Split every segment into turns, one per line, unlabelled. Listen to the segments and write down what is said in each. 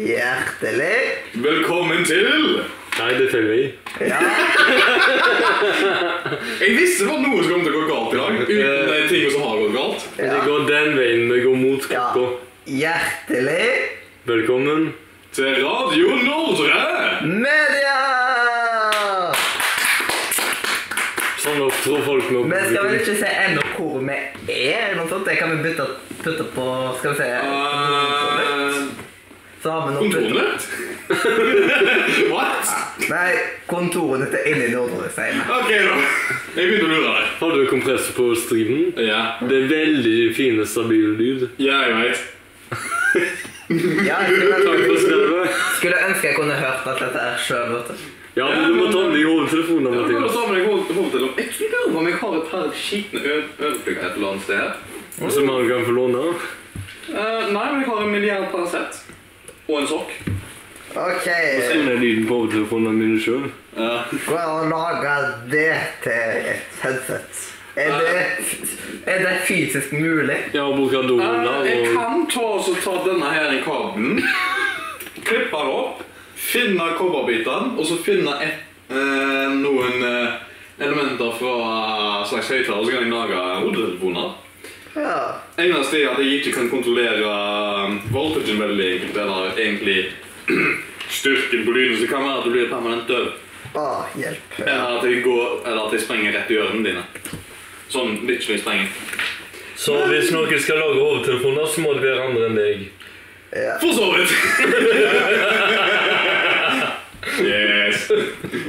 Hjertelig.
Velkommen til
Nei, det følger vi.
Jeg visste det var noe som kom til å gå galt i dag. Uten de tingene som har gått galt.
Det går den veien vi går mot
Ja.
klokka.
Hjertelig
Velkommen.
Til Radio Nordre!
media!
Sånn opptrår folk nå.
Vi skal vel ikke se ennå hvor vi er, eller noe sånt. Det kan vi bytte, putte på Skal vi se
Eh,
Så har vi noe
Kontornett? What?
Nei, kontorene til Inni Nordre, sier vi.
Ok, da. Jeg begynte å lure deg.
Har du kompressor på striven?
Ja,
Det er veldig fine, stabil lyd.
ja jeg veit.
Ja, jeg skulle,
Takk for skrevet.
skulle ønske jeg kunne hørt alt dette her sjøl.
Ja, men du må ta den i hodetelefonen,
Jeg
Mathias.
lurer på om jeg har et par skitne øreplukker et eller annet sted.
Som han kan få låne.
Eh, nei, men jeg har en milliard Paracet. Og en sokk.
OK.
Skru ned lyden på hodetelefonene mine sjøl.
Ja.
Går det an å lage det til et headset? Er det, er det fysisk mulig?
Ja, bruker
Ah,
doen
Eh, jeg
der og
kan ta, så ta denne her i kabelen, klippe den opp, finne kobberbitene, og så finne et, eh, noen eh, elementer fra slags høyttaler, så kan jeg lage hodetelefoner.
Ja.
Eneste er at jeg ikke kan kontrollere eh, voltagen veldig enkelt, eller egentlig styrken på lyden, så det kan være at du blir permanent døv.
Å, ah, hjelp.
Eller at jeg, går, eller at jeg sprenger rett i ørene dine. Sånn literally sprenger.
Så hvis noen skal lage hodetelefoner, så må det være andre enn deg.
For så vidt! yes.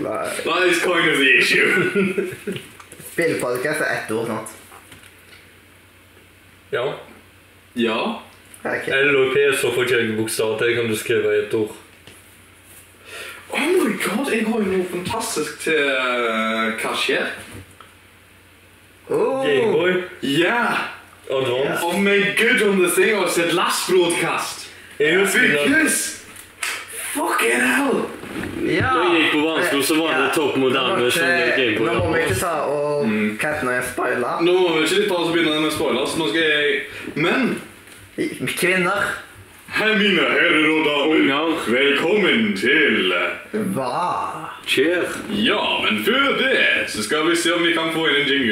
Nei.
That is kind of the issue.
Spillpodcast er ett ord, sant?
Ja.
Ja.
Ok.
L og P, så får ikke jeg bokstav til. Kan du skrive i ett ord?
Oh my god, jeg har jo noe fantastisk til eh, hva skjer.
Oh,
Gameboy.
Yeah!
Advance.
Oh my god, om det thing I said last broadcast.
Jeg husker da
Because... Fucking hell!
ja.
Når jeg gikk på barneskolen, så var det
Ja.
topp moderne
Nå må
sånn
ikke-
Gameboy. Mm.
Nå må vi ikke ta og Katten og jeg spoiler.
Nå må vi ikke litt bare så begynne med spoilers, nå skal jeg... Men,
Kvinner
her mine herrer og damer,
Unger.
velkommen til...
var
Cheer.
Ja, men før det, så skal vi se om vi kan få inn en jingle.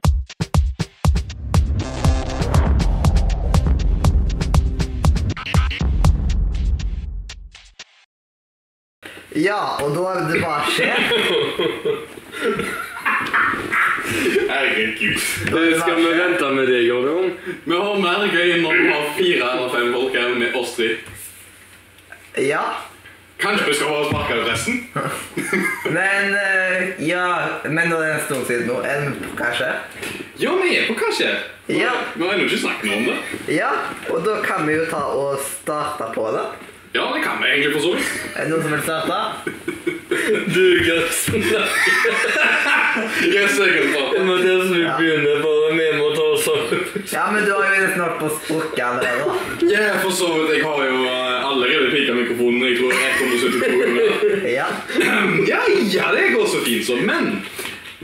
Ja, og da er det hva skjer?
Herregud.
Det skal vi vente med deg, Adrian.
Vi har mer gøy når vi har fire eller fem folk her med oss tre.
Ja.
Kanskje vi skal bare sparke ut resten?
Men eh, Ja, men nå er det en stund siden nå. En, kanskje?
Ja, vi er på hva skjer?
Ja.
Vi har ennå ikke snakket noe om det.
Ja, og da kan vi jo ta og starte på det.
Ja, det kan vi egentlig for så vidt.
Er det noen som vil starte?
Du kan snakke
Yes, jeg kan ta.
med det som vi begynner, bare vi må ta oss sammen.
Ja, men du har jo nesten holdt på å sprukke allerede. da.
Ja, for så vidt. Jeg har jo eh, allerede pika mikrofonen. Jeg tror jeg kommer til å sitte på hodet.
Ja.
Ja, ja, det går så fint så. Men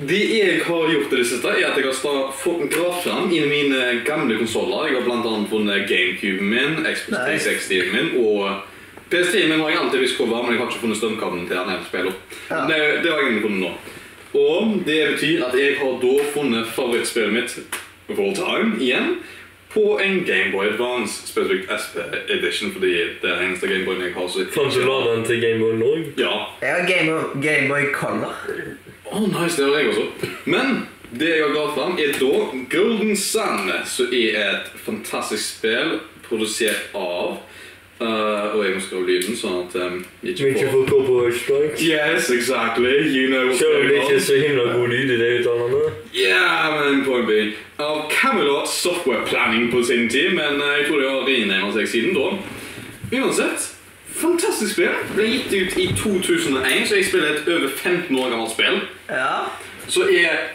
det jeg har gjort i det siste, er at jeg har sta- fått gravd fram i mine gamle konsoller. Jeg har blant annet funnet GameCuben min, Xbox
Nice.
360-en min og PS10-en min har jeg alltid visst hvor var, men jeg har ikke funnet strømkabelen til den jeg spiller.
Ja.
Det, det har jeg ikke funnet nå. Og det betyr at jeg har da funnet favorittspillet mitt of all time igjen på en Gameboy Advance, spesifikt SP Edition, fordi det er den eneste Gameboyen jeg har. så-
Fant du laderen til Gameboy Norge?
Ja,
Jeg har Gameboy Game Boy Color.
Å, nice, det har jeg også. Men det jeg har gravd fram, er da Golden Sun, som er et fantastisk spill produsert av eh, Og jeg må skru av lyden, sånn at um,
Vi
ikke
ikke
får
får copyright strike.
Yes, exactly. You know what's
Selv om det
going
ikke er
on.
så himla god lyd i det utdannende.
Yeah, man, point being. Av Camelot Software Planning på sin tid, men eh, jeg tror det har renama seg siden da. Uansett, fantastisk spill. Ble gitt ut i 2001, så jeg spiller et over 15 år gammelt spill.
Ja.
Så er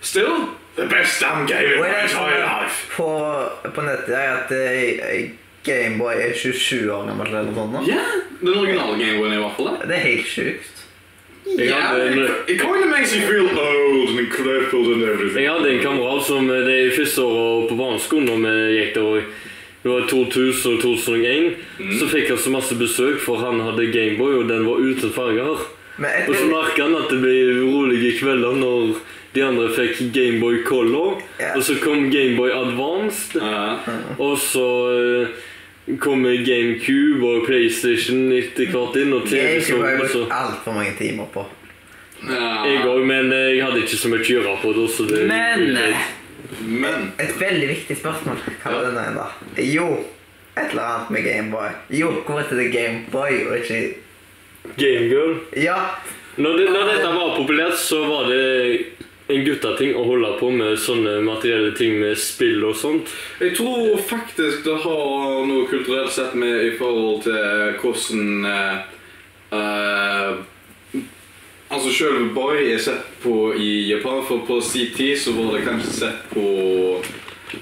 Still the best damn game in
Og
my
jeg
sånn,
entire
så
life.
på, på nettet er at eh, Gameboy er 27 år gammel eller noe sånt. nå.
Ja, den originale Gameboyen i hvert fall. det.
Det er helt sjukt.
Jeg hadde en,
it- It kind of makes you feel old and crippled and everything.
jeg hadde en kamerat som eh, det første året på barneskolen når vi gikk der og
Det var 2000 og 2001.
Mm.
Så fikk han så masse besøk, for han hadde Gameboy, og den var uten farger.
Men
Og så
etter,
merka han at det ble urolige kvelder når de andre fikk Gameboy Color.
Ja.
Og så kom Gameboy Advanced.
Ja.
Uh,
Og så eh, kom GameCube og PlayStation etter hvert inn, og
jeg har
TV
ikke
så
bare
også.
brukt altfor mange timer på.
Jeg
Ja.
òg, men eh, jeg hadde ikke så mye å gjøre på det. Så det
Men eh,
Men
et veldig viktig spørsmål. Hva var det nå igjen, da? Jo, et eller annet med Gameboy. Jo, hvor heter det Gameboy og ikke
Gamegirl
Ja,
når, det, når dette var populært, så var det en guttating å holde på med sånne materielle ting med spill og sånt.
jeg tror faktisk det har noe kulturelt sett med i forhold til hvordan eh, eh, Altså selv boy er sett på i Japan, for på sin tid så var det kanskje sett på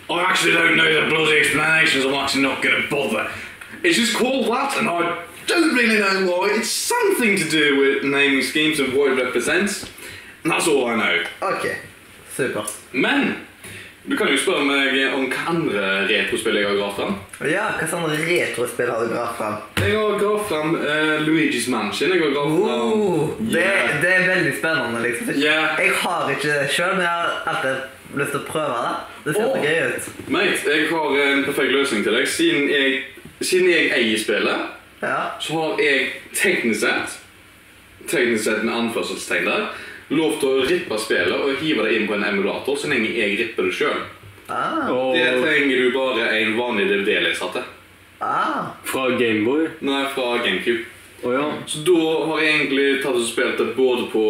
I actually don't know the bloody explanations, I'm actually not gonna bother. It's just called that, and I don't really know why. It's something to do with naming schemes and what it represents. And that's all I know.
OK. Supert.
Men du kan jo spørre meg om hva andre retrospill jeg har gravd fram.
Ja, hva sånn retrospill har du gravd fram?
Jeg har gravd fram eh, Luigi's Mansion. Jeg har gravd fram
Oh, det,
Yeah.
det er veldig spennende, liksom.
Yeah.
Jeg har ikke det sjøl, men jeg har alltid lyst til å prøve det. Det ser
Åh.
så gøy ut.
Mate, jeg har en perfekt løsning til deg. Siden jeg, siden jeg eier spillet,
Ja.
så har jeg teknisk sett Teknisk sett med anførselstegn der lov til å rippe spillet og hive det inn på en emulator så lenge jeg ripper det sjøl.
Ah.
Det
Og
trenger du bare en vanlig DVD-leser til.
Ah.
fra Gameboy.
Nei, fra GameCube.
Å ja.
Så da har jeg egentlig tatt og spilt det både på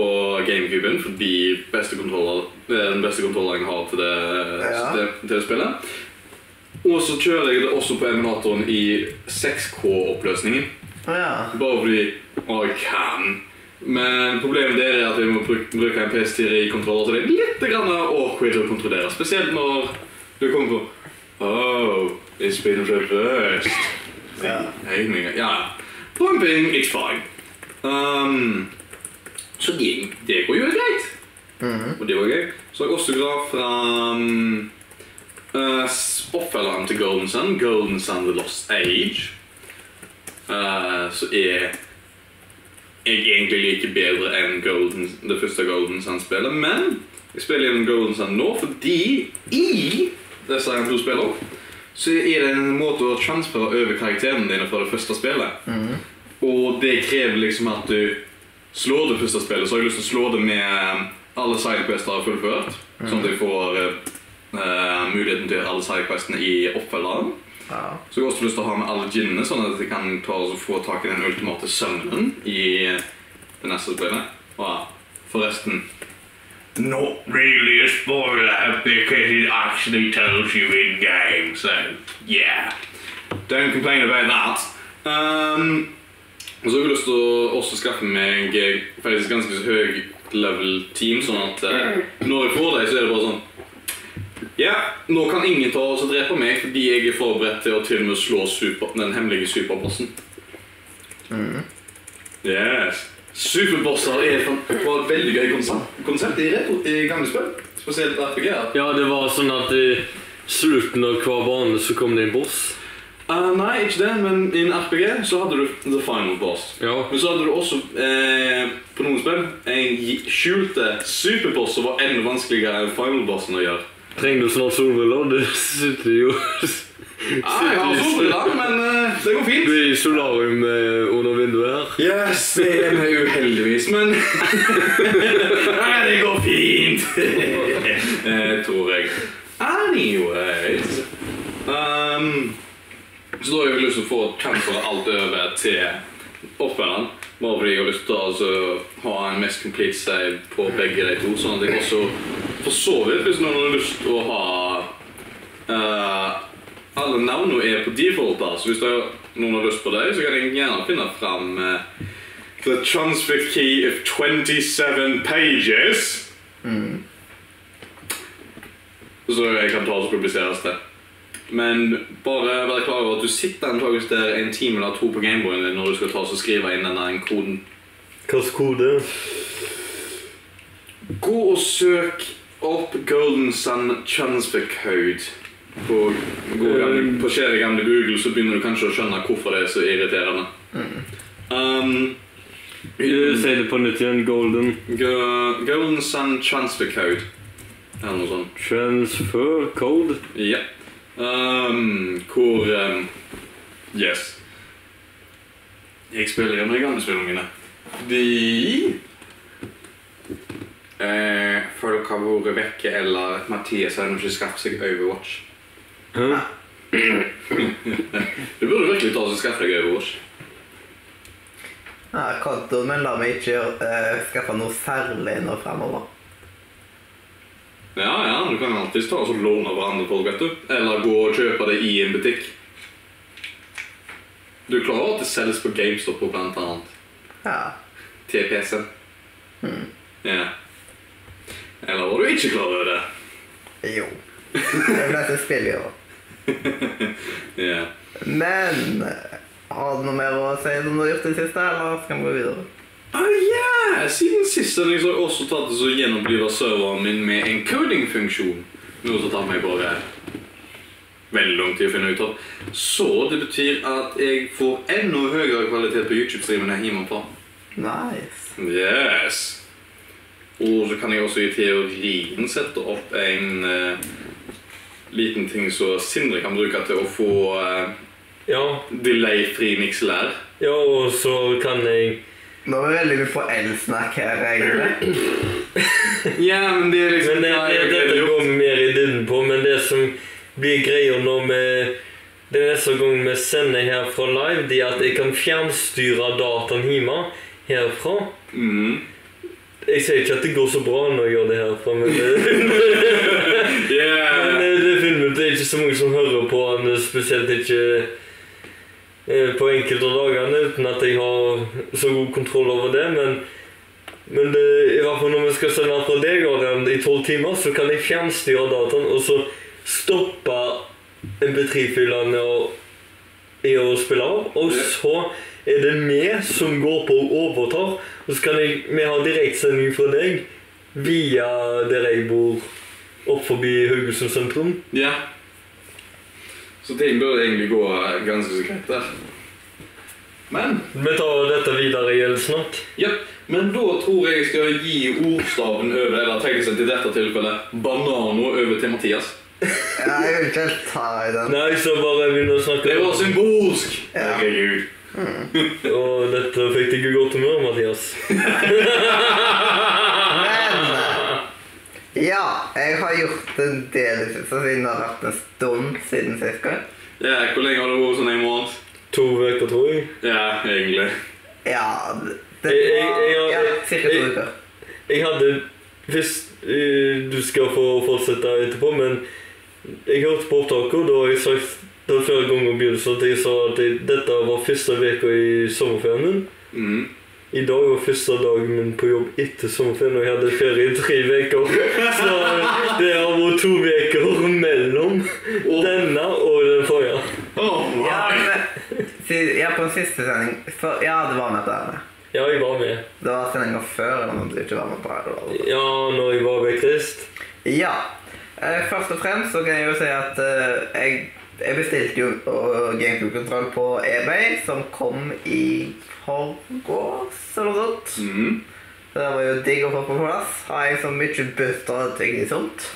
GameCuben, fordi beste kontroller, eh, den beste kontrolleren jeg har til det,
Ja.
til, til det spillet. Og så kjører jeg det også på emulatoren i 6K-oppløsningen.
Ja.
Bare fordi å, jeg kan. Men problemet der er at vi må bruke, bruke en PS4-kontroller, så det er litt grann awkward å kontrollere. Spesielt når du kommer på Oh, it's been reversed.
ja.
Regninger, ja. Pumping, it's fine. Ehm, så det, det går jo greit. Og det var gøy. Så har jeg også glad fra um, oppfølgeren til Golden Sun, Golden Sun The Lost Age. Eh, så er jeg egentlig liker bedre enn Golden, det første Golden Sun-spillet, men jeg spiller gjennom Golden Sun nå fordi i disse her to spillene så er det en måte å transfere over karakterene dine fra det første spillet. Og det krever liksom at du slår det første spillet, så har jeg lyst til å slå det med eh, alle sidequester jeg har fullført, sånn at jeg får eh, muligheten til å gjøre alle sidequestene i oppfølgeren.
ja.
Så jeg har også lyst til å ha med alle ginene, sånn at jeg kan ta og få tak i den ultimate søvnen i det neste spillet. Og forresten Not really a spoiler, because it actually tells you in game, so yeah. Don't complain about that. Um, og så har jeg lyst til å også skaffe meg eh, faktisk ganske så høy level team, sånn at eh, når jeg får deg, så er det bare sånn ja, nå kan ingen ta oss og drepe meg fordi jeg er forberedt til å til og med slå super, den hemmelige superbossen. Yes. Superbosser er et fan- var et veldig gøy konsept, konsept i, retro, i gamle spill. Spesielt RPG-er.
Ja, det var sånn at i slutten av hver bane så kom det en boss.
Eh, nei, ikke det, men i en RPG så hadde du The Final Boss.
Ja.
Men så hadde du også, eh, på noen spill, en gi- skjulte superboss som var enda vanskeligere enn Final Bossen å gjøre.
Trenger du snart solbriller? Du sitter jo
Ah, jeg har solbriller, men eh, det går fint.
Du er i solarium eh, under vinduet her.
Yes, det er meg uheldigvis, men Nei, det går fint! Eh, tror jeg. Anyways eh, um, Så da har jeg lyst til å få transfere alt over til oppfølgeren. Bare fordi jeg har lyst til å altså, ha en mest complete save på begge de to. Sånn at jeg også for så vidt, hvis noen har lyst til å ha eh, alle navnene er på default, da, så hvis det er noen har lyst på det, så kan jeg gjerne finne fram eh, The transfer key of 27 pages. Så jeg kan ta og publiseres det. Men bare vær klar over at du sitter antakeligvis der en time eller to på Gameboyen din når du skal ta og skrive inn denne koden.
Hvilken kode?
Gå og søk opp Golden Sun transfer code. på, god gamle, på kjære gamle Google, så begynner du kanskje å skjønne hvorfor det er så irriterende. Um,
Eh, Si det på nytt igjen. Golden
Go- Golden Sun Transfer Code. Eller noe sånt.
transfer code.
Ja. Ehm, hvor ehm, Yes. Jeg spiller jo med de gamle spillungene. De eh, Folk har vært vekke, eller Mathias har ikke skaffet seg Overwatch.
Hæ?
Du burde virkelig ta og skaffe deg Overwatch.
Ja, kontoen min lar meg ikke eh, skaffe noe særlig nå fremover.
Ja, ja, du kan alltid ta og låne av hverandre folk, vet du. Eller gå og kjøpe det i en butikk. Du er klar over at det selges på GameStop og blant annet.
Ja.
til PC-en. Ja. Eller var du ikke klar over det?
Jo. Det er dette spillet, jo.
Ja.
Men eh, har du noe mer å si som du har gjort i det siste, eller skal vi gå videre?
Å ja! Siden sist har jeg så også tatt og så gjenoppliva serveren min med en coding-funksjon. Noe som tar meg bare veldig lang tid å finne ut av. Så det betyr at jeg får enda høyere kvalitet på YouTube-streamen jeg hiver på.
Nice.
Yes. Og så kan jeg også i teorien sette opp en eh, liten ting som Sindre kan bruke til å få eh,
Ja,
delay-fri mikselær.
ja, og så kan jeg
Nå er vi veldig mye på elsnakk her, egentlig.
Ja, men det er
Men det,
Ja,
det,
jeg-
dette
jeg-
går vi mer i dybden på, men det som blir greia når vi Det neste gang vi sender her fra live, det er at jeg kan fjernstyre dataen hjemme herfra.
Mhm.
Jeg sier ikke at det går så bra når jeg gjør det herfra, men det, men
Yeah.
det, det finner vi ut. Det er ikke så mange som hører på han, spesielt ikke eh, på enkelte dagene, uten at jeg har så god kontroll over det. Men, men det, i hvert fall når vi skal sende fra deg Adrian, i tolv timer, så kan jeg fjernstyre dataen og så stoppe MP3-filene og- i å spille av, og
Ja.
så er det vi som går på og overtar, og så kan jeg, vi ha direktsending fra deg via der jeg bor opp forbi Haugesund sentrum.
Ja. Så ting burde egentlig gå eh, ganske så greit der. Men
Vi tar dette videre igjen snart.
ja, men da tror jeg jeg skal gi ordstaven over, eller teknikken til dette tilfellet, banano over til Mathias.
Ja, jeg vil ikke helt ta i den.
Nei, så bare begynner å snakke
Det var symbolsk!
Ja.
Herregud.
Og dette fikk deg i godt humør, Mathias.
Men eh, ja, jeg har gjort en del i det siste siden det har vært en stund siden sist gang.
Ja, hvor lenge har det vært sånn en måned?
To uker, tror jeg.
Ja, egentlig.
Ja, det det
Jeg- jeg-
var
jeg-
ja,
jeg-
cirka to
jeg-
uker.
Jeg hadde Hvis eh, du skal få fortsette etterpå, men jeg hørte på opptaket, og da har jeg sagt det var flere ganger i begynnelsen at jeg sa at jeg, dette var første uka i sommerferien min.
Mhm.
I dag var første dagen min på jobb etter sommerferien, og jeg hadde ferie i tre uker. Så det har vært to uker mellom denne og den forrige.
Oh, my.
Ja, men, si- ja, på den siste sending for, Ja, det var med på den.
Ja, jeg var med.
Det var sendinga før eller noe du ikke var med på. Eller.
Ja, når jeg var vekkreist.
Ja. Eh, Først og fremst så kan jeg jo si at eh, jeg, jeg bestilte jo eh, GameCube-kontroll på eBay, som kom i forgårs eller noe sånt.
Mhm.
Så det var jo digg å få på plass. Har jeg så mye bøtter at jeg er sunt.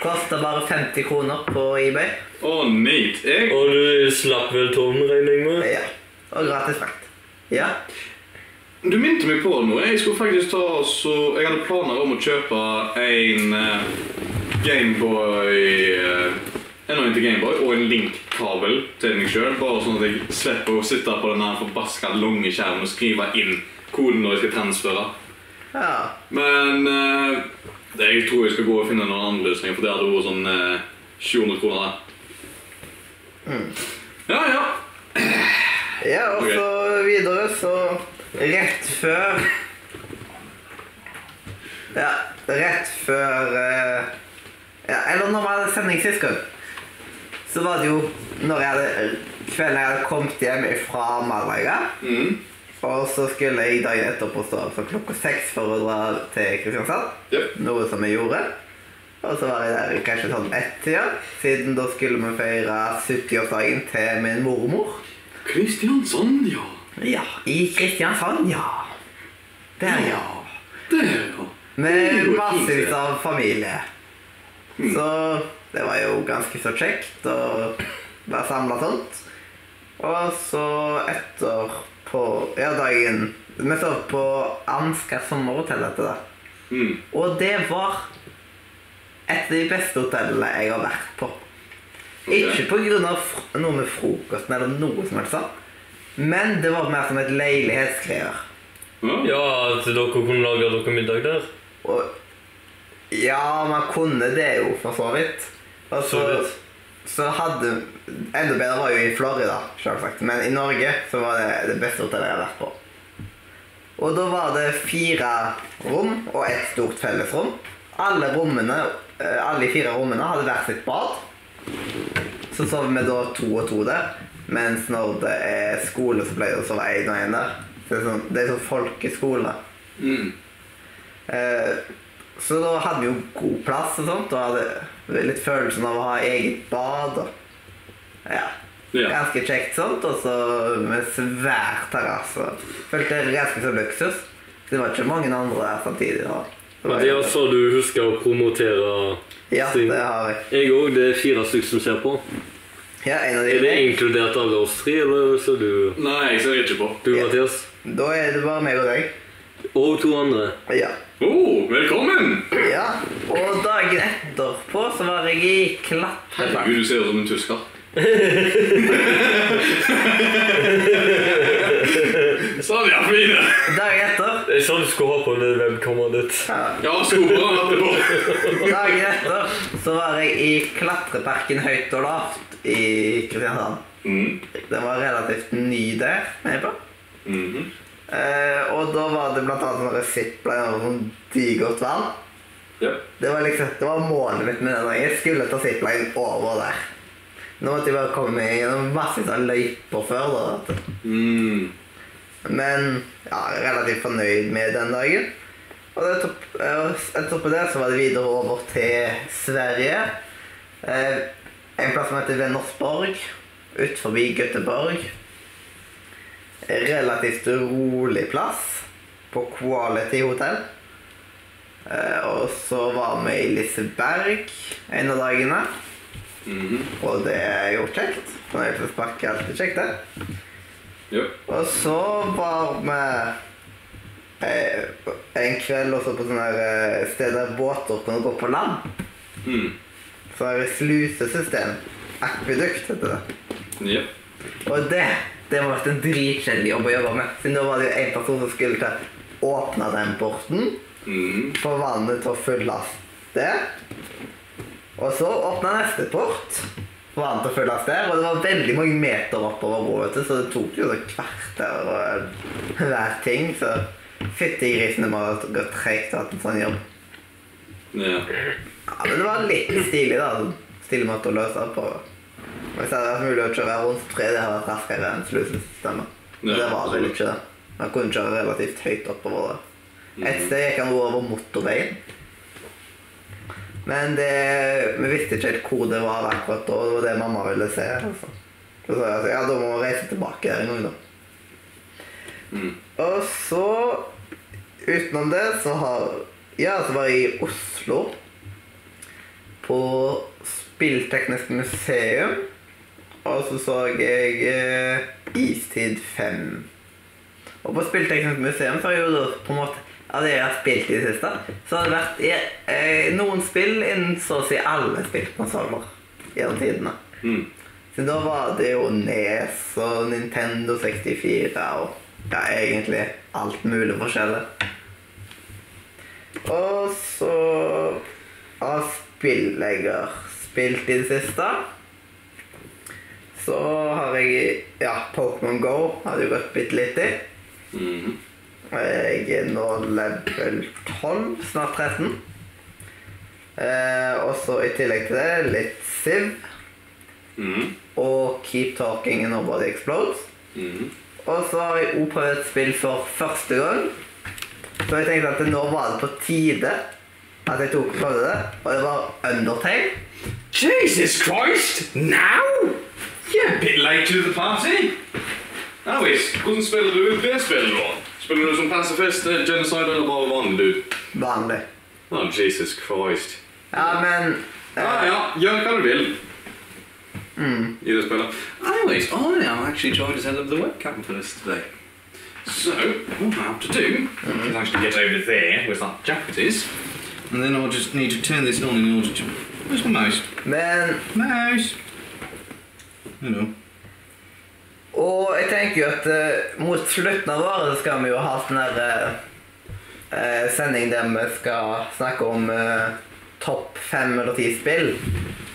Koster bare 50 kroner på eBay.
Å, neat. Jeg
Og du slapp vel tårnen, regner jeg med?
Ja. Og gratis frakt. Ja.
Du minte meg på noe. Jeg skulle faktisk ta og så Jeg hadde planer om å kjøpe en eh, Gameboy eh, En ordentlig Gameboy og en Link-kabel til meg sjøl. Bare sånn at jeg slipper å sitte på den her forbaska lange skjermen og skrive inn koden når jeg skal transfere.
ja.
Men eh, det jeg tror jeg skal gå og finne noen annen løsning, for det hadde vært sånn eh, 700 kroner. Mm. Ja, ja.
Ja, og så videre, så rett før Ja, rett før eh, ja, Eller når vi hadde sending sist gang, så var det jo når jeg hadde, kvelden jeg hadde kommet hjem fra Malaga.
Mm.
Og så skulle jeg dagen etterpå stå opp klokka seks for å dra til Kristiansand.
Jep.
Noe som jeg gjorde. Og så var jeg der i kanskje sånn ett-tida, siden da skulle vi feire 70-årsdagen til min mormor.
Kristiansand, ja.
Ja. I Kristiansand, ja. Der, ja.
Der, ja. Det
Med
går
massevis
fint, det. Mm.
av familie. Så det var jo ganske så kjekt å være samla sånt. Og så etterpå Ja, dagen Vi sov på Ansgar sommerhotell etter det.
Mm.
Og det var et av de beste hotellene jeg har vært på. Ikke på grunn av fr- noe med frokosten eller noe som helst sånn, men det var mer som et leilighetsklær.
Ja.
Ja, at dere kunne lage dere middag der.
Og ja, man kunne det jo, for så vidt. Og så,
Så vidt.
så hadde Enda bedre var jo i Florida, selvsagt. Men i Norge så var det det beste hotellet jeg har vært på. Og da var det fire rom og ett stort fellesrom. Alle rommene, eh, alle de fire rommene hadde hvert sitt bad. Så sov vi da to og to der. Mens når det er skole, så pleier det å sove én og én der. Så det er sånn, det er sånn folkeskole.
Mm.
Eh, Så da hadde vi jo god plass og sånt, og hadde litt følelsen av å ha eget bad. Og, ja.
ja.
Ganske kjekt sånt, og så med svær terrasse. og Følte det ganske så luksus. Det var ikke mange andre der samtidig. da. Det var-
Mathias, sa du husker å promotere
ja,
sin-
det har jeg.
Jeg òg. Det er fire stykker som ser på.
Ja, en av
Er det
de.
inkludert alle oss tre, eller ser du
Nei, jeg ser ikke på.
Du,
Ja.
Mathias?
Da er det bare meg og deg.
Og to andre.
Ja.
Å, velkommen!
ja. Og dagen etterpå så var jeg i klatrefart.
Herregud, du ser ut som en tysker. sånn, ja, fine.
Dagen etter
Jeg sa sånn du skulle ha på det webkameraet ditt.
ja.
Ja, skobra etterpå.
Dagen etter så var jeg i klatreparken høyt og lavt i Kristiansand.
Mm.
Den var relativt ny der. mener jeg på.
Mhm.
Eh, og da var det blant annet sånne zipline over sånn digert vann.
Ja.
Det var liksom, det var målet mitt med den. Jeg skulle ta zipline over der. Nå måtte jeg bare komme meg gjennom masse sånne løyper før. da. vet du.
Mm.
Men ja, jeg er relativt fornøyd med den dagen. Og det topp- eh, etterpå det så var det videre over til Sverige. Eh, en plass som heter Vennersborg, utenfor Göteborg. En Relativt rolig plass på Quality Hotel. Eh, og så var vi i Liseberg en av dagene,
Mhm.
og det er jo kjekt. Fornøyelsespark er alltid kjekt, det.
Ja.
Og så var vi eh, en kveld også på sånne her eh, sted der båter kunne gå på land.
Mm.
Så er det slusesystem. Akvedukt heter det.
Ja.
Og det det må ha vært en dritkjedelig jobb å jobbe med. Siden da var det jo en person som skulle til å åpne den porten,
Mhm.
få vannet til å fylles der. Og så åpna neste port, få vannet til å fylles der. Og det var veldig mange meter oppover broet, så det tok jo et kvarter og hver ting. Så fytti grisen, det må ha gått treigt å ha en sånn jobb.
Ja.
Ja, men det var litt stilig, da. sånn Stilig måte å løse det på. Hvis det hadde vært mulig å kjøre rundt tre, det hadde vært raskere enn slusesystemet. Men
Ja,
det var vel
absolutt.
ikke det. Man kunne kjøre relativt høyt oppover det. Et sted gikk han over motorveien. Men det, vi visste ikke helt hvor det var akkurat da, og det var det mamma ville se. Altså. Så sa jeg at ja, da må vi reise tilbake der en gang, da.
Mm.
Og så, utenom det, så har Ja, så var jeg i Oslo. På Spillteknisk museum. Og så så jeg eh, Istid 5. Og på Spillteknisk museum så har jeg jo da på en måte av det jeg har spilt i det siste, så har det vært i, eh, noen spill innen så å si alle spillkonsoller gjennom tidene.
Mm.
Så da var det jo Nes og Nintendo 64 og ja, egentlig alt mulig forskjellig. Og så av spill jeg har spilt i det siste, så har jeg Ja, Pokémon Go har det jo gått bitte litt i.
Mhm.
Jeg er nå level 12, snart 13. Eh, og så i tillegg til det litt Siv
Mhm.
og Keep Talking and Nobody Explodes.
Mhm.
Og så har jeg også prøvd et spill for første gang. Så jeg tenkte at nå var det på tide at jeg tok prøvde det, og det var Undertale.
Jesus Christ! Now? Yeah, a bit late to the party. Alvis, hvordan spiller du det spillet da? Spiller du som pasifist, eh, genocide eller bare vanlig dude?
Vanlig.
Oh, Jesus Christ.
Ja, men
Ah, ja, gjør hva du vil i det spillet. Anyways, I am actually trying to set up the webcam for this today. So, what I have to do is actually get over there with that Japanese, and then I'll just need to turn this on in order to... Where's my mouse?
Men
Mouse! You know.
Og jeg tenker jo at eh, mot slutten av året så skal vi jo ha sånn her eh, sending der vi skal snakke om eh, topp fem eller ti spill.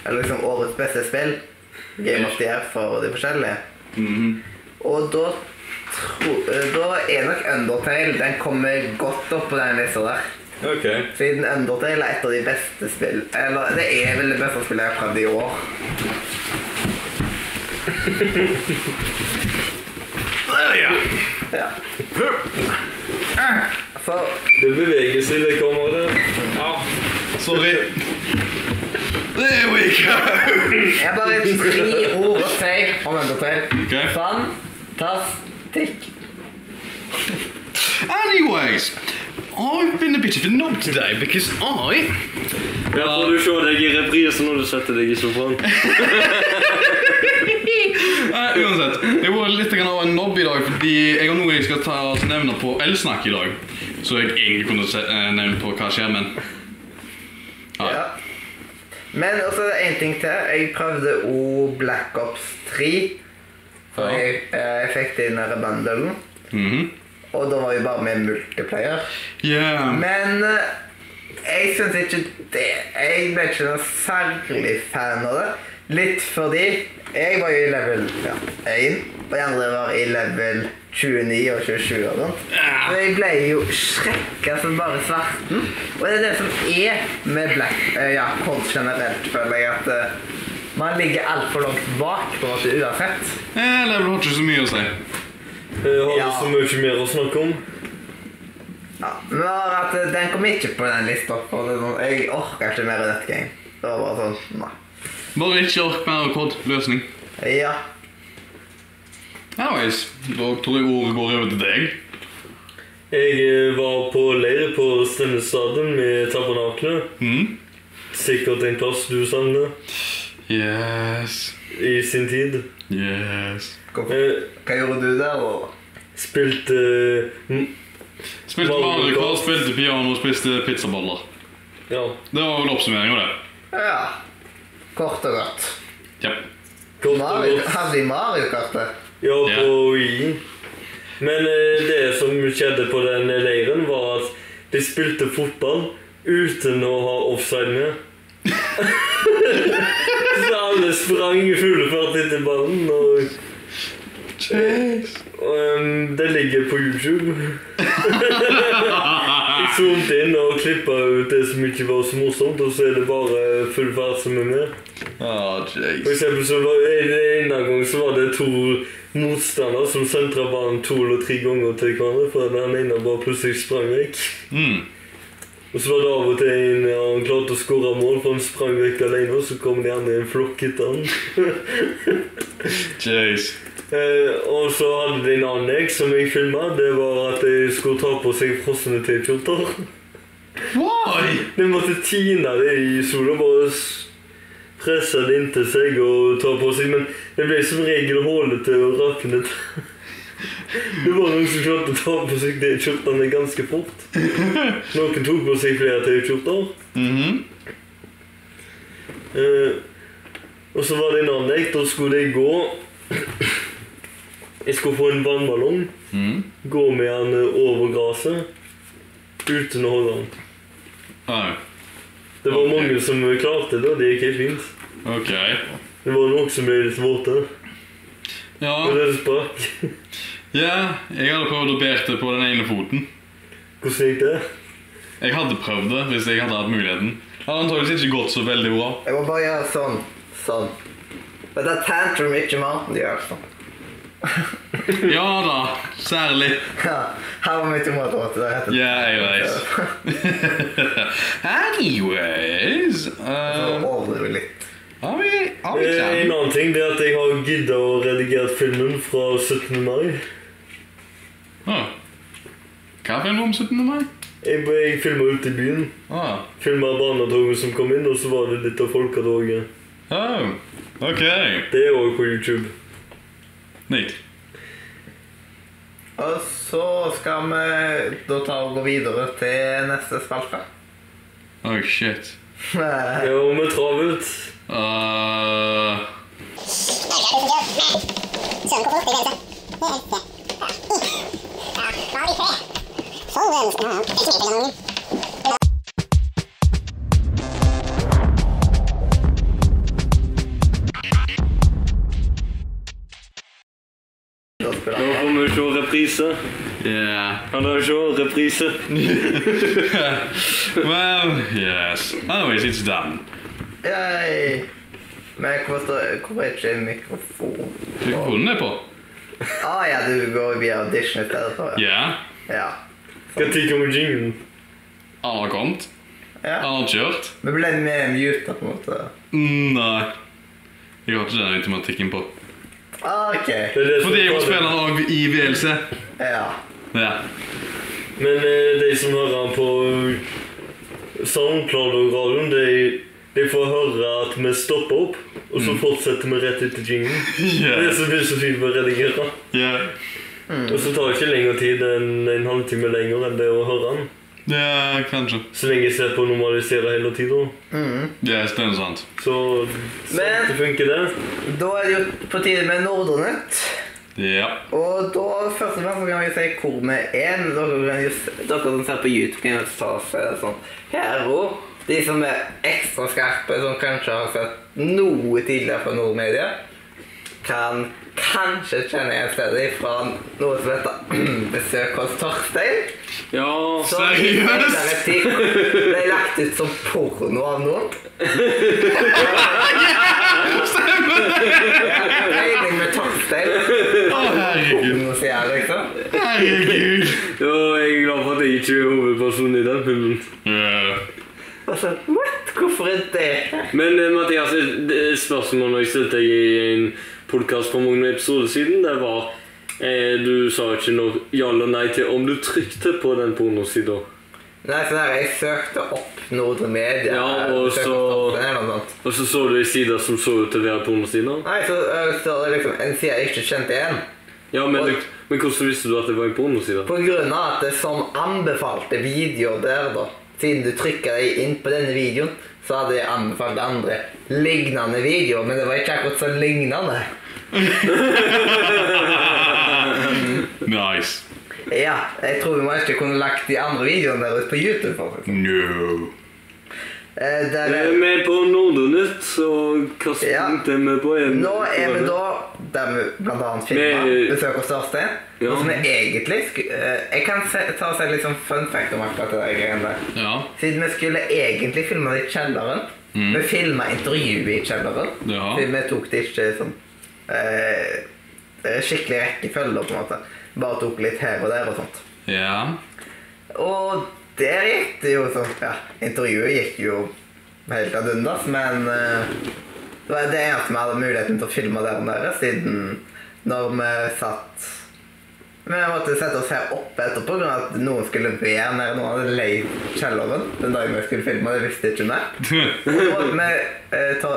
Eller liksom årets beste spill. Game of the Year for de forskjellige. Og da tro, eh, Da er nok Undertale Den kommer godt opp på den lista der.
Ok.
Siden Undertale er et av de beste spill Eller det er vel det beste spillet jeg har prøvd i år.
There we are!
Ja. For
Det beveger seg det kameraet.
Sorry. There we go!
Jeg har bare tre ord å si om Undertale.
Ok.
Fantastikk.
Anyways, I've been a bit of a knob today because I
Ja, får du se deg i reprise når du setter deg i sofaen.
Nei, uansett. Jeg var litt grann av en nobb i dag fordi jeg har noe jeg skal ta og nevne på elsnakk i dag. Så jeg egentlig kunne se, eh, nevne på hva skjer, men Nei.
Ja. Men også er det en ting til. Jeg prøvde O Black Ops 3. For
Ja.
jeg, eh, jeg fikk det i den der bundlen.
Mhm.
Og da var vi bare med multiplayer.
Yeah.
Men eh, jeg syns ikke det Jeg ble ikke noe særlig fan av det. Litt fordi jeg var jo i level ja, 1, og de andre var i level 29 og 27 og sånt. Så jeg ble jo skrekka som bare svarten. Og det er det som er med black eh, ja, kort generelt, føler jeg, at eh, man ligger altfor langt bak, på en måte, uansett.
Eh, level har ikke så mye å si.
Eh, Har du
Ja.
så mye mer å snakke om?
Ja, men at eh, den kom ikke på den lista. Og det er sånn, jeg orker ikke mer nettgame. Det var bare sånn, nei.
Bare ikke ork mer akkordløsning.
Ja.
Anyways, da tror jeg ordet går over til deg.
Jeg eh, var på leir på Stemmestaden med tabernaklet.
Mm.
Mhm.
Sikkert en plass du savner
Yes.
i sin tid.
Yes.
Hvorfor?
Eh,
Hva gjorde du der? Og...
Spilte eh, m-
Spilte Mario Kart, spilte piano, spiste pizzaboller.
Ja,
Det var vel oppsummeringen av det.
Ja. Kort og godt.
Japp.
kort og
Mario,
godt.
hadde de Mario-kartet?
Ja,
Ja.
på Wii. Men eh, det som skjedde på den leiren, var at de spilte fotball uten å ha offside med. Så alle sprang i full fart etter ballen, og,
Yes.
og em, det ligger på YouTube. Jeg zoomet inn og klippa ut det som ikke var så morsomt, og så er det bare full fart som er med.
Ah, jeez.
For eksempel så var en, en gang så var det to motstandere som sentra ballen to eller tre ganger til hverandre, for den ene bare plutselig sprang vekk.
Mm.
Og så var det av og til en ja, han klarte å skåre mål, for han sprang vekk alene, og så kom de andre i en flokk etter han.
Jeez.
eh, og så hadde de en annen jeg som jeg filma, det var at de skulle ta på seg frosne T-skjorter.
Why?
De måtte tine det i sola, bare s- presse det inntil seg og ta på seg, men det ble som regel hålete og raknet. Det var noen som klarte å ta på seg de skjortene ganske fort. Noen tok på seg flere T-skjorter.
Mhm.
Eh, og så var det en annen jekt, da skulle jeg gå Jeg skulle få en vannballong,
Mhm.
gå med den eh, over gresset uten å holde den.
Oh,
Det var
Ok.
mange som klarte det, og det gikk helt fint.
ok.
Det var noen som ble litt våte. Og
Ja,
det sprakk.
ja, jeg hadde prøvd å berte på den ene foten.
Hvordan gikk det?
Jeg hadde prøvd det hvis jeg hadde hatt muligheten. Det hadde antakeligvis ikke gått så veldig bra.
Jeg må bare gjøre sånn. Sånn. Men det er tantrum, ikke maten de gjør. Sånn.
Ja da, særlig.
Ja, her var mitt område til det heter.
Yeah, anyways. anyways
Så
uh,
overdriver jeg litt.
Har vi Har vi
Eh, En
klem?
annen ting det er at jeg har giddet å redigere filmen fra 17. mai.
Ah. Hva er filmen om 17. mai?
Jeg, jeg filmet ute i byen.
Ah.
Filmet barnetoget som kom inn, og så var det litt av folketoget.
Oh. Ok.
Det er også på YouTube.
Neat.
Og så skal vi da ta og gå videre til neste spalte.
Oh, shit.
Eh,
Ja, og vi er travelt.
Uh,
da spiller
Nå
jeg.
får vi se reprise.
yeah.
Kan dere se reprise?
well, yes. Anyways, it's done.
Yay! Men hvorfor, står- hvorfor er ikke mikrofon?
Mikrofonen er på.
Ah ja, du går via audition i stedet for. Ja.
Yeah.
ja.
Hva tid kommer jingen?
Han har kommet.
ja.
Han har kjørt.
Vi ble mer muta på en måte.
Mm, Nei. Jeg har ikke den automatikken på.
Ah, ok.
Det er det som
Fordi jeg
er
må spille
travelt.
den også i VLC.
Ja.
Ja.
Men eh, de som hører han på SoundCloud og radioen, de, de får høre at vi stopper opp, og
Mm.
så fortsetter vi rett etter jingen. Det er
Yeah.
det som blir så fint med å redigere.
Yeah.
Mm.
Og så tar det ikke lengre tid enn en halvtime lenger enn det å høre han.
Ja, kanskje.
Så lenge jeg slipper å normalisere hele tida.
Mhm.
Yes, det er sant.
Så
Men-
sakte funker det.
Da er det jo på tide med Nordonytt.
Ja.
Og da først og fremst så kan vi si hvor vi er. men Dere, kan jo, s- dere som ser på YouTube, kan jo ta og se sånn Hero. De som er ekstra skarpe, som kanskje har sett noe tidligere på Nordmedia, kan kanskje kjenne igjen stedet fra noe som heter Besøk hos Torstein.
Ja.
Så tidligere
Seriøst?
tid ble lagt ut som porno av noen. Regning med Torstein.
Å, herregud.
Porno, sier jeg liksom.
Herregud.
Jo, jeg er glad for at jeg ikke er hovedpersonen i den filmen.
Ja.
Og så What? Hvorfor er det
Men eh, Mathias, et et spørsmål jeg stilte deg i en podkast for mange episoder siden, det var eh, Du sa ikke noe ja eller nei til om du trykte på den pornosida.
Nei, så der, jeg søkte opp Nordre Media.
Ja, og
søkte
så-
opp den eller noe sånt.
Og så så du ei side som så ut til å være pornosida.
Nei, så øh, står det liksom en side jeg ikke kjente igjen.
Ja, men, du- men hvordan visste du at det var en pornoside?
På grunn av at det er som anbefalte videoer der, da. Siden du trykka deg inn på denne videoen, så hadde jeg anbefalt andre lignende videoer, men det var ikke akkurat så lignende.
Nice.
Ja, jeg tror vi må ikke kunne lagt de andre videoene der ut på YouTube. faktisk.
No.
Eh, der
Vi
er
er med på Nordonytt, og hva
Ja.
spilte vi på? Er vi-
Nå er vi da der vi blant annet filmer
Med-
besøk hos Torstein.
Ja.
Og som er egentlig sku- eh, Jeg kan se, ta og si litt sånn fun fact om akkurat det der greiene der.
Ja,
Siden vi skulle egentlig filme det i kjelleren. Vi filma intervjuet i kjelleren.
Ja.
Siden vi tok det ikke sånn eh, skikkelig rekkefølge, på en måte. Bare tok litt her og der og sånt.
ja.
Og der gikk det jo sånn Ja, intervjuet gikk jo helt ad undas, men eh, det var det eneste vi hadde muligheten til å filme der nede, siden når vi satt Vi måtte sette oss her oppe etterpå grunn av at noen skulle be her nede. Noen hadde leid kjelleren den dagen vi skulle filme, det visste ikke vi. Og så måtte vi eh, ta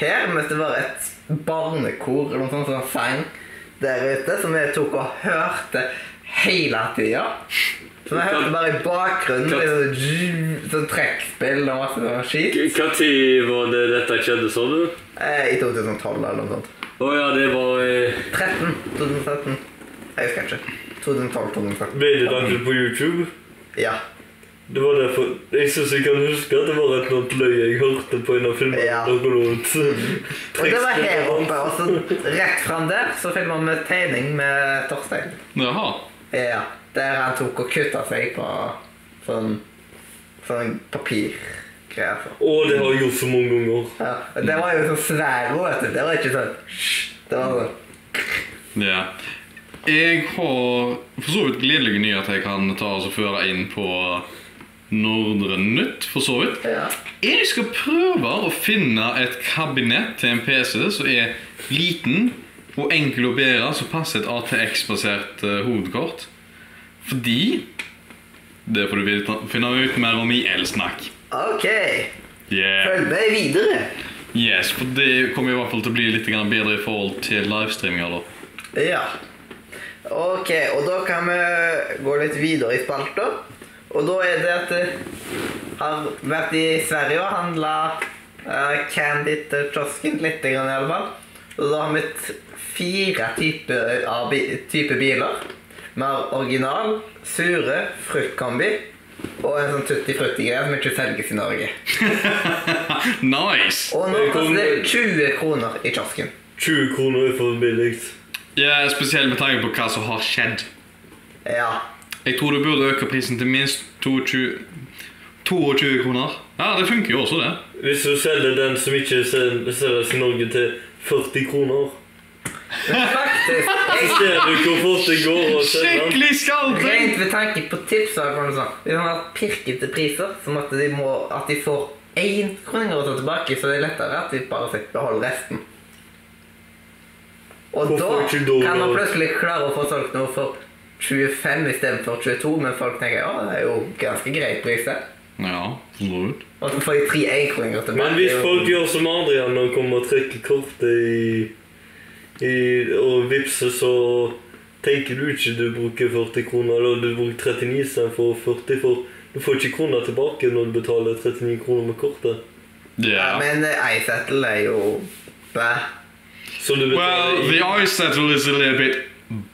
her, mens det var et barnekor eller noe sånt som sang der ute, som vi tok og hørte hele tida. Så vi hørte bare i bakgrunnen litt sånn zzzz, sånn trekkspill og masse sånn skit.
Hva tid var det dette skjedde, sa du?
Eh, I 2012 eller noe sånt.
Å ja, det var eh,
13. 2013. Jeg husker ikke. 2012-2013.
Ble det lagt ut på YouTube?
Ja.
Det var derfor Jeg syns jeg kan huske at det var et eller annet løye jeg hørte på en av filmene.
Ja.
dere lå ut.
Og det var her oppe, altså. og så rett fram der så filma vi tegning med Torstein.
Jaha.
Ja, der han tok og kutta seg på sånn, sånn papirgreier. så.
Å, det har jeg gjort så mange ganger.
Ja, og det var jo sånn svære, vet du. Det var ikke sånn «sj», Det var sånn
Ja. Jeg har for så vidt gledelige nyheter jeg kan ta og så føre inn på Nordre Nytt, for så vidt.
Ja.
Jeg skal prøve å finne et kabinett til en PC som er liten og enkel å bære, som passer et ATX-basert eh, hovedkort. Fordi Det får du vite- finne ut mer om i Elsnakk.
Ok,
Yeah.
følg med videre.
Yes, for det kommer i hvert fall til å bli litt grann bedre i forhold til livestreaminger, da.
Ja. Ok, og da kan vi gå litt videre i spalter. Og da er det at jeg har vært i Sverige og handla candy til kiosken, litt grann i alle fall. Og da har vi t- fire typer av bi type biler. Vi har original, sure, fruktkombi og en sånn tutti-frutti-greie som ikke selges i Norge.
nice!
Og nå koster det 20 kroner i kiosken.
20 kroner er for billig.
Ja, Spesielt med tanke på hva som har skjedd.
Ja.
Jeg tror du burde øke prisen til minst 22, 22 kroner. Ja, det funker jo også, det.
Hvis du selger den som ikke sel- selges i Norge til 40 kroner,
Faktisk. Jeg
ser du hvor fort det går å selge den.
Skikkelig skalting!
Rent ved tanke på tips, så kan du sånn. Hvis han har pirkete priser, så måtte de må, at de får én kroning å ta tilbake, så det er lettere at de bare fikk beholde resten. Og da
Hvorfor ikke da,
kan man
da?
plutselig klare å få solgt noe for 25 istedenfor 22, men folk tenker ja, det er jo ganske greit pris, det.
Ja, absolutt.
Og så får de tre enkroninger tilbake.
Men hvis
det er jo-
folk gjør som Adrian og kommer og trekker kortet i, i og vippser, så tenker du ikke du bruker 40 kroner, eller du bruker 39 istedenfor 40, for du får ikke kroner tilbake når du betaler 39 kroner med kortet.
ja,
Yeah.
Men eh, iSettle er jo bæ.
Så du
Well,
betaler
the
i,
ice settle is a little bit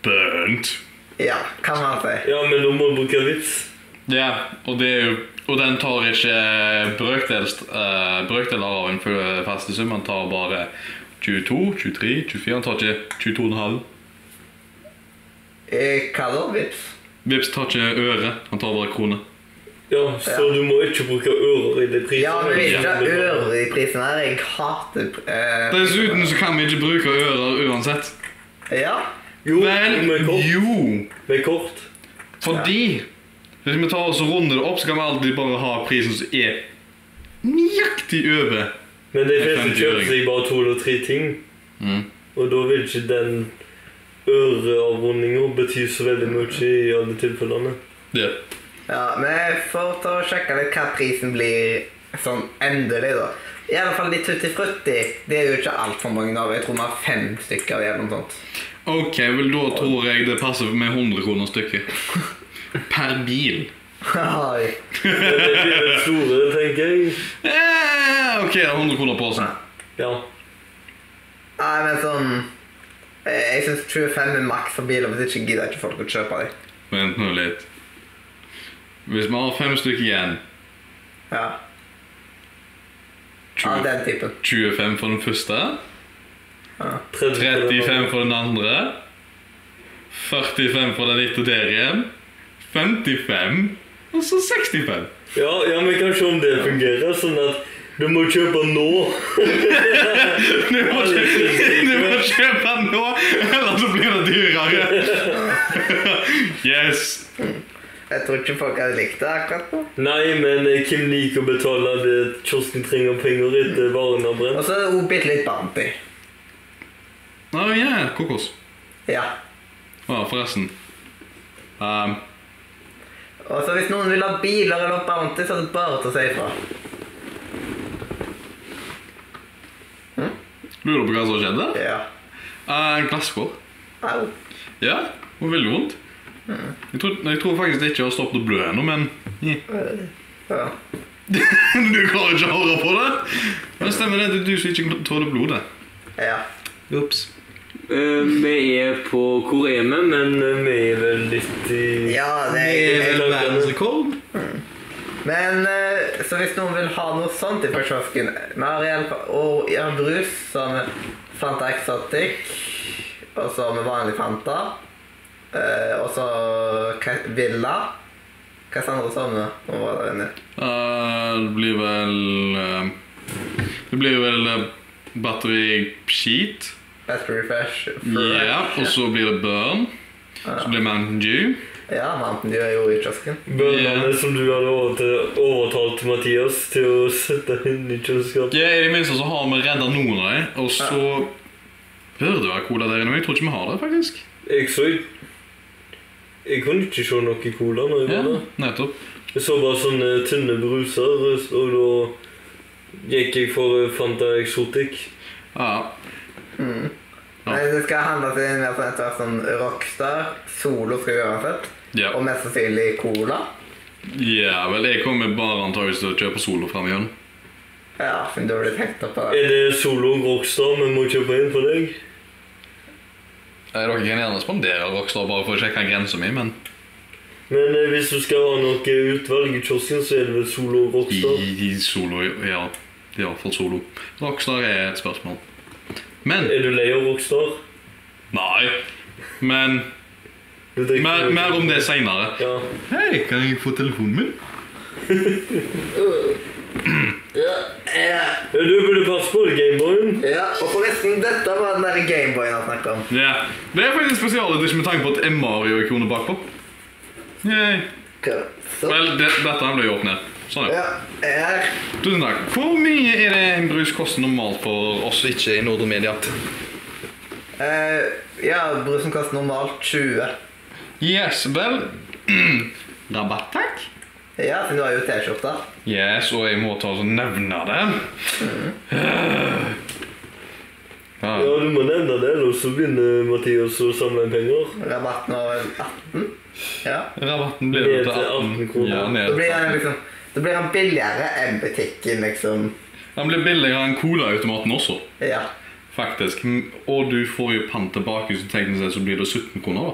burnt.
Ja, kan man si.
Ja, men da må du bruke vips.
Ja, og det er jo og den tar ikke brøkdels, eh, brøkdeler av en full eh, faste sum. Den tar bare 22, 23, 24. Den tar ikke 22,5.
Eh, Hva da? Vips?
Vips tar ikke øre. Han tar bare kroner.
Ja, så du må ikke bruke ører i det priset.
Ja, men vi vil ikke ha øre i prisen her. Jeg hater eh,
Dessuten så kan vi ikke bruke ører uansett.
Ja.
Jo, med
Men
kort.
jo,
Med kort.
fordi Hvis vi tar oss og runder det opp, så kan vi alltid bare ha prisen som er nøyaktig over.
Men de
Jeg kan
fleste
ikke
kjøper
gjøre
seg bare to eller tre ting.
Mm.
Og da vil ikke den øreavrundinga bety så veldig mye i alle tilfellene.
Det.
ja. Vi får ta og sjekke litt hva prisen blir sånn endelig, da. I alle fall de tutti frutti. Det er jo ikke altfor mange av. Jeg tror vi har fem stykker eller noe sånt.
Ok, vel da tror jeg det passer med 100 kroner stykket. Per bil.
Oi.
Men det blir den store, tenker jeg.
Eh, ok, 100 kroner på seg.
Ja.
Nei, men sånn eh, Jeg syns 25 er maks for biler, hvis ikke gidder ikke folk å kjøpe dem.
Vent nå litt. Hvis vi har fem stykker igjen
Ja. Av
20,
den typen.
25 for den første,
30 for den
35
andre.
for den andre, 45 for den etter der igjen, 55 og så 65.
Ja, ja, men kanskje om det fungerer, sånn at du må kjøpe nå.
Du må kjøpe, du må kjøpe den nå, ellers så blir det dyrere. Yes.
Jeg tror ikke folk hadde likt det akkurat nå.
Nei, men eh, hvem liker å betale det kiosken trenger penger etter varene har brent?
Og så er det også bitte litt Bounty.
Å ja, kokos.
Ja.
Å, forresten. Ehm,
Og så hvis noen vil ha biler eller Bounty, så er det bare til å si ifra.
lurer du på hva som skjedde?
Ja.
Eh, en glasskår.
Au.
Ja, og veldig vondt. Jeg tror, jeg tror faktisk det ikke har stoppet å blø ennå, men eh.
Ja.
Du klarer ikke å høre på det? Men stemmer det, det er du som ikke tåler blodet.
ja.
Ups.
Eh, vi er på Hvor er vi?
Men eh, vi er vel litt i
Ja, det er
Det er
egentlig
vel
helt
verdensrekord?
Men eh, så hvis noen vil ha noe sånt i kiosken Vi har hjelp og ja, brus som Fanta Exotic, og så med vanlig Fanta. eh, og så Ka- Villa. Hva sa andre sånne nå var der inne?
Eh, det blir vel eh, Det blir vel eh, batteriskit.
Let's refresh.
Ja, og så blir det Burn. Så blir det Mountain Dew.
Ja, Mountain Dew er jo i kiosken.
Bønnene
Ja.
som du hadde over til- overtalt Mathias til å sette inn i kjøleskapet.
Ja, I det minste så har vi redda noen av dem, og så bør det være cola der inne. Men jeg tror ikke vi har det, faktisk.
Jeg så Jeg kunne ikke se noe cola når jeg
Ja,
var der.
nettopp.
Jeg så bare sånne tynne bruser, og da gikk jeg for Fanta Exotic.
Ja. Ja.
Men det skal handle til en mer sånn etter hvert sånn rockstar. Solo skal vi uansett.
Ja.
Og mest sannsynlig cola.
ja vel, jeg kommer bare antageligvis til å kjøpe Solo fram igjen.
Ja, siden du blir tenkt opp på det.
Er det Solo Rockstar vi må kjøpe inn for deg?
Eh, Dere kan gjerne spandere Rockstar bare for å sjekke grensa mi, men
Men eh, hvis du skal ha noe utvalg i kiosken, så er det vel Solo
i,
Rockstar.
i Solo Ja, ja for Solo. Rockstar er et spørsmål. Men
Er du lei av Rockstar?
Nei. Men
Du drikker
mer,
jo-
mer om det seinere.
Ja. Eh,
Hei, kan jeg få telefonen min?
Ja,
Ja, Du burde passe på Gameboyen.
ja. Og forresten, dette var den der Gameboyen han snakket om.
Ja. Det er faktisk spesialedition med tanke på at det er Mario-ikonet bakpå. Yay.
Kult. Så.
Vel, det, dette ble gjort ned. Sånn, ja.
Ja, her.
Tusen takk. Hvor mye er det en brus koster normalt for oss ikke i Nordre Media?
Eh, ja, brusen koster normalt 20.
Yes, vel Rabatt, takk.
Ja, siden du har jo T-skjorta.
Yes, og jeg må ta og nevne det. Eh. Ja.
Ja, du må nevne det, ellers så begynner Mathias å samle inn penger.
Rabatten var vel 18. Ja.
Rabatten blir det
Ned til 18 kroner.
Ja,
Da
ned.
blir han liksom Da blir han billigere enn butikken, liksom.
Den blir billigere enn colaautomaten også,
Ja.
faktisk. Mm, Og du får jo pant tilbake, så teknisk sett så blir det 17 kroner, da.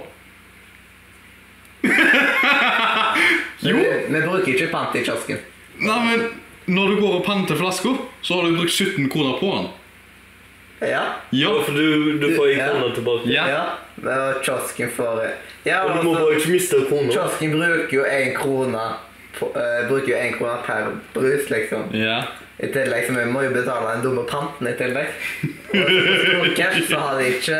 Men vi, vi bruker ikke pant i kiosken.
Nei, men når du går og panter flasker, så har du brukt 17 kroner på den.
Ja.
Ja.
Ja, for du, du får ei
Ja.
krone tilbake.
Ja.
ja. Og kiosken får Ja,
Og du må
altså,
bare ikke miste krona.
kiosken bruker jo én krone på, eh, Bruker jo én krone per brus, liksom.
Ja.
I tillegg så vi må jo betale den dumme panten i tillegg. Og så- cash så har de ikke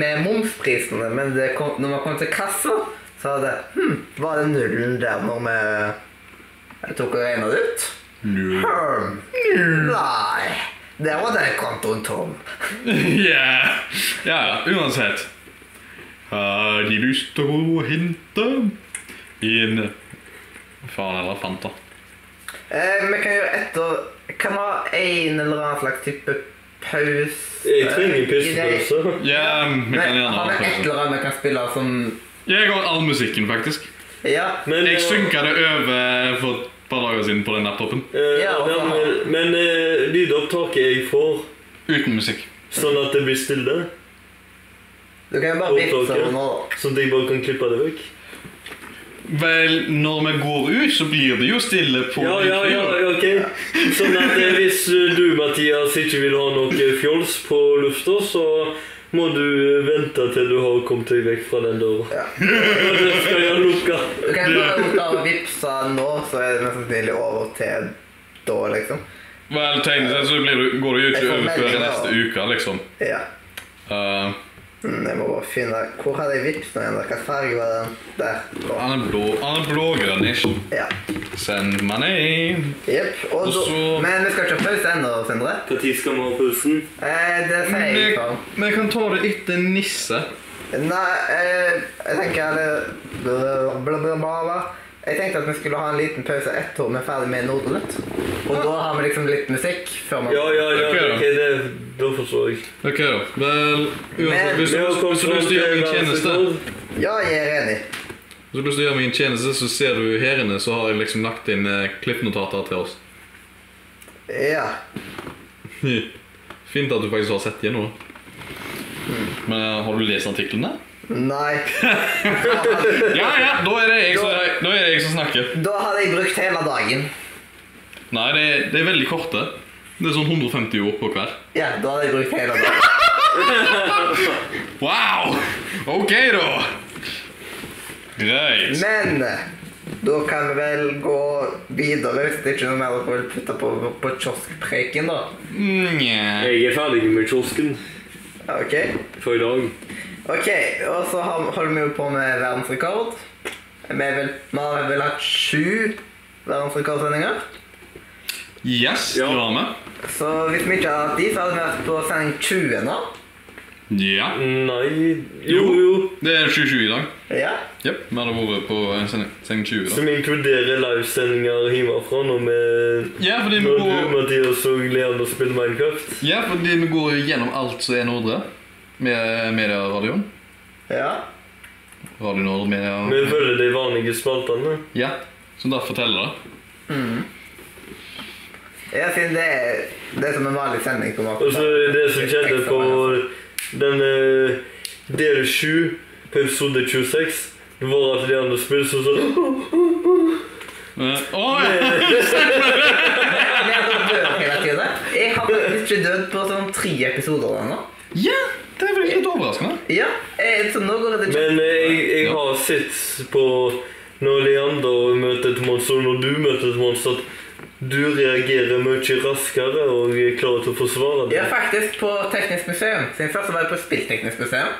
med momsprisene, men det kom, når man kom til kassa, så var det Hm, var det nullen der når vi tok og regna det ut? Hmm. Nei. Der var den kontoen tom.
Yeah. Ja, ja, uansett. Har de lyst til å hente en Faen eller Fanta.
Eh, vi kan gjøre etter Kan vi ha en eller annen slags type pause? Eh,
Jeg trenger pissepause.
Ja, vi
Nei,
kan gjerne
har
ha
vi et
det.
eller annet vi kan spille som
Jeg har all musikken, faktisk.
Ja.
Men,
Jeg
eh,
synka det over for et par dager siden på den laptopen.
eh,
Ja, og
ja,
faen.
men, men eh, lydopptaket jeg får,
Uten musikk.
sånn at det blir stille,
Du kan jo bare vippse
Opptaket.
over nå, da.
sånn at jeg bare kan klippe det vekk.
Vel, når vi går ut, så blir det jo stille på
Ja, ja, ja,
YouTube.
ok. Sånn at eh, hvis eh, du, Mathias, ikke vil ha noe eh, fjols på lufta, så må du eh, vente til du har kommet deg vekk fra den døra.
Ja.
Og det skal jeg lukke.
Du kan bare ta og vippse nå, så er det mest sannsynlig over til da, liksom.
Vel, teknisk sett så blir det, går det jo
Jeg
ikke
får
over før
melding, da.
neste uke, liksom.
Ja.
Eh,
Mm, Jeg må bare finne Hvor hadde jeg vippsen igjen? da? Hvilken farge var den? Der. Nå.
han er blå, han er blågrønnish.
Ja.
Send money.
Jepp. Og
Og
da-
så-
Men vi skal ikke ha pause ennå, Sindre.
Når skal vi ha pausen?
Eh, det sier jeg
Vi
ikke om.
vi kan ta det etter nisse.
Nei, eh, jeg tenker det bla, bla, bla, bla, bla. Jeg tenkte at vi skulle ha en liten pause etter vi er ferdig med Nordlund. Og da har vi liksom litt musikk før man
Ja, ja, ja,
Ok, da.
ok, det, da forstår jeg.
Ok, da. Vel, uansett,
Men-
hvis du
Vi har kommet
hvis du har lyst til å gjøre meg en
frem til
tjeneste,
verdensrekord.
Ja, jeg er enig.
hvis du har lyst til å gjøre meg en tjeneste, så ser du her inne, så har jeg liksom lagt inn eh, klippnotater til oss.
Ja.
Fint at du faktisk har sett igjen noe. Men eh, har du lest artiklene?
Nei.
Ja, ja, da er det jeg som, da er det jeg som snakker.
Da hadde jeg brukt hele dagen.
Nei, det er, det er veldig korte. Det er sånn 150 ord på hver.
Ja, da hadde jeg brukt hele dagen.
Wow! Ok, da. Greit.
Men eh, da kan vi vel gå videre hvis det ikke er noe mer å putte på, på kioskpreken, da.
Nja.
Jeg er ferdig med kiosken.
OK.
for i dag.
Ok, Og så har- holder vi jo på med verdensrekord. Vi vil- vi har vel hatt sju verdensrekordsendinger.
Yes,
Ja.
du var med.
Så hvis vi ikke hadde hatt de, så hadde vi vært på sending 20 nå.
Ja.
Nei Jo, jo.
Det er 27 i dag.
Ja.
Jep, vi hadde vært på eh, sending sending 20 da.
Som inkluderer livesendinger hjemmefra når vi
Ja, fordi vi
Når du,
går,
Mathias og Leander spiller Minecraft.
ja, fordi vi går gjennom alt som er Nordre. Med medieradioen.
Ja.
Radio Nordre
Vi
Media.
følger de vanlige spaltene.
Ja, som da forteller det.
ja siden det er, det er som en vanlig sending. på en måte.
Og så er det som skjedde på denne del 7 på episode 26, det var at Leander spilte sånn sånn
Eh, Åh, ja.
Men jeg dør hele tiden. Jeg har faktisk ikke dødd på sånn tre episoder ennå.
ja! Det er faktisk litt overraskende.
Ja, jeg, så nå går det til
Men eh, jeg, jeg har sett på når Leander møter et monster, og når du møter et monster, at du reagerer mye raskere og er klar til å forsvare det.
Ja, faktisk på Teknisk museum. Siden først så var jeg på Spillteknisk museum.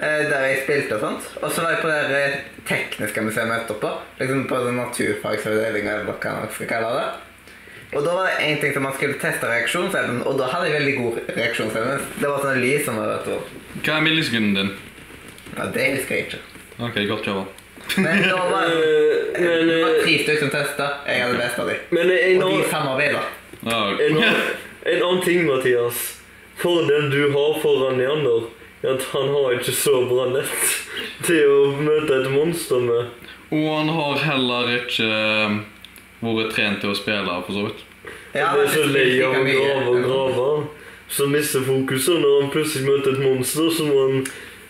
eh, Der jeg spilte og sånt. Og så var jeg på det der, eh, tekniske museet etterpå. Liksom på den naturfagsavdelinga eller hva man skal kalle det. Og da var det en ting som man skulle teste reaksjonsevnen, og da hadde jeg veldig god reaksjonsevne. Det var sånn lys som var rett over.
Hva er millisekunden din?
Ja, det husker jeg ikke.
Ok, godt jobba.
Men da var det
Eh, Men,
det var
eh,
tre stykker som testa. Jeg hadde best av dem.
men en
Og de
annen-
samarbeida.
Ja, ok.
En annen, en annen ting, Mathias. Fordelen du har foran Leander, er at han har ikke så bra nett til å møte et monster med.
Og han har heller ikke eh, vært trent til å spille, for så vidt.
Ja,
Han er så lei av å
like mye.
grave og grave. Så mister fokuset når han plutselig møter et monster, så må han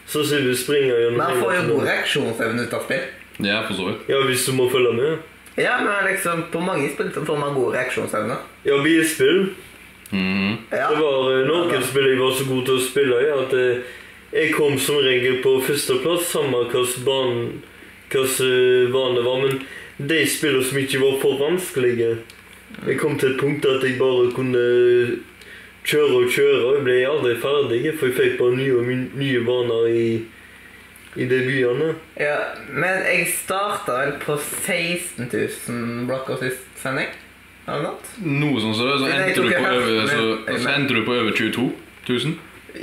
sannsynligvis springe gjennom
Men han får jo
hele
god
tiden.
reaksjonsevne ut av spill.
Ja, for så vidt.
Ja, hvis du må følge med.
Ja, men liksom, på mange spill så får man god reaksjonsevne.
Ja, bilspill.
Mhm.
Ja.
Det var eh,
Ja,
noen
da.
spill jeg var så god til å spille i at eh, jeg kom som regel på førsteplass, samme hvilken bane det var. Men de spillene som ikke var for vanskelige Jeg kom til et punkt at jeg bare kunne kjøre og kjøre. og Jeg ble aldri ferdig, for jeg fikk bare nye, og my- nye baner i, i de byene.
ja. Men jeg starta vel på 16 000 blokker sist sending. Eller noe sånt.
Noe sånn som det, så
Nei, jeg
endte
tror
du
ikke
på
jeg
over,
har-
så,
men-
så endte du på over 22 000.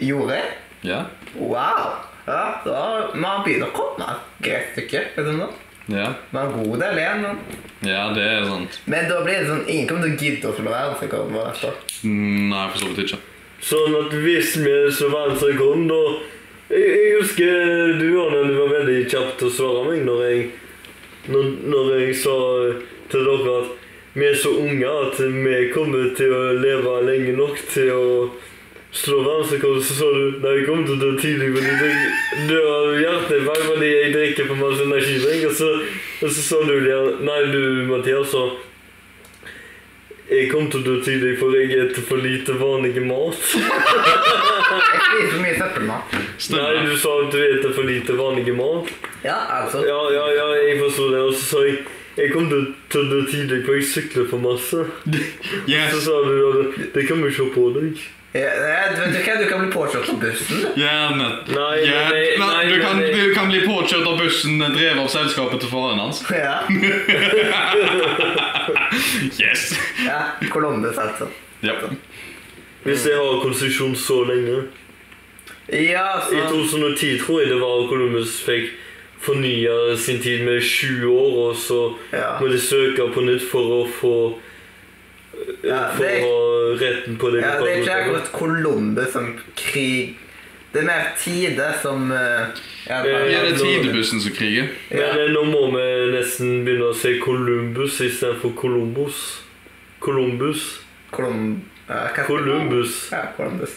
Gjorde jeg?
Ja.
Wow! Ja, da, Man begynner å komme et greit stykke. Liksom nå.
Ja.
Man er god del igjen. nå.
ja, det er sant.
Men da blir det sånn ingen kommer til å gidde å slå verdensrekorden vår neste år.
Mm, Nei, for så vidt ikke.
Sånn at hvis vi så verdensrekorden, da jeg, jeg husker du Arne, du var veldig kjapp til å svare meg når jeg, når, når jeg sa til dere at vi er så unge at vi kommer til å leve lenge nok til å slå verdensrekorden. Så sa du nei, jeg kommer til å dø tidlig fordi jeg dør av hjerteinfarkt fordi jeg drikker for masse energidrikk. Og, så- og så sa du Leon- nei, du Mathias, så jeg kommer til å dø tidlig for jeg spiser for lite vanlig mat.
Jeg spiser mye søppelmat.
Nei,
Stemmer.
du sa at du spiser for lite vanlig mat.
Ja, altså.
Ja, ja, ja, jeg forsto det. Og så sa jeg jeg kom til til det tidlig, for jeg sykler for masse. Så
Yes.
sa du at det kan vi se på deg.
Ja, vet du hva, du kan bli påkjørt på bussen.
Gjerne.
Nei,
Ja,
nei,
men
nei,
du, kan,
nei.
du kan bli påkjørt av bussen drevet av selskapet til faren hans.
Ja.
Yes!
ja Columbus, altså.
Ja.
Hvis jeg har konsesjon så lenge.
Ja, sånn.
I
så
2010 tror jeg det var Columbus fikk fornya sin tid med sju år, og så
Ja.
må de søke på nytt for å få
Ja,
For
det-
å ha retten på det
Ja, det er ikke
lokalmiljøet.
akkurat Columbus som krig Det er mer tide som eh, ja, det
Ja,
er
det er tidebussen som kriger.
Men eh, nå må vi nesten begynne å si Columbus istedenfor Columbus. Columbus.
Colum, ja, hva-
Columbus.
Ja, Columbus.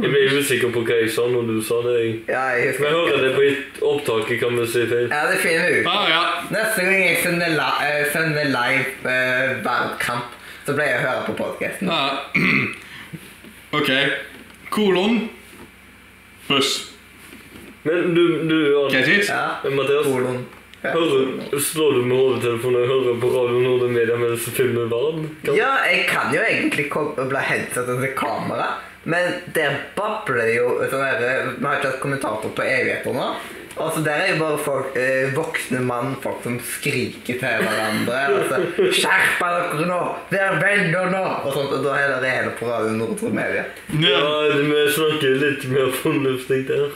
Jeg ble usikker på hva jeg sa når du sa det. jeg.
Ja, jeg
Men jeg hører
husker
det på et- opptaket, kan vi si feil.
Ja, det finner vi ut.
Ah, ja.
Neste gang jeg sender, li eh, sender live eh, valgkamp, så pleier jeg å høre på podkasten.
Ah. OK. Kolon. Buss.
Men du, du
Greit hit?
Ja.
Eh, Mathias,
Kolon.
Hører, slår du med hovedtelefonen og hører på Radio Nordre Media mens filmen verden?
Ja, jeg kan jo egentlig koble headsetet til kamera, men der babler det jo sånn her, Vi har ikke hatt kommentator på evigheter nå. Altså, Der er jo bare folk, eh, voksne mannfolk som skriker til hverandre. Altså, 'Skjerpa dere nå! Vær venner nå!' Og sånt, og da er det det hele på Radio Nordre Media.
Ja,
Ja.
vi snakker litt mer fornuftig der.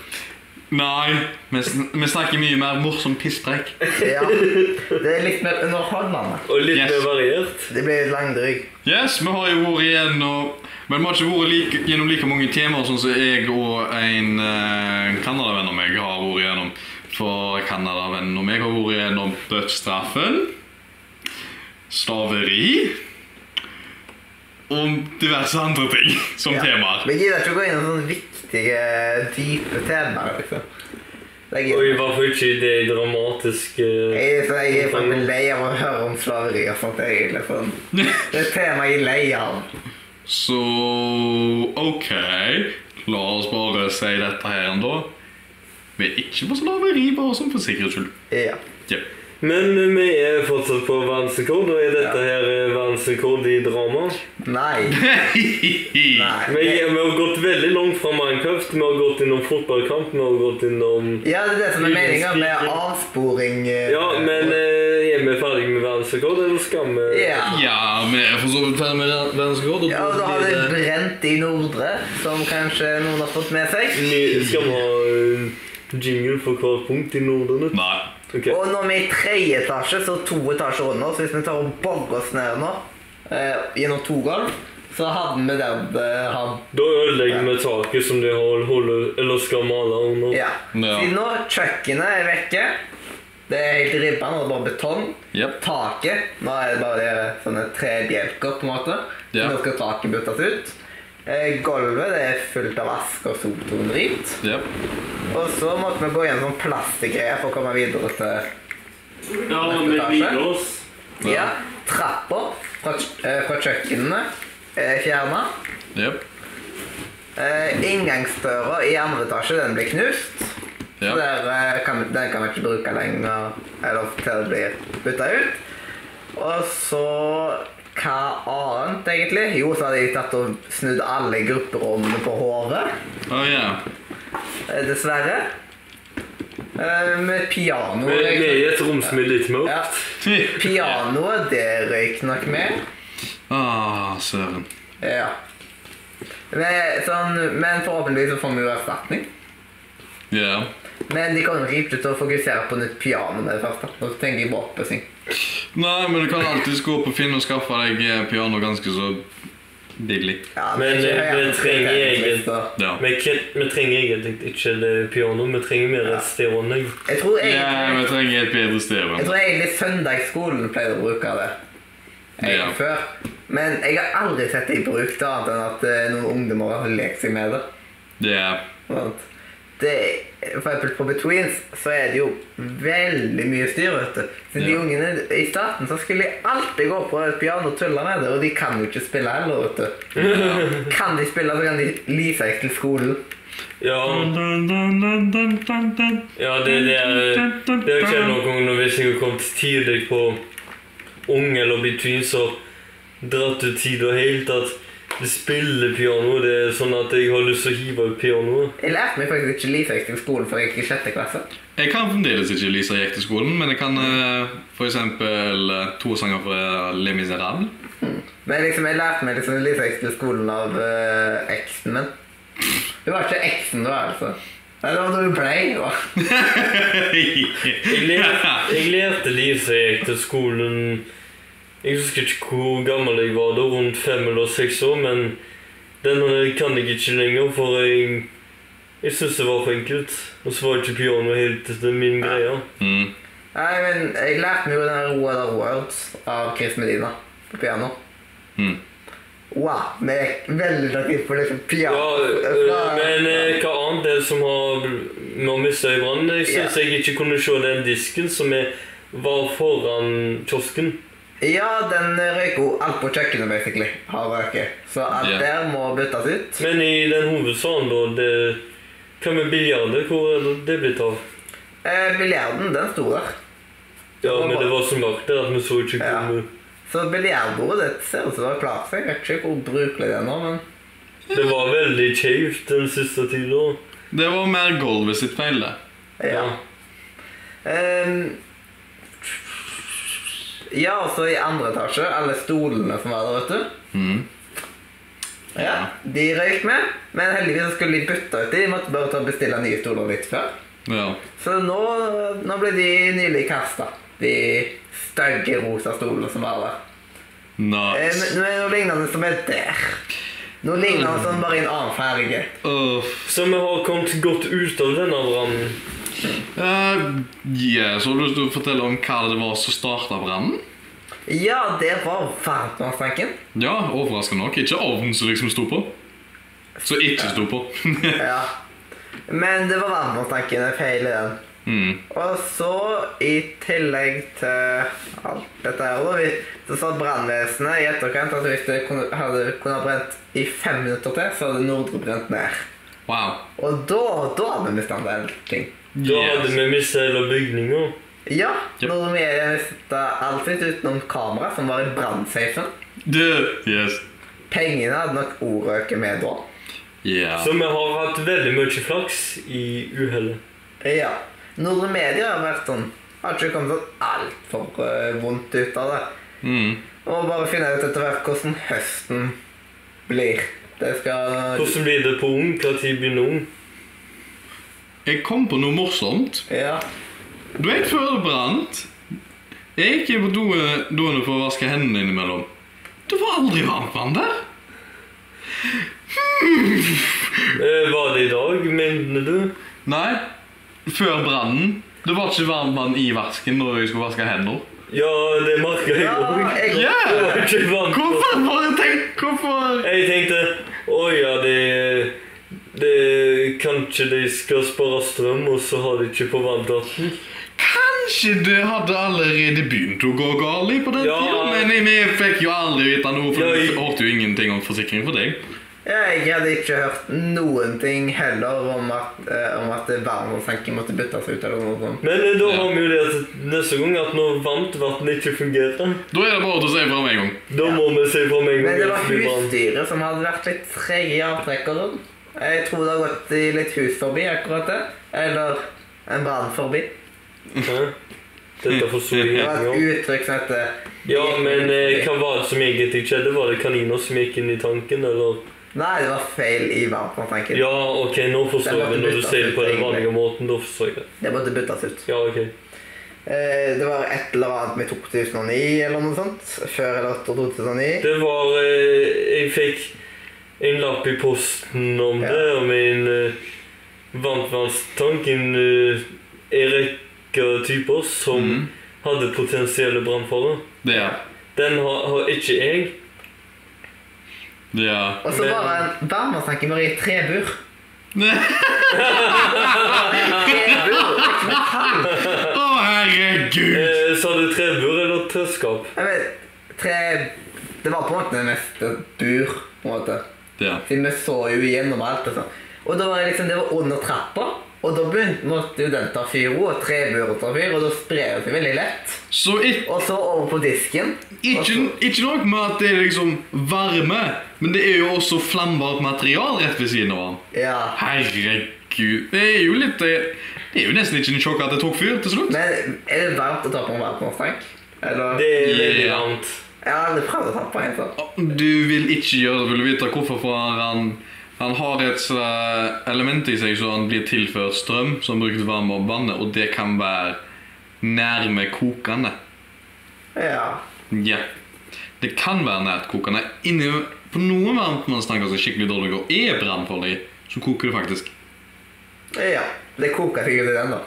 Nei, vi, sn vi snakker mye mer morsom pisspreik.
Ja, Det er litt mer underholdende.
Og litt
Yes.
mer variert.
Det blir langdryg.
Yes, vi har jo vært igjennom Men vi har ikke vært like, gjennom like mange temaer sånn som jeg og en eh, Canada-venn av meg har vært igjennom. For Canada-vennen og meg har vært igjennom dødsstraffen, slaveri og diverse andre ting som
Ja.
temaer.
Vi gidder ikke å gå inn i sånne viktige, dype temaer, liksom. Det
Og i
gidder.
hvert fall ikke det eh, dramatiske
Jeg er, så jeg er sånn lei av å høre om slaveri og sånt. egentlig. Sånn. Det er et tema jeg er lei av.
Så OK, la oss bare si dette her ennå. Vi er ikke på slaveri, bare som for sikkerhets skyld.
Ja.
Ja.
Men vi er fortsatt på verdensrekord, og er dette her eh, verdensrekord i drama?
Nei. Nei.
Vi, vi har gått veldig langt fra Minecraft. Vi har gått innom fotballkamp, vi har gått innom
Ja, det er det som er meninga med avsporing. eh,
Ja, men eh, er vi ferdige med verdensrekord, eller skal vi
ja.
Ja, vi er for så vidt ferdig med verdenskort.
ja, og da har det brent i Nordre, som kanskje noen har fått med seg.
Ny- Skal vi ha eh, jingle for hvert punkt i Norden?
Nei.
Ok.
Og når vi er i tredje etasje, så to etasjer under, så hvis vi tar og borer oss ned nå, eh, gjennom to gulv, så hadde vi der eh, han
Da ødelegger vi taket som de har holder, eller skal male under.
Ja.
Ja.
Siden nå, kjøkkenet er vekke. Det er helt ribba, nå er det bare betong.
Jep.
Taket Nå er det bare det, sånne trebjelker, på en måte.
Ja.
Nå skal taket byttes ut. Eh, Gulvet det er fullt av ask og sot og drit.
Ja.
Og så måtte vi gå gjennom sånn plastgreier for å komme videre til
Ja, med glidelås.
Ja, trappa fra, kj- eh, fra kjøkkenene er fjerna.
Ja.
Eh, inngangsdøra i andre etasje den ble knust.
Ja.
Så Der, eh, kan, den kan vi ikke bruke lenger, eller til det blir bytta ut. Og så hva annet, egentlig? Jo, så hadde jeg tatt og snudd alle grupperommene på hodet.
Å ja.
eh, Dessverre. Eh, Med piano
Vi vi er
røyk-
i et rom som er litt mørkt.
ja. Pianoet, det røyk nok med.
Ah, søren.
Ja. Men, sånn, men forhåpentligvis så får vi jo erstatning.
Ja.
Men de kommer nok ikke til å fokusere på nytt piano med det første. Nå tenker jeg på oppussing.
Nei, men du kan alltids gå på Finn og skaffe deg eh, piano ganske så billig.
Ja,
Men,
ikke
eh,
høyere
vi trenger
prioritet,
egentlig-
så-
Ja.
Vi, kan- vi trenger egentlig ikke det piano, vi trenger mer et stereoanlegg.
Jeg tror
Ja,
egentlig,
vi trenger et bedre sted,
jeg
men.
tror egentlig søndagsskolen pleide å bruke det. Jeg,
Ja.
før. Men jeg har aldri sett det i bruk, da, annet enn at eh, noen ungdommer har lekt seg med det.
Ja.
Sant? det for eksempel på Betweens så er det jo veldig mye styr, vet du. Så de
Ja.
ungene i starten så skulle de alltid gå på et piano og tulle med det, og de kan jo ikke spille heller, vet du. Kan de spille, så kan de li seg til skolen.
Ja, ja det, det er eh, Det er ikke noen gang når hvis jeg har kommet tidlig på ung eller between, så dratt ut tida helt at det spiller piano. Det er sånn at jeg har lyst til å hive ut pianoet.
Jeg lærte meg faktisk ikke li seg til skolen før jeg gikk i sjette klasse.
Jeg kan fremdeles ikke Lisa gikk til skolen, men jeg kan eh, for eksempel eh, to sanger fra Les Miserables.
Men liksom, jeg lærte meg liksom litt ekstra i skolen av eh, eksen min. Du var ikke eksen du er, altså. Nei, det var da du ble. da.
Jeg lærte, jeg lærte Lise jeg gikk til skolen Jeg husker ikke hvor gammel jeg var da, rundt fem eller seks år, men den kan jeg ikke lenger, for jeg jeg syns det var for enkelt. Og så var ikke piano helt min greie.
Mm.
Nei, men jeg lærte meg jo den her What Are Words av Chris Medina på piano.
Mm.
Wow, vi gikk veldig langt inn på liksom piano.
Ja, øh,
Fra-
men øh, hva annet er det som har vi har mista i brann? Jeg syns jeg ikke kunne se den disken som er, var foran kiosken.
Ja, den eh, røyker jo alt på kjøkkenet, basically. Har røket. Så alt
Ja.
der må byttes ut.
Men i den hovedsalen, da det, Hva med biljarder? Hvor er det det blitt av?
Eh, Milliarden, den sto der.
Ja, men det var så mørkt der at vi så ikke
Ja.
hvor
Så biljardbordet det ser ut som det har klart seg. Jeg vet ikke hvor brukelig det er nå, men
Det var veldig kjevt den siste tida.
Det var mer gulvet sitt feil, det.
ja. Ehm, ja, også i andre etasje, alle stolene som var der, vet du.
Mhm.
Ja, De røyk med, men heldigvis så skulle de bytte ut de. De måtte bare ta og bestille nye stoler litt før.
Ja.
Så nå, nå ble de nylig kasta, de stygge rosa stolene som var der. Eh,
Nice.
men- men noe lignende som er der. Noe lignende som bare i en annen farge.
Uff.
Så vi har kommet godt ut av denne brannen.
Eh, yes, har du lyst til å fortelle om hva det var som starta brannen?
Ja, det var varmtvannstanken.
Ja, overraskende nok. Ikke ovnen som liksom sto på. Som ikke sto på.
Ja. Men det var varmtvannstanken jeg feil i den.
mm.
Og så, i tillegg til alt dette her, da, vi- så sa brannvesenet i etterkant at hvis det kunne, hadde kunne ha brent i fem minutter til, så hadde Nordre brent ned.
Wow.
Og da, da hadde vi mista en del ting.
Da hadde vi mista hele bygninga.
Ja,
Yep.
Nordre Media mista alt sitt utenom kamera, som var i brannsafen.
Du. Yes.
Pengene hadde nok ordet ikke med da.
Yeah.
Så vi har hatt veldig mye flaks i uhellet.
Ja. Nordre Media har vært sånn Har ikke kommet sånn altfor uh, vondt ut av det.
Mm.
Og bare finne ut etter hvert hvordan høsten blir. Det skal
Hvordan blir det på ung? Når begynner ung?
Jeg kom på noe morsomt.
Ja.
Du vet før det brant Jeg gikk inn på doene, doene for å vaske hendene innimellom. Det var aldri varmt vann der.
Eh, var det i dag, mener du?
Nei, før brannen. Det var ikke varmt vann i vasken når jeg skulle vaske hender.
Ja, det merka jeg
ja
òg.
jeg,
Ja!
Det var ikke varmt.
Hvorfor? Bare tenk, hvorfor?
Jeg tenkte Å ja, det, det Kanskje de skal spare strøm, og så har de ikke på vanndatten?
Kanskje det hadde allerede begynt å gå galt på den
Ja.
tiden, men vi fikk jo aldri vite noe, for
Ja,
vi
jeg-
hørte jo ingenting om forsikring for deg.
jeg hadde ikke hørt noen ting heller om at, uh, om at varmesenken måtte byttes ut eller noe sånt.
Men eh, da
Ja.
har vi jo det at neste gang at når varmtvannet ikke fungerer,
Da er det bare til å si fra med en gang.
da må vi se på meg
Men det var husdyret som hadde vært litt trege i avtrekkeren. Jeg tror det har gått i litt hus forbi akkurat det. Eller en brann forbi.
Dette forsto jeg
Det var et
ingenting om.
uttrykk som heter
Ja, men eh, hva var det som egentlig skjedde? Var det kaniner som gikk inn i tanken, eller?
Nei, det var feil i varmtvannstanken.
Ja, ok, nå forstår
Det
jeg
måtte
det. Når du
byttes
sier det på
ut,
den
egentlig.
vanlige måten, da forstår jeg det.
Det måtte byttes ut.
Ja, ok.
Eh, Det var et eller annet med 2009 eller noe sånt. Før eller etter 2009.
Det var eh, Jeg fikk en lapp i posten om
Ja.
det, om en eh, varmtvannstank. En eh, en rekke typer som
Mhm.
hadde potensielle brannfare.
Det er,
Den har, har ikke jeg.
det er.
Og så
Men-
var det en varmetanke bare i trebur. Trebur? Ikke noe tall.
Å, herregud!
Eh, sa du trebur eller treskap?
Jeg vet, tre... Det var på en måte det meste bur, på en måte.
Det er.
Siden vi så jo igjennom alt. Og sånn. Og da var det liksom, det var under trappa, og da begynte måtte jo den ta fyr, og treburet ta fyr, og da sprer det seg veldig lett.
Så ikke
Og så over på disken. og
Ikke,
så-
ikke nok med at det er liksom varme, men det er jo også flammbart material rett ved siden av den.
Ja.
Herregud. Det er jo litt Det det er jo nesten ikke en sjokk at det tok fyr til slutt.
Men er det varmt å ta på en varmtvannstank? Eller?
Det er veldig
Ja.
varmt.
Jeg har aldri prøvd å ta på en sånn.
Du vil ikke gjøre det. Vil du vite hvorfor? For han, han har et sånn element i seg så han blir tilført strøm som brukes til varme og vannet, og det kan være nærme kokende.
Ja.
Ja. Det kan være nært kokende. Inni, på noen varmtvannstanker som er skikkelig dårlige og er brannfarlige, så koker det faktisk.
ja. Det koker sikkert i den, da.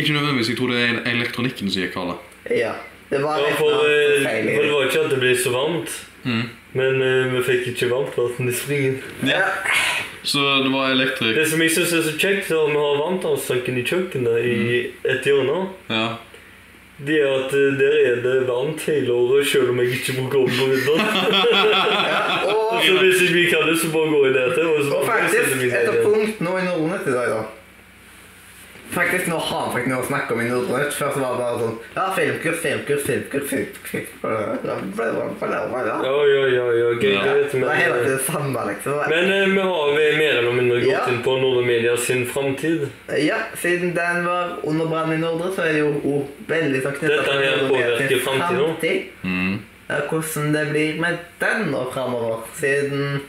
Ikke nødvendigvis. Jeg tror det er elektronikken som gir kalde.
Ja. Det var
Ja,
litt
for, eh,
feil i
for det
det.
var ikke at det ble så varmt,
Mhm.
men eh, vi fikk ikke varmt vann i springen.
Ja.
Så det var elektrik.
Det som jeg syns er så kjekt når vi har varmtvannstanken i kjøkkenet i et hjørne,
Ja.
det er at eh, der er det varmt hele året, selv om jeg ikke bruker ovn på vinteren.
Og,
så hvis ikke vi kan det, så bare går jeg der til. Og, så
og
bare setter
faktisk
vi ned
et
igjen.
punkt nå i Nordnet i dag, da. Fakt, faktisk nå har han faktisk noe å snakke om i Nordre Nytt. Før så var det bare sånn Ja, filmkurs, filmkurs, filmkurs, filmkurs. Da ble det bare- bare- bare- ja.
Ja, ja, ja, ja, gøy,
Ja.
greit,
Det
men
er hele
eh,
tiden det samme, liksom.
Men eh, vi har vi mer eller mindre gått
Ja.
inn på Nordre Media sin framtid.
Ja, siden den var under brann i Nordre, så er det jo oh, veldig sånn knyttet
Dette
til
her
Nordre
påvirker
Media sin
fremtiden.
fremtid.
Mm.
Ja, Hvordan det blir med den nå framover, siden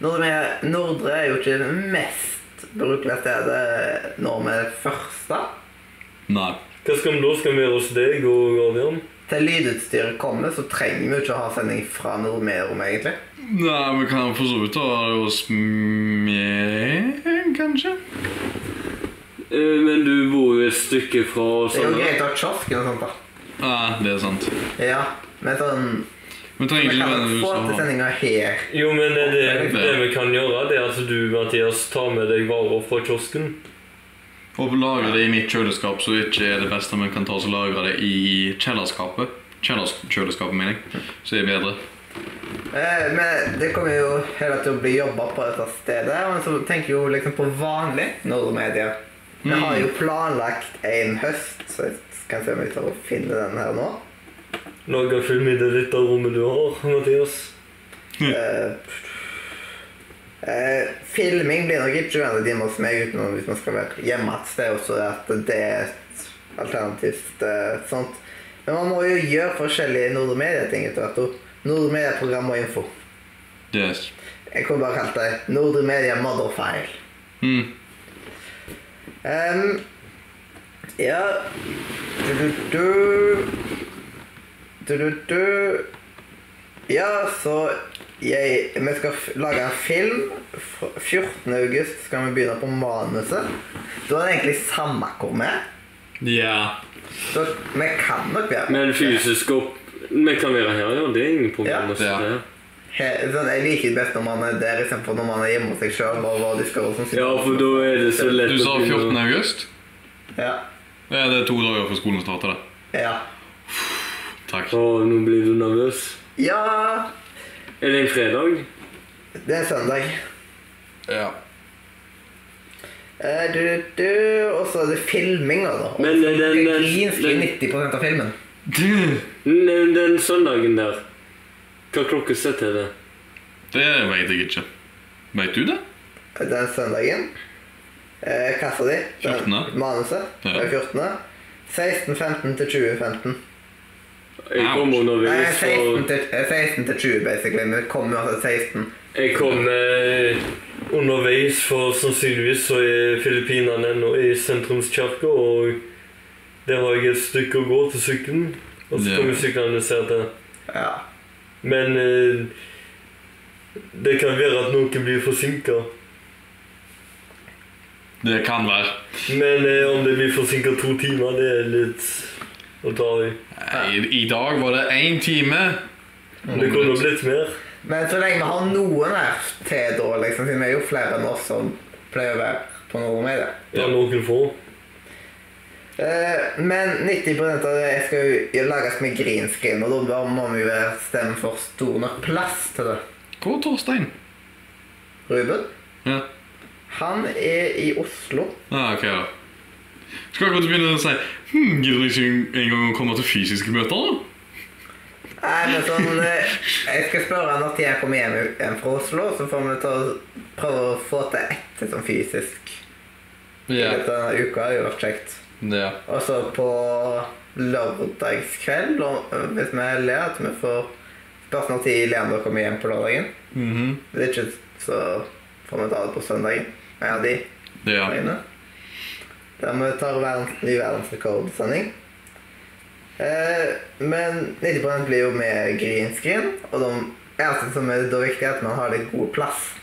Nordre, Nordre er jo ikke det mest brukelige stedet nå med det første.
Nei.
Hva skal vi da? Skal vi være hos deg og Guardian?
Til lydutstyret kommer, så trenger vi ikke å ha sending fra Nordmerum, egentlig.
Nei, vi kan for så vidt ta det hos meg, kanskje?
Eh, Men du bor jo et stykke fra
Det er
Sånn
jo
Sandra.
greit å ha kiosken og sånt, da.
Nei, det er sant.
Ja, men sånn
Vi trenger
Vi
ikke
kan
nødvendigvis
sånn
få
å
til
ha
sendinga her.
Jo, men det, det,
Ja.
det vi kan gjøre, det er at du, Mathias, tar med deg varer fra kiosken.
Og lagre det i mitt kjøleskap, så det ikke er det beste vi kan ta oss og lagre det i kjellerskapet. Kjellerskjøleskapet, mener jeg. Så er det bedre.
Eh, Men det kommer jo hele tiden å bli jobba på dette stedet. Men så tenker jeg jo liksom på vanlig Nordmedia. Vi har jo planlagt en høst, så jeg kan se om jeg klarer å finne den her nå.
Lager film i det lille rommet du har, Mathias.
Eh, eh, filming blir nok ikke en av de hos meg utenom hvis man skal være hjemme et sted. Også at det er et alternativt eh, sånt. Men man må jo gjøre forskjellige Nordmedia-ting etter hvert. og Nordmedia-program og info.
Det er s-
Jeg kunne bare kalt det Nordre Media Motherfile.
mm.
Um, ja du, du, du. Du, du, du. Ja, så jeg, Vi skal f- lage en film. F- 14. august skal vi begynne på manuset. Da er det egentlig samme hvor vi er.
Ja.
Så vi kan nok være
Men fysisk opp Vi kan være her, ja. Det er ingen
Ja.
problem. å sitte
Ja.
her.
He- sånn, Jeg liker det best når man er der istedenfor når man er hjemme hos seg
ja,
sjøl. sånn.
for da er det så lett
Du sa
å
14.
begynne å-
august?
Ja.
Ja, det er to dager før skolen starter, det.
Ja.
Takk.
Å, nå blir du nervøs.
ja.
Er det en fredag?
Det er søndag.
Ja.
Eh, Du, du, og så er det filminga, da. Og
Men, eh, den- den-
Grinsk i
den-
90 av filmen.
Den, den søndagen der. Hva klokkeslett er det?
Det vet jeg ikke. Vet du det?
Den søndagen. Eh, kassa di. den-
14..
Manuset.
Ja.
Den 14. 16.15 til 20.15.
Jeg kom
Nei,
underveis,
16
og
til, eh, 16 til 20, basically. Men det kommer jo altså 16.
jeg kom eh,
Underveis, for sannsynligvis så er Filippinene ennå i sentrumskirka, og der har jeg et stykke å gå til sykkelen. Og så
Ja.
kommer syklene seg til.
Ja.
Men eh, det kan være at noen blir forsinka.
Det kan være.
Men eh, om det blir forsinka to timer, det er litt å ta i.
Nei, I, I dag var det én time.
Det kunne blitt mer.
Men så lenge vi har noen her til da, liksom, siden vi er jo flere enn oss som pleier å være på noe med det.
Ja, noen få.
Eh, men 90 av det skal jo lages med green screen, og da må vi jo være- stemme for stor nok plass til det.
Hvor er Torstein?
Ruben,
Ja.
han er i Oslo.
Ah, ok, da. Skal akkurat begynne å si Hm, gidder du ikke engang å komme til fysiske møter, da?
Nei, men sånn, eh, Jeg skal spørre han når jeg kommer hjem igjen fra Oslo, så får vi ta, prøve å få til ett sånn fysisk i løpet av denne uka. Det hadde jo vært kjekt.
Ja.
Og så på lørdagskveld, og, eh, hvis vi er heldige, at vi får spørs når tid Leander kommer hjem på lørdagen.
Mhm.
Hvis ikke, så får vi ta det på søndagen. Ja, de
ja.
dagene. Der vi tar verdens, ny verdensrekordsending. Eh, men 90 blir jo med green screen, og de eneste som er da viktig, er at man har litt god plass.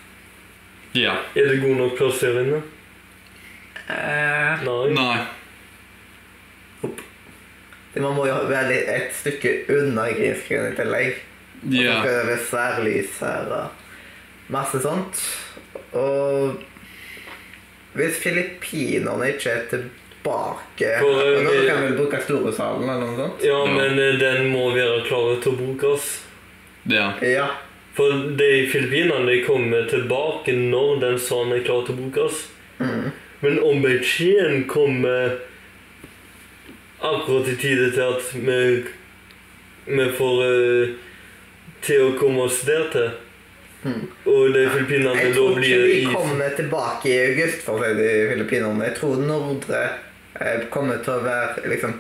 ja.
Er det god nok plass her inne? Nei.
Nei.
Det- Man må jo være litt, et stykke unna green screen i tillegg. Og så
Ja.
skal det være særlys her og masse sånt. Og hvis filippinerne ikke er tilbake
For, eh,
Da
vi-
kan vi vel bruke Storesalen eller noe sånt?
Ja.
Ja, men eh, den må være klar til å brukes.
Ja.
Ja.
For de i Filippinene de kommer tilbake når den sanden er klar til å brukes.
Mm.
Men om Beijing kommer akkurat i tide til at vi, vi får eh, til å komme oss der til.
Hmm.
Og det Filippinene
Jeg
da
tror ikke
blir
de
i
kommer tilbake i august for å si det i Filippinene. Jeg tror Nordre eh, kommer til å være liksom,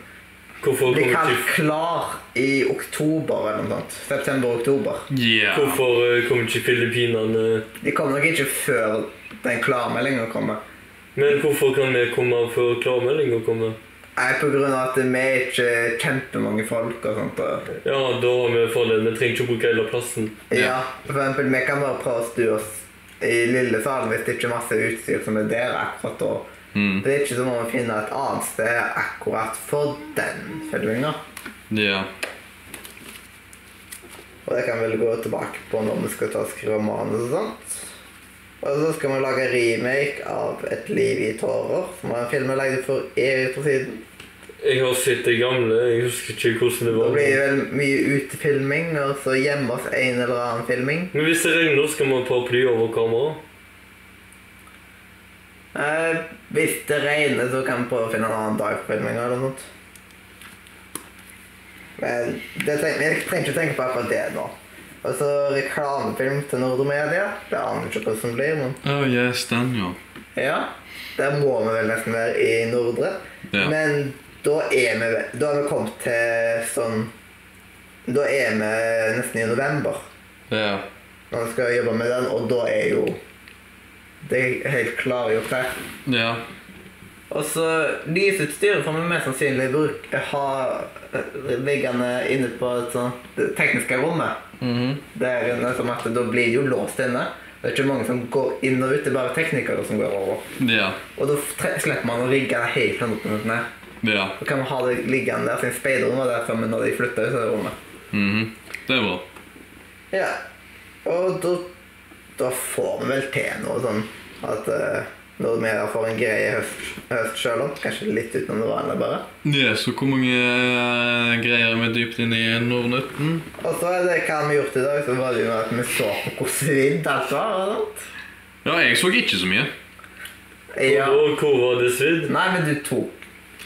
Hvorfor
bli
kommer
kalt
ikke,
klar i oktober eller noe sånt. September-oktober.
Yeah.
hvorfor eh, kommer ikke Filippinene
De kommer nok ikke før den klarmeldinga kommer.
Men hvorfor kan vi komme før klarmeldinga kommer?
Nei, på grunn av at vi er ikke kjempemange folk og sånt. Og,
Ja, da har vi fordel. Vi trenger ikke å bruke hele plassen.
ja, for eksempel, vi kan bare prøve å stue oss i lille salen hvis det ikke er masse utstyr som er der akkurat da.
Mm.
Det er ikke sånn som om å finne et annet sted akkurat for den filminga.
Yeah.
Og det kan vi vel gå tilbake på når vi skal ta og skrive manus og sånt. Og så skal vi lage en remake av Et liv i tårer, som var en film vi lagde for evig år siden.
Jeg har sett det gamle. Jeg husker ikke hvordan det
Da
var.
blir det vel mye utefilming, og så hjemme oss en eller annen filming.
Men hvis det regner, skal vi ha paraply over kameraet.
Eh, hvis det regner, så kan vi prøve å finne en annen dag for filminga eller noe sånt. Men det trenger, jeg trenger ikke tenke på akkurat det nå. Og så reklamefilm til Nordre Media. Det aner jeg ikke hvordan det blir, men
Oh, yes, den, ja.
ja. Der må vi vel nesten være i Nordre.
Ja.
Men da er vi ve- Da har vi kommet til sånn Da er vi nesten i november
Yeah.
når vi skal jobbe med den, og da er jo Det er helt klargjort her.
Yeah.
Og så lysutstyret får vi mest sannsynlig bruk, ha eh, liggende inne på et sånt det tekniske rommet.
Mhm.
Der inne, som sånn at Da blir det jo låst inne. Det er ikke mange som går inn og ut, det er bare teknikere som går over.
Yeah.
Og da tre- slipper man å rigge det helt 100 ned.
Yeah.
Da kan man ha det liggende der, siden speideren var der sammen når de flytta ut av det rommet.
Mhm. Det er bra.
Ja. Og da, da får vi vel til noe sånn at eh, når vi får en greie høst, høst sjøl om, kanskje litt utenom det vanlige, bare.
Ja, så hvor mange eh, greier er vi dypt inne i Nordnøtten?
Og så er det hva vi har gjort i dag, så var det jo at vi så på hvor svidd alt var. og sånt.
Ja, jeg så ikke så mye.
Ja.
Og hvor var det svidd?
Nei, men du tok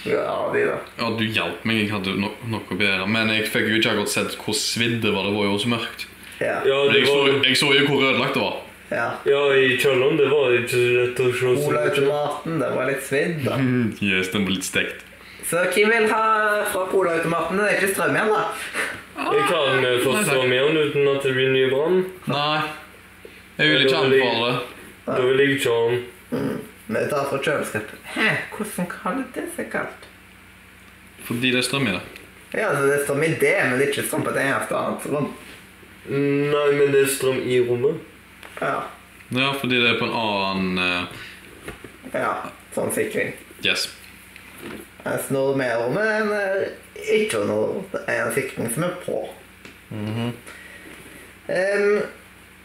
ja, de, da.
Ja, du hjalp meg. Jeg hadde no noe bedre. Men jeg fikk jo ikke akkurat sett hvor svidd det var. Det var jo så mørkt.
Ja.
Ja,
Men
det
jeg så,
var
jeg så jo hvor ødelagt det var.
ja.
Ja, i kjelleren. Det var ikke så lett å se så
Olaug til
mye.
maten, den var litt svidd, da.
Mhm.
Yes, den ble litt stekt.
Så hvem vil ha fra Cola-automaten? Det er ikke strøm igjen, da.
Jeg kan eh,
Nei,
først
takk.
være med han uten at det blir ny brann.
Nei. Jeg vil ikke anbefale det.
Da vil jeg ikke ha han.
Vi tar fra kjøleskapet. Hæ, hvordan kaller det seg kaldt?
Fordi det er strøm i det.
Ja, altså, det er strøm i det, men det er ikke strøm på et eneste annet sånn. rom.
Nei, men det er strøm i rommet.
Ja.
Ja, fordi det er på en annen eh,
ja. Sånn sikring.
Yes.
Mens Nordmea-rommet er en, eh, ikke noe, det er en sikring som er på. Ehm,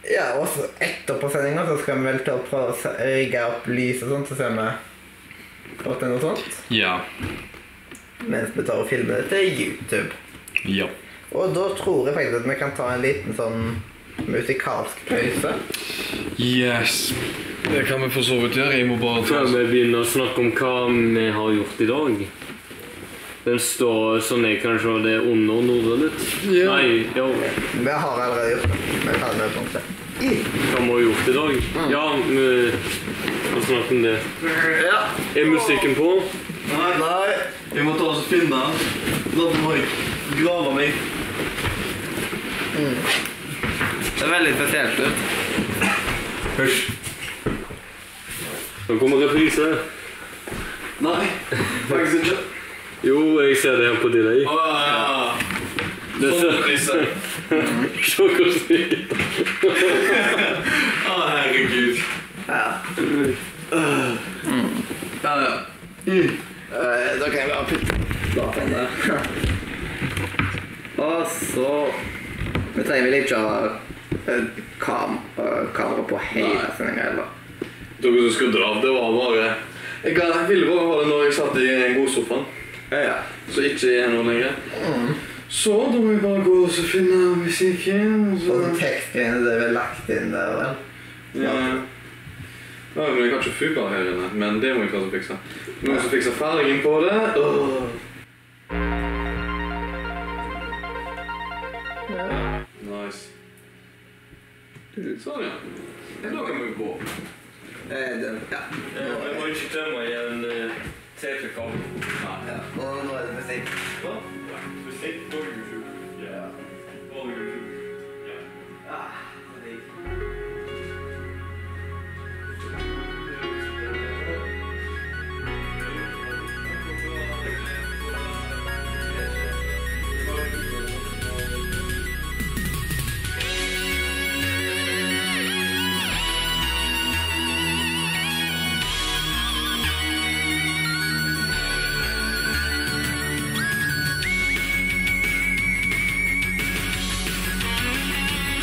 ja, og så etterpå sendinga så skal vi vel til å prøve å se- rigge opp lys og sånt, så ser vi fått til noe sånt.
Ja.
Mens vi tar og filmer det til YouTube.
Ja.
Og da tror jeg faktisk at vi kan ta en liten sånn musikalsk pause.
Yes. Det kan vi for så vidt gjøre. Jeg må bare ta
Før vi begynner å snakke om hva vi har gjort i dag. Den står sånn jeg kanskje var det under Nordre litt.
Ja.
Nei, ja.
Vi har allerede gjort det. Vi er ferdig med punktet.
Hva vi har gjort i dag?
Mm.
Ja, vi får snakke om det.
Ja.
Er musikken på?
Nei, nei. Jeg må ta oss og finne den. Da må jeg grave meg.
Det er veldig spesielt ut.
Nå kommer reprise.
Nei, faktisk ikke.
Jo, jeg ser det her på delay.
Å, ja, ja, ja.
Det
Sånn
ser-
priser.
Se hvordan det gikk.
Å, herregud.
Ja, ja. Eh, da kan jeg bare putte dataen der. Og så Vi trenger vel ikke ha eh, kam eh, kamera på hele sendinga heller.
Dere som skrudde det av, det var bare Jeg kan- ville bare ha det når jeg satt i godsofaen,
Ja, ja.
så ikke er nå lenger. Så da må jeg bare gå og så finne musikken, og
Og så
så
Sånn tekstgreiene det er vel lagt inn der, vel.
ja. ja, men jeg kan ikke fuga her inne, men det må jeg klare å fikse. Noen som fikser fargen på det. Åh. Sånn, ja. Da kan vi gå.
Eh, den, ja.
Eh,
Vi må ikke glemme igjen eh, TP-kabel.
ja. Og nå er det musikk.
Musikk på YouTube. Ja. På YouTube.
Thank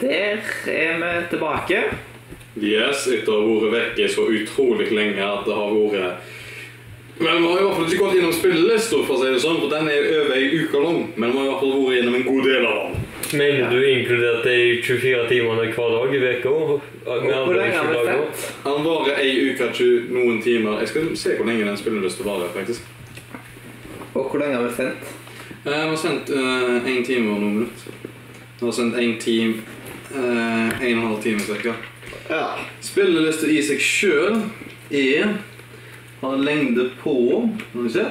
der er vi tilbake.
Yes, etter å ha vært vekke så utrolig lenge at det har vært Men vi har i hvert fall ikke gått gjennom spillelista, for å si det sånn, for den er over ei uke lang. Men vi har i hvert fall vært gjennom en god del av den.
Mener du inkludert de 24 timene hver dag i uka? Med
Hvor
andre
lenge har
20
vi
dager?
sett?
Den varer ei uke til noen timer. Jeg skal se hvor lenge den spillelista varer, faktisk.
Og hvor lenge har vi sendt?
Eh, Jeg har sendt én time og noen minutter. Jeg har sendt én time eh, En og en halv time cirka.
Ja.
Spilleliste i seg sjøl er Har en lengde på Skal vi se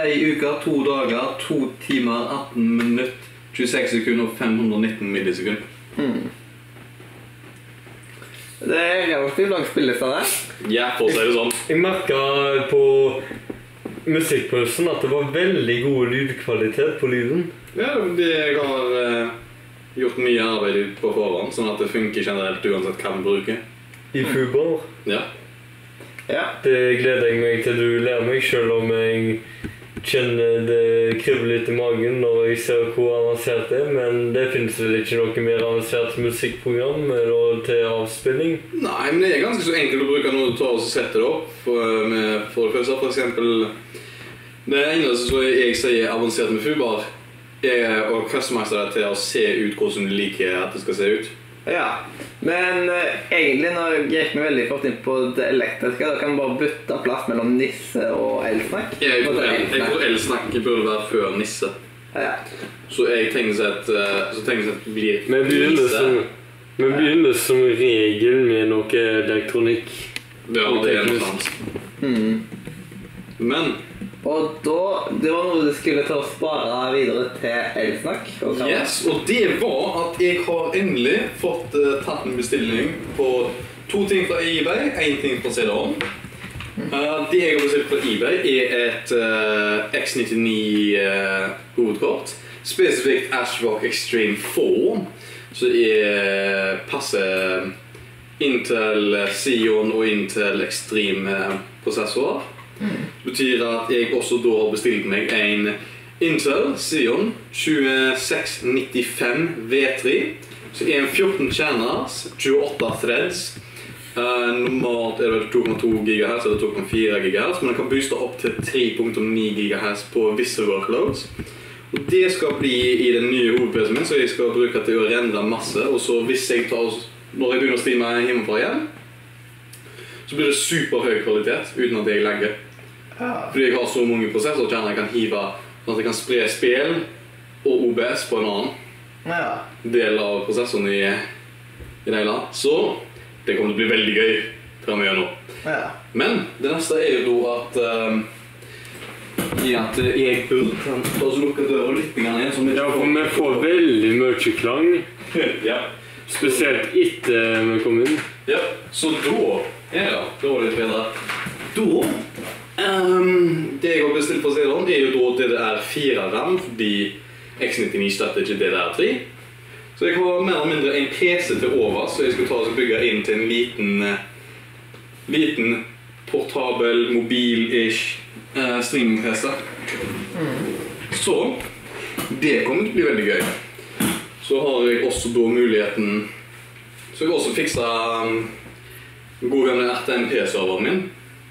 Ei uke, to dager, to timer, 18 minutter, 26 sekunder og 519 millisekunder.
Det er relativt lang spilleliste der.
Ja, for å si det sånn.
Jeg merka på musikkpausen at det var veldig god lydkvalitet på lyden.
Ja, jeg har eh, gjort mye arbeid på forhånd, sånn at det funker generelt uansett hva vi bruker.
I
Mm.
Fubar.
Ja.
Ja.
Det gleder jeg meg til du lærer meg, selv om jeg kjenner det kribler litt i magen når jeg ser hvor avansert det er. Men det fins vel ikke noe mer avansert musikkprogram eller til avspilling?
Nei, men det er ganske så enkelt å bruke når du tar og setter det opp. For, eh, med, for det første, for eksempel Det eneste som jeg sier avansert med Fubar, er å customize det til å se ut hvordan du liker at det skal se ut.
ja. Men eh, egentlig nå gikk vi veldig fort inn på det elektriske. Da kan vi bare bytte plass mellom nisse og elsnakk.
Jeg tror,
Og så
jeg, jeg
elsnakk.
tror elsnakk burde være før nisse.
Ja.
Så jeg tenker seg at, eh, så tenker jeg at det blir
Vi begynner
nisse.
som, vi begynner som regel med noe elektronikk.
Ja, det er noe sant.
Mm.
Men
Og da Det var noe du skulle til å spare videre til elsnakk. og hva var det?
Yes, og det var at jeg har endelig fått eh, tatt en bestilling på to ting fra eBay, én ting fra CD-ON. Eh, det jeg har bestilt fra eBay, er et eh, X99 eh, hovedkort. Spesifikt Ashrock Extreme 4, som er passer Intel Sion og Intel Extreme-prosessorer. Det betyr at jeg også da har bestilt meg en Intel Sion 2695 V3. Så er en 14 kjerners, 28 threads. Eh, normalt er det 2,2 GHz eller 2,4 GHz, men den kan booste opp til 3,9 GHz på visse workloads. Og Det skal bli i den nye hovedpc min, så jeg skal bruke til å rendre masse. Og så hvis jeg tar, når jeg begynner å streame hjemmefra igjen, så blir det superhøy kvalitet uten at jeg legger. Fordi jeg har så mange prosesser at jeg kan hive sånn at jeg kan spre spill og OBS på en annen
Ja.
del av prosessen i, i Neila. Så det kommer til å bli veldig gøy framover nå.
ja.
Men det neste er jo da at eh, I at jeg burde kan ta og lukke døra litt grann igjen. Som
Ja, for vi får veldig mye klang,
ja.
spesielt etter vi kom inn.
ja. Så da er det da er det litt bedre. Da ehm, Det jeg har bestilt på CD-en, er jo da DDR4-ram, fordi X99 støtter ikke DDR3. Så jeg har mer eller mindre en PC til over, så jeg skal ta og bygge inn til en liten eh, Liten portabel, mobil-ish eh, streaming-PC. Så det kommer til å bli veldig gøy. Så har jeg også da muligheten Så jeg har også fiksa um, god gamle RTMP-serveren min.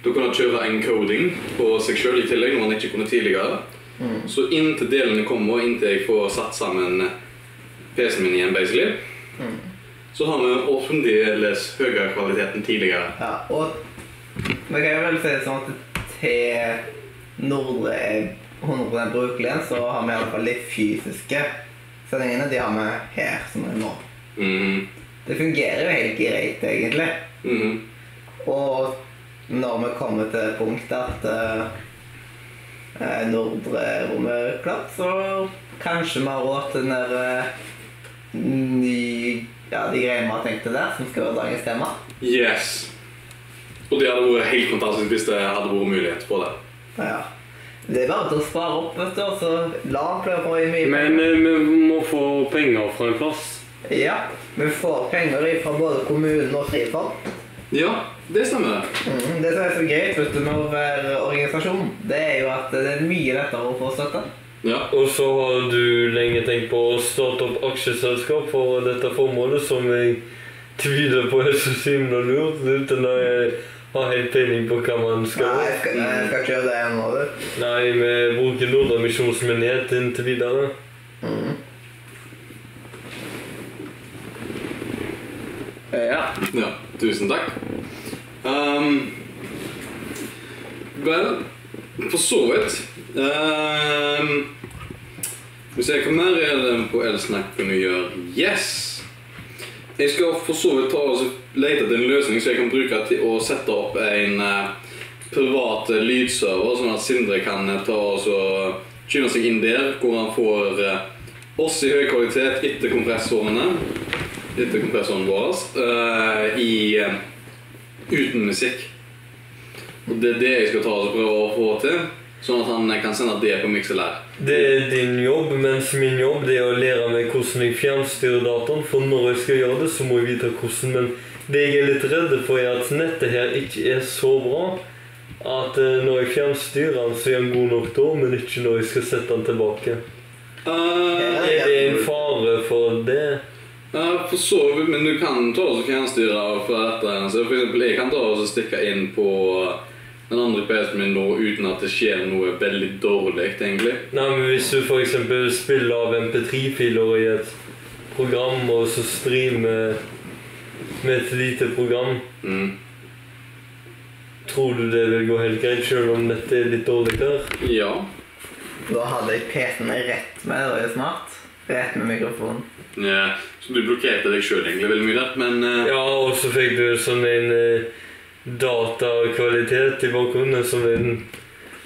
Da kunne jeg kjøre encoding på seg sjøl i tillegg, når man ikke kunne tidligere. Så inntil delene kommer, og inntil jeg får satt sammen PC-en min igjen, basically, så har vi fremdeles høyere kvalitet enn tidligere.
Ja, og vi kan jo vel si det sånn at til Nordre er 100 brukelig, så har vi i alle fall de fysiske sendingene. De har vi her som er nå.
Mhm.
Det fungerer jo helt greit, egentlig.
Mhm.
Og når vi kommer til punktet at eh, Nordre rommet er klart, så kanskje vi har råd til den der eh, ny Ja, de greiene vi har tenkt til der, som skal være dagens tema.
Yes. Og det hadde vært helt fantastisk hvis det hadde vært mulighet for det.
Ja. Det er bare til å spare opp, vet du, og så la han prøve på i mye
Men eh, vi må få penger fra en plass.
Ja, vi får penger fra både kommunen og Frifond.
Ja, det stemmer det.
Mm, det som er så greit vet du, med å være organisasjon, det er jo at det er mye lettere å få støtte.
Ja.
Og så har du lenge tenkt på å starte opp aksjeselskap for dette formålet, som jeg tviler på er så simla lurt, uten å eh, ha helt peiling på hva man skal
Nei, jeg skal, nei, jeg skal ikke gjøre det nå, du.
Nei, vi bruker Nordamisjonsmenighet inntil videre.
Ja.
Ja, tusen takk. Ehm, vel, for så vidt Ehm, Skal vi se hva mer er det på Elsnap kan gjøre. Yes! Jeg skal for så vidt ta og så lete etter en løsning så jeg kan bruke til å sette opp en eh, privat eh, lydserver, sånn at Sindre kan eh, ta og så skynde seg inn der, hvor han får eh, oss i høy kvalitet etter kompressorene etter kompressoren vår eh, i, eh, uten musikk. Og det er det jeg skal ta og prøve å få til, sånn at han kan sende det på mikselær.
Det er din jobb, mens min jobb det er å lære meg hvordan jeg fjernstyrer dataen. For når jeg skal gjøre det, så må jeg vite hvordan. Men det jeg er litt redd for, er at nettet her ikke er så bra at eh, når jeg fjernstyrer den, så er den god nok da, men ikke når jeg skal sette den tilbake.
Eh,
Er det en fare for det?
ja, for så vidt, men du kan ta og så fjernstyre fra dette. her. Så for eksempel, jeg kan ta og så stikke inn på eh, den andre PC-en min nå uten at det skjer noe veldig dårlig, egentlig.
Nei, men Hvis du f.eks. spiller av MP3-filer i et program, og så streamer med et lite program,
Mm.
tror du det vil gå helt greit, selv om dette er litt dårlig her?
Ja.
Da hadde jeg PC-en rett med, det var jo smart. Rett med mikrofonen.
ja. Så du blokkerte deg sjøl egentlig veldig mye der, men eh,
Ja, og så fikk du sånn en eh, datakvalitet i bakgrunnen, som en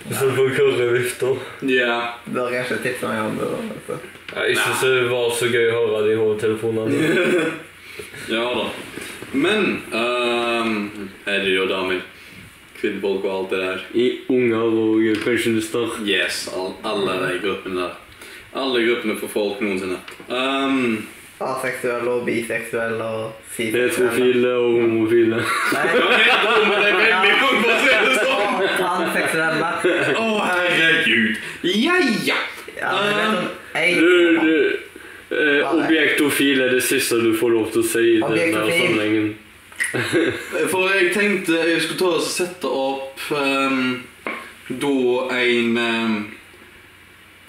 Sånn på kurvevifter.
ja.
Bør kanskje tipse meg om det. da, altså.
Jeg syns det var så gøy å høre de hovedtelefonene.
Ja da. Men ehm, Herrer og damer. Kvinnfolk og alt det der.
I unger og pensjonister.
Yes, all, alle de gruppene der. Alle gruppene for folk noensinne. Ehm,
Aseksuelle og biseksuelle og siseksuelle.
Heterofile og homofile.
Nei,
ja, jeg tror det er veldig mange, for å si det sånn.
og Transseksuelle.
Å, herregud. Ja, ja.
Ja, men vet du,
Du,
jeg,
du, eh, objektofil er det siste du får lov til å si i denne
Objektofil.
sammenhengen.
For jeg tenkte jeg skulle ta og sette opp ehm, da en ehm,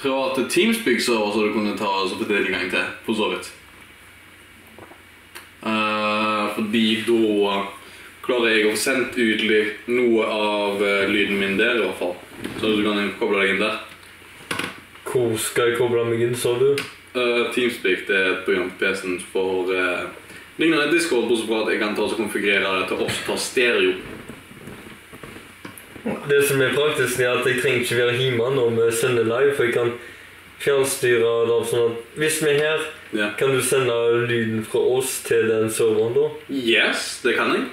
private Teamspeak-server som du kunne ta og så få tilgang til, for så vidt. Eh, fordi da klarer jeg å få sendt ut li- noe av eh, lyden min der, i hvert fall. Så du kan koble deg inn der.
Hvor skal jeg koble meg inn, sa du?
Eh, Teamspeak det er et program på PC-en for eh, lignende Discord, bortsett fra at jeg kan ta og konfigurere det til oss per stereo.
Det som er praktisk, er at jeg trenger ikke være hjemme når vi sender live, for jeg kan fjernstyre det sånn at hvis vi er her,
Ja.
kan du sende lyden fra oss til den serveren, da?
Yes, det kan jeg.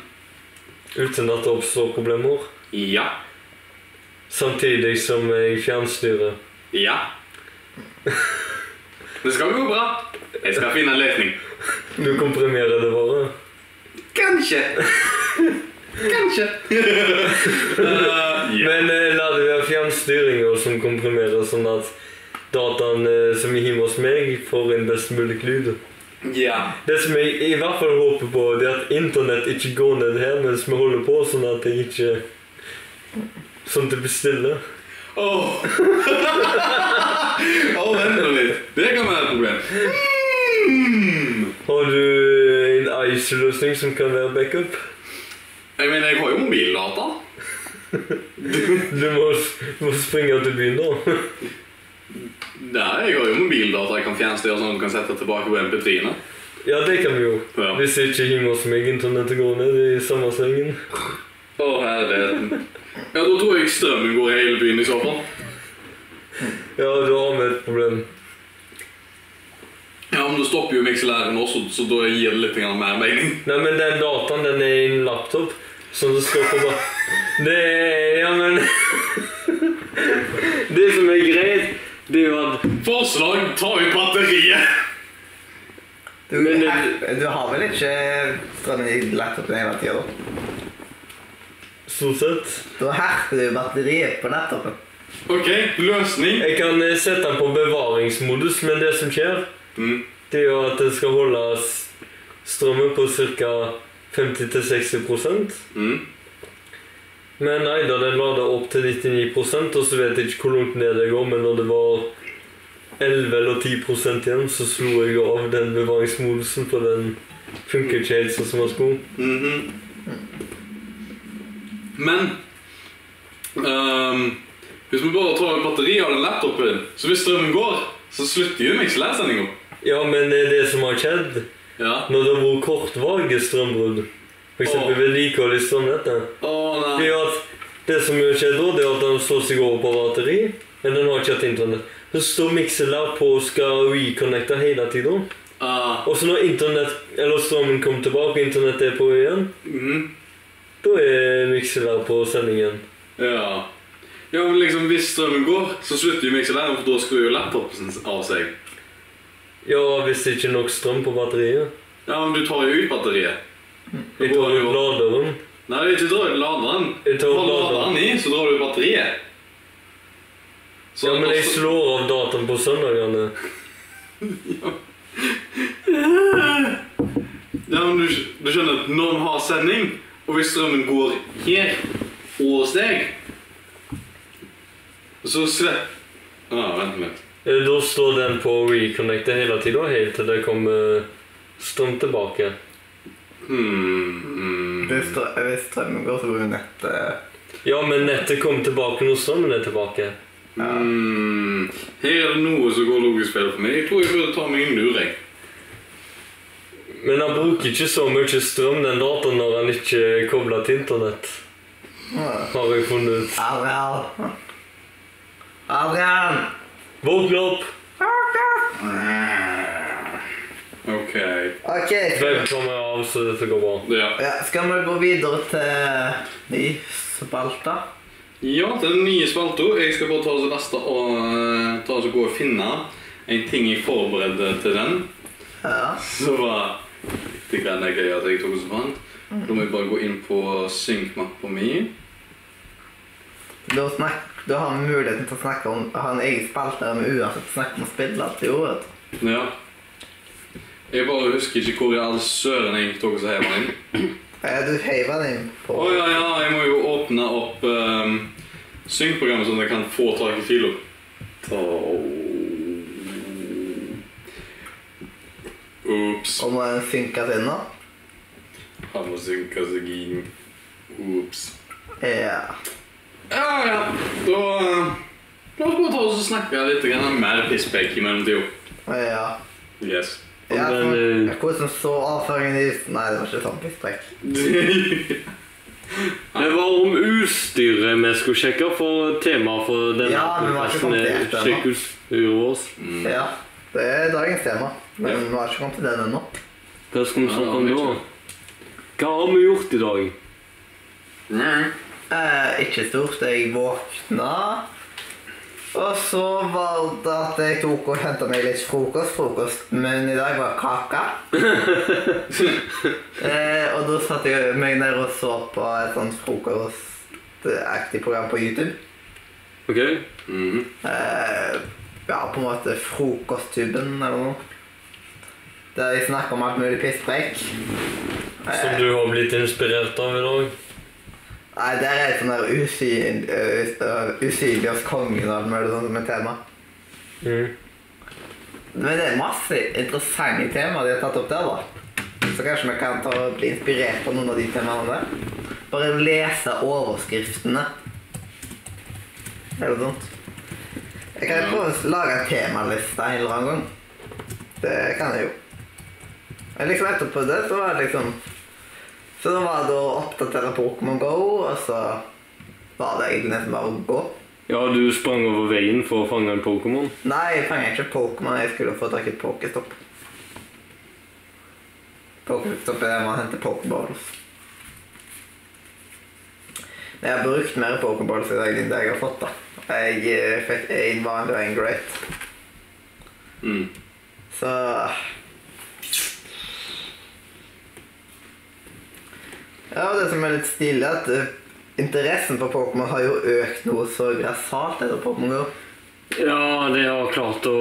Uten at det oppstår problemer.
Ja.
Samtidig som jeg fjernstyrer.
Ja. Det skal gå bra. Jeg skal finne en løsning.
Du komprimerer det bare.
Kanskje. Kanskje. Eh,
Men eh, la det være fjernstyringa som komprimerer, sånn at dataen eh, som er hjemme hos meg, får en best mulig lyd.
ja.
Det som jeg i hvert fall håper på, det er at internett ikke går ned her mens vi holder på, sånn at jeg ikke Sånn at det blir stille.
Åh. Åh, vent nå litt. Det kan være et problem. Mm.
Har du eh, en ice-løsning som kan være backup?
Jeg mener, jeg har jo mobildata.
Du må, du må springe til byen, da.
Nei, jeg har jo mobildata jeg kan fjernstyre sånn at du kan sette tilbake på MP3-ene.
Ja, det kan vi jo.
Ja.
Hvis ikke hjemme hos meg internettet går ned i samme slengen.
Å, herligheten. Ja, da tror jeg strømmen går i hele byen i så fall.
Ja, da har vi et problem.
Ja, men du stopper jo mikselæren også, så da gir det litt grann mer mening.
Nei, men den dataen, den er i en laptop. Sånn det står på da. Det er Ja, men
Det som er greit, det er jo at
Forslag ta ut batteriet!
du,
Men-
her- du har vel ikke strømmen i laptopen hele tida, da?
Stort sett.
Da herper du batteriet på laptopen.
OK, løsning.
Jeg kan eh, sette den på bevaringsmodus, men det som skjer,
Mm.
det er jo at den skal holde s- strømmen på ca. 50-60
Mm.
Men nei da, den lada opp til 99 og så vet jeg ikke hvor langt ned det går, men når det var 11 eller 10 igjen, så slo jeg av den bevaringsmodusen, for den funker ikke helt sånn som den skulle.
Mhm. Men ehm, Hvis vi bare tar ut batteriet av den laptopen, så hvis strømmen går, så slutter jo Mix sendinga.
Ja, men eh, det som har skjedd
Ja.
når det har vært kortvarige strømbrudd, f.eks.
Åh.
vedlikehold i strømnettet
Å
Det
nei.
er jo at det som jo skjer da, det er at den slår seg over på batteri. Men den har ikke hatt internett. Så står miksen der på og skal reconnecte hele tida.
Ah,
Og så når internett, eller strømmen kommer tilbake, og internettet er på igjen,
mhm.
da er miksen der på sendingen.
Ja. Ja, men liksom Hvis strømmen går, så slutter jo Mix for da skrur jo laptopen av seg.
Ja, hvis det ikke er nok strøm på batteriet.
Ja, men du tar jo ut batteriet.
Jeg tar ut laderen.
Nei, du ikke drar ut laderen.
Jeg tar
Du
ut
har laderen
laderen.
i, så drar du ut batteriet. Så
Ja, men jeg
altså-
slår av dataen på søndagene.
Ja, men du, du skjønner at når en har sending, og hvis strømmen går her og hos deg, så slipper ah, Vent litt.
Eh, Da står den på å reconnecte hele tida, helt til det kommer strøm tilbake.
Hmm.
Hvis strø- hvis strømmen går, så går jo nettet
Ja, men nettet kommer tilbake når strømmen er tilbake.
Hmm. Her er det noe som går logisk feil for meg. Jeg tror jeg burde ta meg en lur, jeg.
Men han bruker ikke så mye strøm den dataen når han ikke er koblet til internett. Har jeg funnet ut.
Adrian! Adrian!
Våkne opp!
OK.
Ok,
Web kommer av, så dette går bra.
Ja.
ja, skal vi gå videre til ny spalte?
ja, til den nye spalta. Jeg skal bare ta oss resten og eh, ta oss og gå og finne en ting jeg forberedte til den.
Ja.
Så var det greiene jeg greier at jeg tok oss fant. Da må vi bare gå inn på synk-mappa mi.
Da, snak, da har vi muligheten til å snakke om ha en egen spalte der vi uansett snakker om spill alt i ordet.
Ja. Jeg bare husker ikke hvor i all søren jeg tok oss heiv den inn.
Eh, Du heiver den inn
Å
på
ja, ja, jeg må jo åpne opp um, synkprogrammet sånn at jeg kan få tak i filer. Ops.
om den synkes inn nå.
Han må synke seg inn. Ops.
Ja.
Ja, ja. Da eh, La oss bare ta oss og snakke litt grann mer pisspreik i mellomtida.
Ja.
Yes.
Om
Ja,
den,
sånn-
eh,
Hvordan så avføringen ut? Nei, det var ikke sånn pisspreik.
Mm-hmm.
Det var om utstyret vi skulle sjekke, for temaet for denne
Ja, men vi har ikke
podcasten
kommet
er
til det
Sjekk utstyret vårt.
Ja. Det er dagens tema, men
Ja.
vi har ikke kommet til den ennå.
Hva skal vi
Ja,
snakke om
det har vi
da? Hva har vi gjort i dag?
Mm-hmm.
Eh, ikke stort. Jeg våkna. Og så var det at jeg tok og henta meg litt frokost. Frokostmenyen i dag var kake. eh, og da satte jeg meg ned og så på et sånt frokostaktig program på YouTube.
Ok?
Mhm.
Eh, ja, på en måte Frokosttuben eller noe. Der jeg snakker om alt mulig pisspreik. Eh,
Som du har blitt inspirert av i dag.
Nei, der er sånn der usyn, uh, usynlig hos kongen og alt mulig sånt som et tema.
Mhm.
Men det er masse interessante temaer de har tatt opp der, da. Så kanskje vi kan ta og bli inspirert av noen av de temaene der. Bare lese overskriftene. Eller noe sånt. Jeg kan jo prøve å lage en temaliste en eller annen gang. Det kan jeg jo. Men liksom etterpå det, så var det liksom Så da var det å oppdatere Pokémon GO, og så var det egentlig nesten bare å gå.
Ja, du sprang over veien for å fange en Pokémon.
Nei, jeg fanger ikke Pokémon. Jeg skulle få tak i Pokéstopp. Pokéstopp er der man henter Pokéballs. Men Jeg har brukt mer Pokéballs i dag enn det jeg har fått, da. Jeg eh, fikk én vanlig og én great.
Mm.
Så Ja, det som er litt stilig, er at eh, interessen for Pokémon har jo økt noe så grassat etter Pokémon GO.
Ja, det har klart å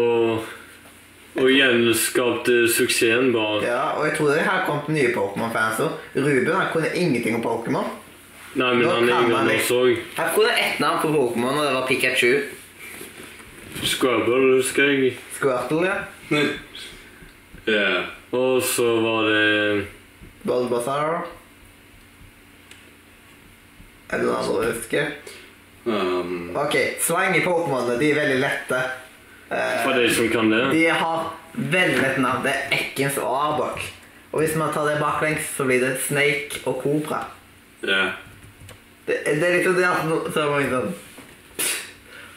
å gjenskapte suksessen bare.
Ja, og jeg tror det har kommet nye Pokémon-fans òg. Ruben han kunne ingenting om Pokémon.
Nei, men
Nå
han er
kan man
ingen
ikke.
også.
Jeg kunne ett navn på Pokémon, og det var Pikachu.
Scrabble, husker jeg.
Squirtle, ja.
Eh,
Og så var det
Bulbasaur. Er det noen andre du husker?
um,
Ok, slang i Pokémonene, de er veldig lette. Eh,
For de som kan det.
de har veldig lett navn. Det er Ekkens og Arbok. Og hvis man tar det baklengs, så blir det Snake og Kobra.
yeah.
Det, det er liksom det at no, så er man liksom,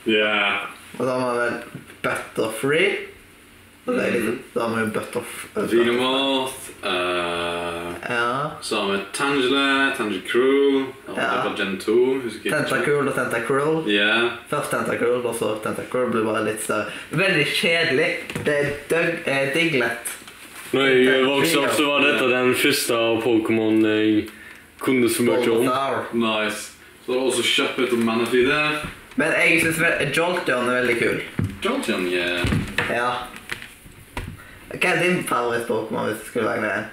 Yeah.
Og da har man vel Butterfree. Og det er liksom, da har man jo Butterfree.
Xenomorph eh,
Ja.
Så har vi Tangela, Tangela Crew og
Ja.
Det var Gen 2, husker jeg ikke.
Tentacool og Tentacruel.
Yeah.
Først Tentacool, og så Tentacool blir bare litt større. Veldig kjedelig. Det er døgg, eh, Diglett.
Når jeg vokste opp, så var dette den første av Pokémon jeg kunne så mye om.
Bulbasaur.
Nice. Så det var også Shuppet og Manaphy der.
Men jeg syns Jolteon er veldig kul.
Jolteon, yeah.
Ja. Hva er din favoritt-Pokémon hvis du skulle velge en?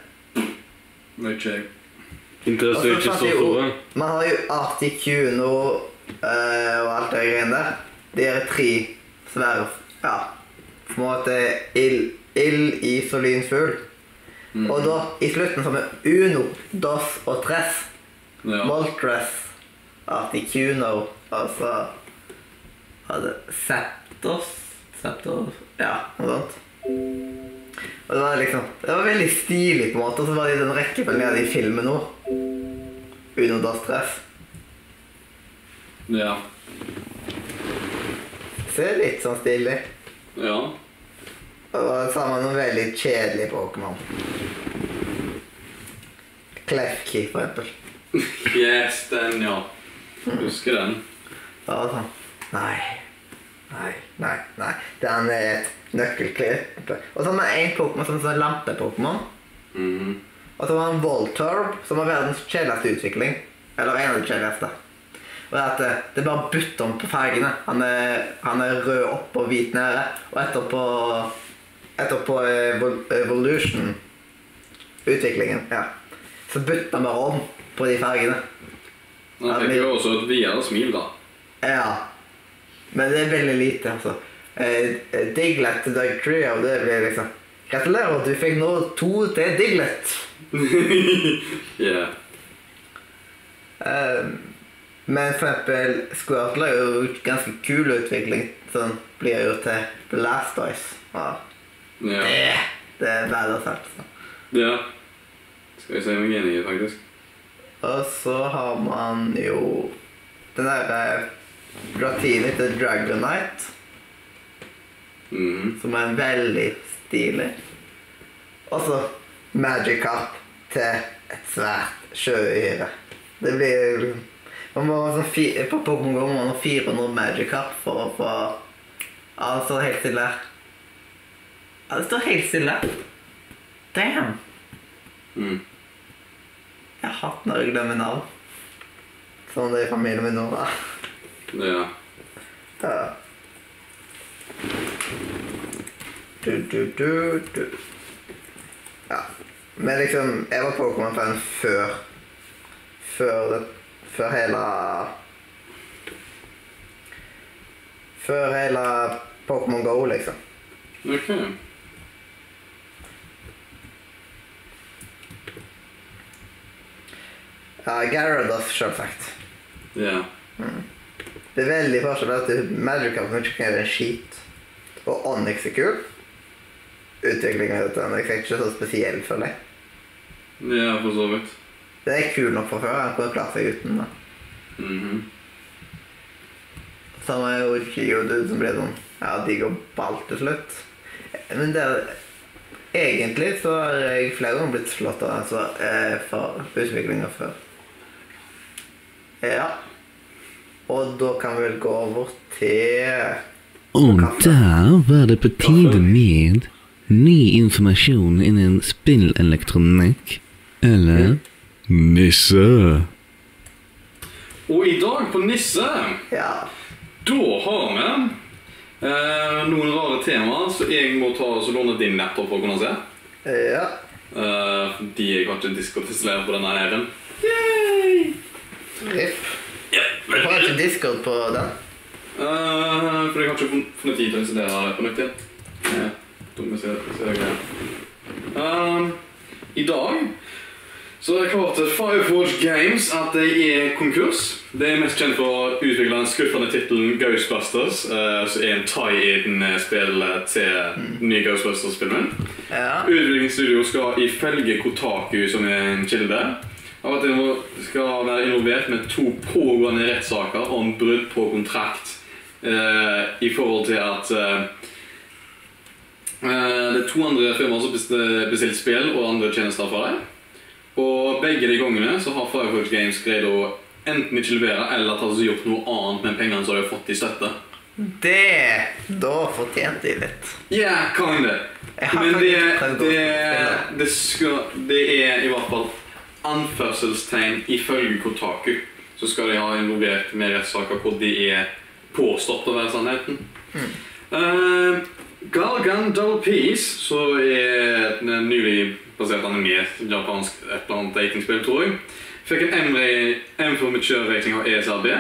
Vet ikke jeg.
Interesse er ikke så store.
Man har jo Articuno eh, og alt det greiene der. De er tre svære Ja, på en måte ild, ild is og lynfugl. Og da, i slutten, så har vi Uno, Dos og Tress.
Ja.
Moltres, Articuno, altså hadde Septos Septos Ja, noe sånt. Og det var liksom Det var veldig stilig, på en måte, og så var det i den rekkefølgen jeg hadde i filmen nå. Uno das tres.
Ja.
Så det er litt sånn stilig.
ja.
Og det var sammen med noen veldig kjedelige Pokémon. Klefki, for eksempel.
Yes, den, ja. Husker den.
Da var det sånn Nei. Nei, nei, nei. Den er eh, et nøkkelklipp. Og så har man en Pokémon som er sånn lampe-Pokémon.
Mhm.
Og så var han Voltorb, som var verdens kjedeligste utvikling. Eller en av de kjedeligste. Og det, er at eh, det bare bytter om på fargene. Han er, han er rød opp og hvit nede. Og etterpå Etterpå Evol- Evolution Utviklingen, ja. Så bytter han bare om på de fargene.
Den fikk jo også et videre smil, da.
Ja. Men det er veldig lite, altså. Eh, eh, Diglett til Doug Trio, det blir liksom Gratulerer, du fikk nå to til Diglett.
yeah.
Eh, men for eksempel Squirtle er jo ganske kul utvikling. Sånn blir jo til Blastoise. Ja.
Ja.
Det, det er bedre sagt. så.
ja. Skal jeg si meg enig i, faktisk.
Og så har man jo den derre Gratini til Dragonite,
Mhm.
som er veldig stilig. Og så Magikarp til et svært sjøyre. Det blir man må ha sånn fi, På Pokémon GO må man ha 400 Magikarp for å få Ja, det står helt stille. Ja, det står helt stille. Damn.
Mm.
Jeg hater når jeg glemmer navn. Sånn det er i familien min nå, da.
Ja.
da. Du, du, du, du. Ja. Men liksom, jeg var Pokémon-fan før Før det Før hele Før hele Pokémon GO, liksom.
Ok.
Ja, Gyarados, selvsagt.
Ja.
Det er veldig forskjell at du- Magic Cup kanskje kan gjøre en skit. Og Onyx er kul. Utviklingen av dette Onyx er ikke så spesiell, føler jeg.
Ja, for så vidt.
Det er kul nok fra før. Han kunne klart seg uten. da.
Mhm.
Samme er jo Geodude, som ble sånn ja, digg og ball til slutt. Men det er Egentlig så har jeg flere ganger blitt slått av altså, eh, for utviklinga før. Ja. Og da kan vi vel gå over til
Og der var det på tide med ny informasjon innen spillelektronikk. Eller nisse.
Og i dag på Nisse
Ja.
Da har vi eh, noen rare temaer som jeg må ta og så låne din laptop for å kunne se.
Ja.
Eh, fordi jeg kan ikke diskotislere på denne her. Yay!
Ripp. Du har ikke Discord på den?
Eh, for jeg har ikke fun- funnet tid til å installere det på nytt igjen. Eh, dumme se- se- greier. Ehm, I dag så har jeg klart at Firewatch Games at de er konkurs. De er mest kjent for å utvikle den skuffende tittelen Ghostbusters, eh, som er en tie-in-spill eh, til den nye Ghostbusters-filmen.
Ja.
Utviklingsstudio skal ifølge Kotaku, som er en kilde, av at de skal være involvert med to pågående rettssaker om brudd på kontrakt eh, i forhold til at eh, eh, det er to andre firmaer som bestilte bestilt spill og andre tjenester fra dem. Og begge de gangene så har Firefox Games greid å enten ikke levere eller at de har gjort noe annet med pengene som de har fått i støtte.
Det Da fortjente de litt.
Yeah, kinda.
Jeg har
Men det,
faktisk prøvd å
det,
spille.
det, skal, det er i hvert fall anførselstegn ifølge Kotaku. Så skal de ha involvert med rettssaker hvor de er påstått å være sannheten.
Mm.
Eh, Galgan Double Peace, som er et nylig basert anime, japansk et eller annet datingspill, tror jeg, fikk en M-ra- M for mature-rating av E ESRB.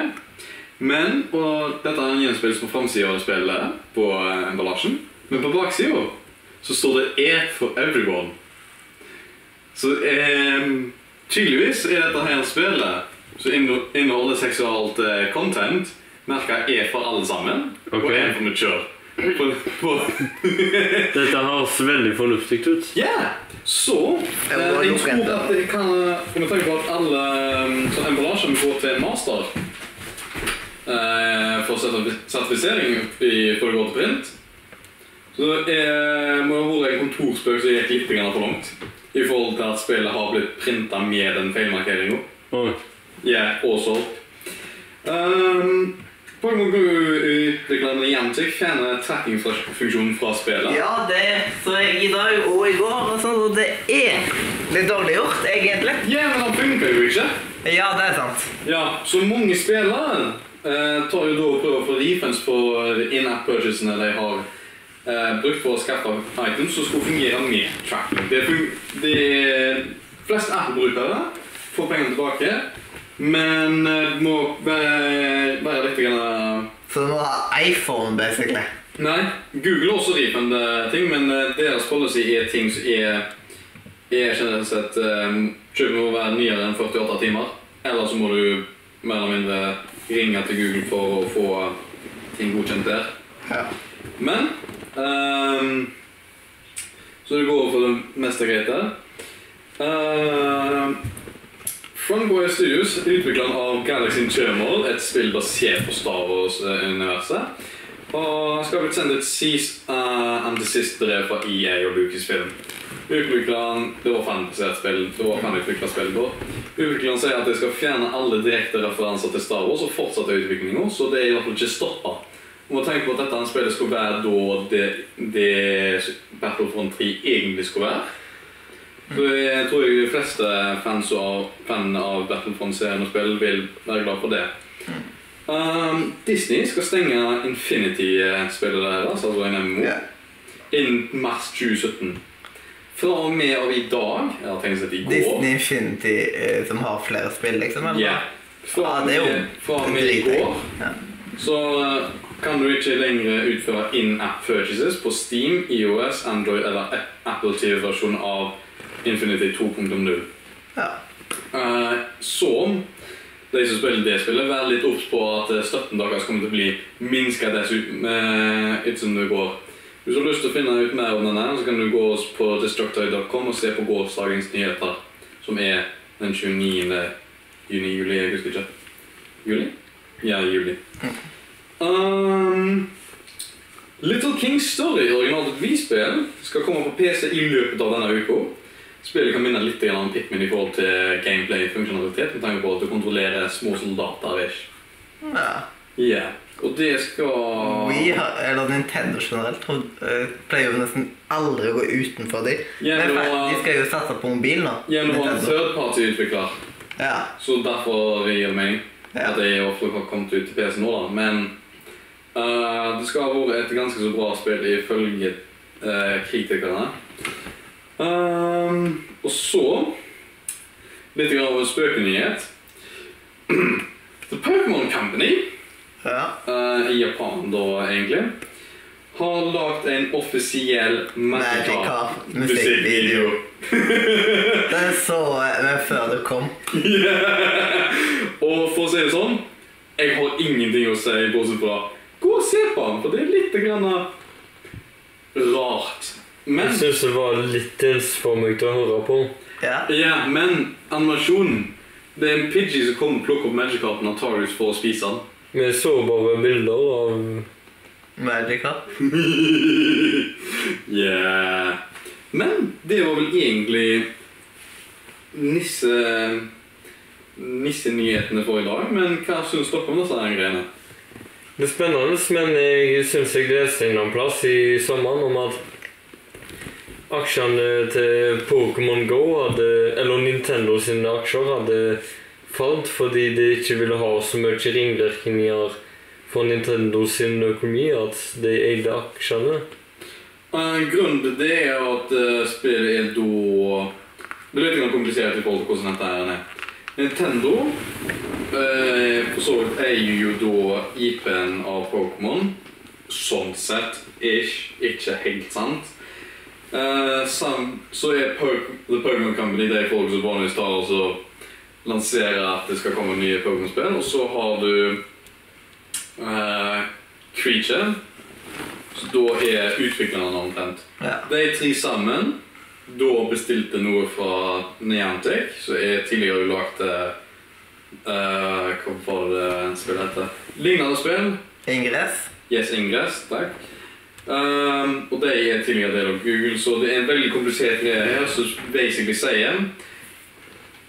Men, og dette er en gjenspillelse på framsida av spillet, på eh, emballasjen. Men på baksida så står det E for everyone. Så eh, tydeligvis er dette her spillet som inno- inneholder seksualt eh, content, merka E for alle sammen,
Ok.
og E for mature. På, på,
Dette høres veldig fornuftig ut.
Ja, så eh,
Jeg må
Jeg
lukke
tror
den.
at jeg kan eh, Med tanke på at alle eh, sånn emballasjen går til en master eh, for sertif- sertifisering i for å gå til print, så eh, må det ha vært en kontorspøk som gikk litt grann for langt. I forhold til at spillet har blitt printa med den feilmarkeringa.
Oi.
Yeah, og solgt. Um, Pokémon Go utvikler den igjen til å fjerne trackingfunksjonen fra spillet.
Ja, det så jeg i dag og i går. Og sånn, og det er litt dårlig gjort, egentlig.
Ja, men den funker jo ikke.
Ja, det er sant.
Ja, så mange spillere eh, tar jo da og prøver å få refunds på in-app-purchasene de har eh, brukt for å skaffe items som skulle fungere med tracking. Det fun de fleste app-brukere får pengene tilbake, men eh, må være, være litt grann,
Så du må ha iPhone, basically.
eh, Nei, Google også refund eh, ting, men eh, deres policy er ting som er, er generelt sett eh, Kjøpet må være nyere enn 48 timer. Eller så må du mer eller mindre ringe til Google for å få ting godkjent der.
Ja.
Men ehm, Så det går for det meste greit der. Uh, Funboy Studios, utvikleren av Galaxy Turmoil, et spill basert på Star Wars-universet. Og skal blitt sendt et cease eh, and desist-brev fra EA og Lucasfilm. Utvikleren Det var fanbasert spill. Det var fanutvikla spill da. Utvikleren sier at de skal fjerne alle direkte referanser til Star Wars og fortsette utviklinga, så det er i hvert fall ikke stoppa. Du må tenke på at dette er en spillet skulle være da det, det Battlefront 3 egentlig skulle være. Så jeg tror jeg de fleste fans av, fan av Battlefront-serien og spill vil være glad for det. Um, Disney skal stenge Infinity-spillet deres, altså en MMO,
Ja.
innen mars 2017. Fra og med av i dag, eller tenkt sett i går
Disney Infinity, eh, som har flere spill, liksom. Eller?
Ja. Fra
Ja,
og
det er jo
med, fra og med i
drit, jeg.
går
Ja.
så eh, kan du ikke lenger utføre in-app purchases på Steam, IOS, Android eller App- Apple TV-versjon av Infinity 2.0.
Ja.
Eh, så de som spiller det spillet, vær litt obs på at eh, støtten deres kommer til å bli minska dessuten eh, ettersom det går. Hvis du har lyst til å finne ut mer om denne, så kan du gå oss på destructoid.com og se på gårsdagens nyheter, som er den 29. juni, juli, jeg husker ikke. Juli? Ja, juli. Um, Little Kings Story, originalt et Wii-spill, skal komme på PC i løpet av denne uka. Spillet kan minne litt grann om Pikmin i forhold til gameplay-funksjonalitet, med tanke på at du kontrollerer små soldater. ish.
ja.
Yeah. Og det skal
Vi har, eller Nintendo generelt tror- eh, pleier jo nesten aldri å gå utenfor de. Men
Gjennom
fact, de
å
skal jo satse på mobil nå.
gjennom å ha en
Nintendo.
third-party-utvikler,
Ja.
så derfor gir det mening. At jeg ofte har kommet ut til PC nå, da. Men eh, det skal ha vært et ganske så bra spill ifølge uh, kritikerne. Ehm, og så litt grann av en spøkenyhet. The Pokémon Company
Ja.
eh, i Japan, da egentlig har lagd en offisiell
Magikarp musikkvideo.
musikkvideo.
Den så jeg men før du kom.
Yeah. Og for å si det sånn, jeg har ingenting å si bortsett fra gå og se på den, for det er litt grann rart. Men,
Jeg syns det var litt tils for meg til å høre på.
Ja.
ja, men animasjonen Det er en Pidgey som kommer og plukker opp Magikarpen av Tarius for å spise den.
Vi så bare bilder av
Magikarp.
yeah. eh, Men det var vel egentlig nisse nissenyhetene for i dag. Men hva syns dere om disse her greiene?
Det er spennende, men jeg syns jeg leste en eller annen plass i sommeren om at aksjene til Pokémon Go hadde Eller Nintendo sine aksjer hadde falt fordi de ikke ville ha så mye ringvirkninger for Nintendo sin økonomi at de eide aksjene.
Eh, Grunnen til det er at eh, spillet er da Det er litt grann komplisert i forhold til hvordan dette her er. Nintendo eh, for så vidt eier jo da IP-en av Pokémon. Sånn sett ish. Ikke helt sant. Eh, sam, så er Pok- The Pokémon Company de folk som vanligvis tar og så lanserer at det skal komme nye Pokémon-spill. Og så har du eh, Creature. Så da er utviklerne omtrent.
Ja.
De tre sammen da bestilte noe fra Niantic, som er tidligere lagd uh, Hva var det spillet heter? Lignende spill.
Ingress.
Yes Ingress, takk. Ehm, og de er tidligere del av Google, så det er en veldig komplisert greie her som basically sier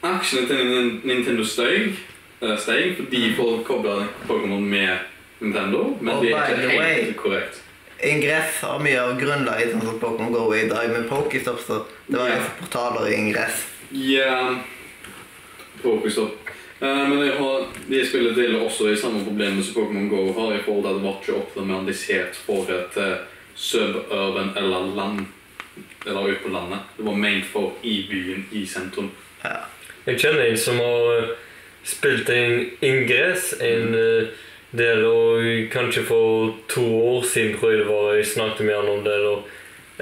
Aksjene til Nin- Nintendo steg, eh, steg fordi folk kobler Pokémon med Nintendo, men
Oh,
det
by
er
the
ikke
way.
helt korrekt.
Ingress har mye av grunnlaget sånn som Pokémon Go er i dag, men Pokéstops så Det var
Ja.
en portaler i Ingress.
Ja Focus opp. Eh, men jeg har, de spiller del også i samme problemet som Pokémon GO har i forhold til at det var ikke optimalisert for et eh, suburban eller land. Eller ut på landet. Det var ment for i byen, i sentrum.
Jeg kjenner en som har eh, spilt en ingress en eh, del, og kanskje for to år siden tror jeg det var jeg snakket med han om det, eller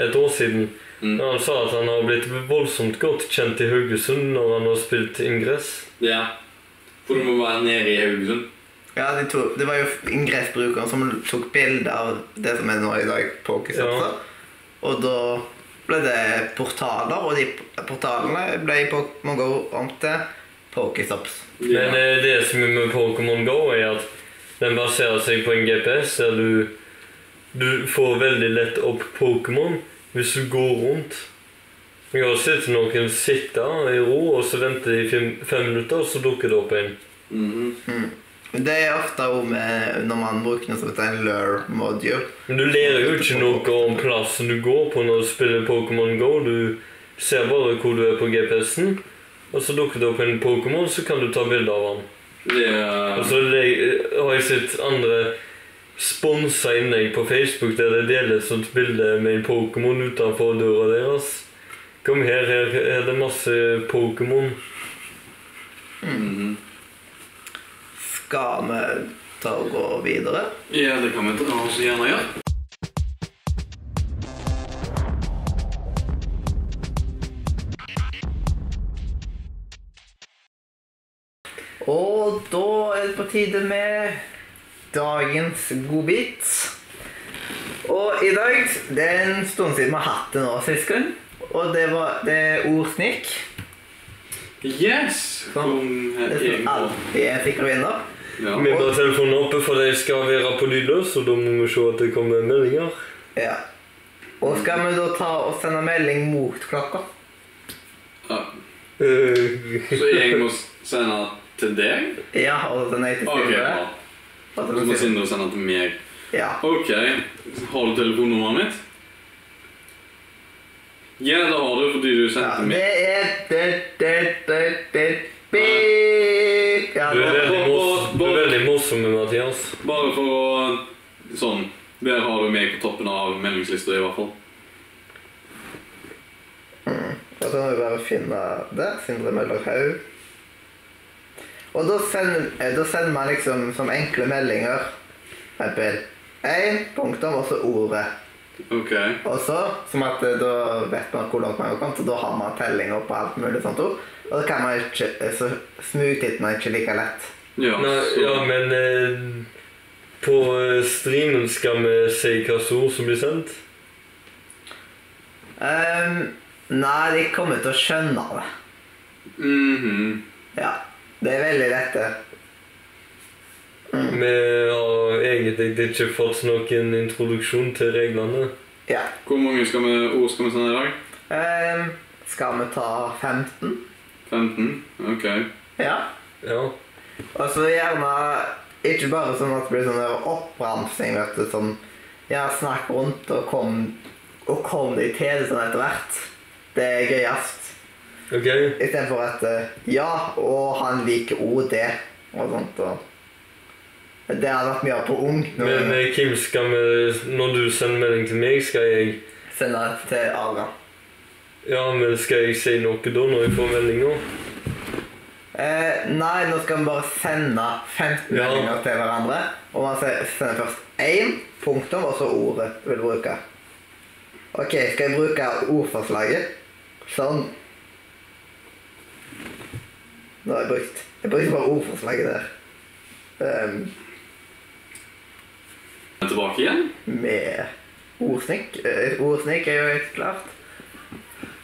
et år siden.
Mm.
Han sa at han har blitt voldsomt godt kjent i Haugesund når han har spilt ingress.
Ja. For du må være nede i Haugesund.
Ja, de to, Det var jo ingressbrukeren som tok bilde av det som er nå i dag Pokéstopser. Og da ble det portaler, og de portalene ble i Pokémon Go om til Pokéstops.
Men
Ja.
eh, det som er med Pokémon GO, er at den baserer seg på en GPS der du, du får veldig lett opp Pokémon hvis du går rundt. Jeg har sett noen sitte i ro, og så venter de i fem, fem minutter, og så dukker det opp en.
Mhm.
Det er ofte også med når man bruker noe som heter en lure module.
Men du lærer jo ikke noe om plassen du går på når du spiller Pokémon GO. Du ser bare hvor du er på GPS-en, og så dukker det opp en Pokémon, så kan du ta bilde av han.
Det er
Og så le- eh, har jeg sett andre sponsa innlegg på Facebook der det deles et sånt bilde med en Pokémon utenfor døra deres. Kom her, her er det masse Pokémon.
mhm.
Skal vi ta og gå videre?
Ja, det kan vi ta oss gjerne gjøre.
Og da er det på tide med dagens godbit. Og i dag Det er en stund siden vi har hatt det nå sist gang. Og det, var, det er ordsnikk.
Yes!
Sånn.
Kom her
Det er som
egen på.
alltid er en sikker vinner.
Ja.
Vi bare telefonen oppe, for de skal være på lydløs, og da må vi se at det kommer meldinger.
Ja. Og skal vi da ta og sende melding mot klokka?
Ja.
Eh,
Så jeg må sende til deg?
Ja, og den heter
Ok, bra.
Og
Så
så
må
sier-
Sindre sende til meg.
Ja.
Ok, har du telefonnummeret mitt? Ja, det har du, fordi du
ja.
sendte meg.
Det er det, det, det, det, beep. Ja,
Du er
det
veldig
Og, og
oss.
Bare for å Sånn. Der har du meg på toppen av meldingslista, i hvert fall.
Og så må vi bare finne det. Sindre Møller Haug. Og da sender, eh, da sender man liksom som enkle meldinger for eksempel én punktum og så ordet.
OK.
Og så, som at eh, da vet man hvor langt man har kommet, og da har man tellinger på alt mulig sånt ord. Og da kan man ikke, eh, så smugtitter man ikke like lett.
Ja,
Nei,
så,
ja, men eh, på eh, streamen skal vi si hvilke ord som blir sendt.
Ehm, nei, de kommer til å skjønne det.
mhm.
Ja. Det er veldig lett, det.
Vi har egentlig ikke fått noen introduksjon til reglene.
Ja.
Hvor mange skal vi, ord skal vi sende i dag?
Ehm, skal vi ta 15?
15? OK.
Ja.
Ja.
Og så gjerne ikke bare sånn at det blir sånn der oppramsing, vet du, sånn Ja, snakk rundt og kom, og kom deg til det sånn etter hvert. Det er gøyest.
OK?
Istedenfor at eh, Ja, og han liker òg det, og sånt. og Det hadde vært mye på ung. Når
Men
vi
eh, Kim, skal vi, når du sender melding til meg, skal jeg
sender det til Adrian.
Ja, men skal jeg si noe da, når jeg får meldinga?
Eh, nei, nå skal vi bare sende 15
Ja.
meldinger til hverandre. Og man se- sender først én punktum, og så ordet du vil bruke. OK, skal jeg bruke ordforslaget? Sånn. Nå har jeg brukt Jeg brukte bare ordforslaget der. Ehm,
Er jeg Tilbake igjen?
med ordsnikk. Eh, Ordsnikk er jo helt klart.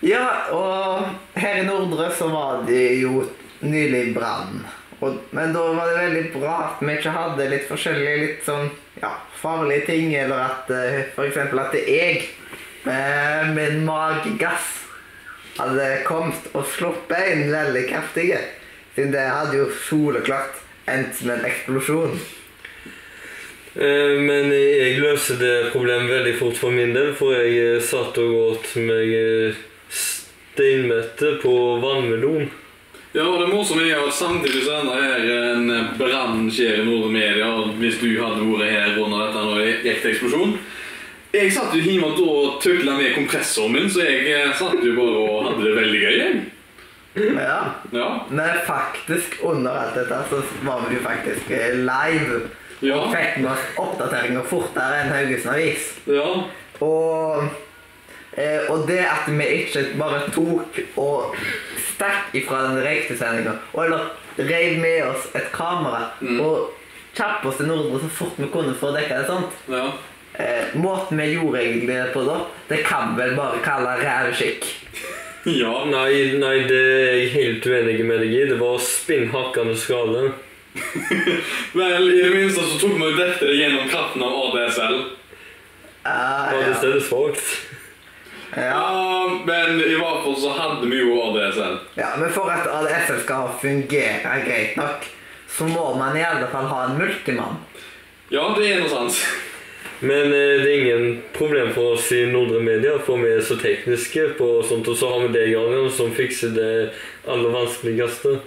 Ja, og her i Nordre så var det jo nylig brann. Og- Men da var det veldig bra at vi ikke hadde litt forskjellige, litt sånn ja, farlige ting, eller at eh, for eksempel at jeg med min magegass hadde kommet og sluppet inn veldig kraftige. Siden det hadde jo soleklart endt med en eksplosjon.
Eh, Men jeg løste det problemet veldig fort for min del, for jeg eh, satt og åt meg eh, steinmette på vannmelon.
Ja, og det morsomme er jo at samtidig så ender her eh, en brann skjer i Nordre Media. og Hvis du hadde vært her under dette når det gikk til eksplosjon Jeg satt jo hjemme da og tøkla med kompressoren min, så jeg eh, satt jo bare og hadde det veldig gøy. jeg.
Ja.
Ja.
Men faktisk, under alt dette, så var vi jo faktisk eh, live.
Ja.
Og fikk med oss oppdateringer fortere enn Haugesund Avis.
ja.
Og, eh, og det at vi ikke bare tok og stakk ifra den direktesendinga, og eller reiv med oss et kamera og kjapp oss til Nordre så fort vi kunne for å dekke det sånt
ja.
eh, Måten vi gjorde egentlig det på da, det kan vi vel bare kalle rævskikk.
Ja.
Nei, nei, det er jeg helt uenig med deg i. Det var spinnhakkende skade.
Vel, i det minste så tok vi dette gjennom kraften av ADSL.
Ah, Ja,
Var det
ja.
stedet svakt?
ja.
Ja, men i hvert fall så hadde vi jo ADSL.
Ja, men for at ADSL skal fungere greit nok, så må man i alle fall ha en multimann.
Ja, det er noe sant.
Men eh, det er ingen problem for oss i Nordre Media, for vi er så tekniske på sånt, og så har vi deg, Adrian, som fikser det aller vanskeligste.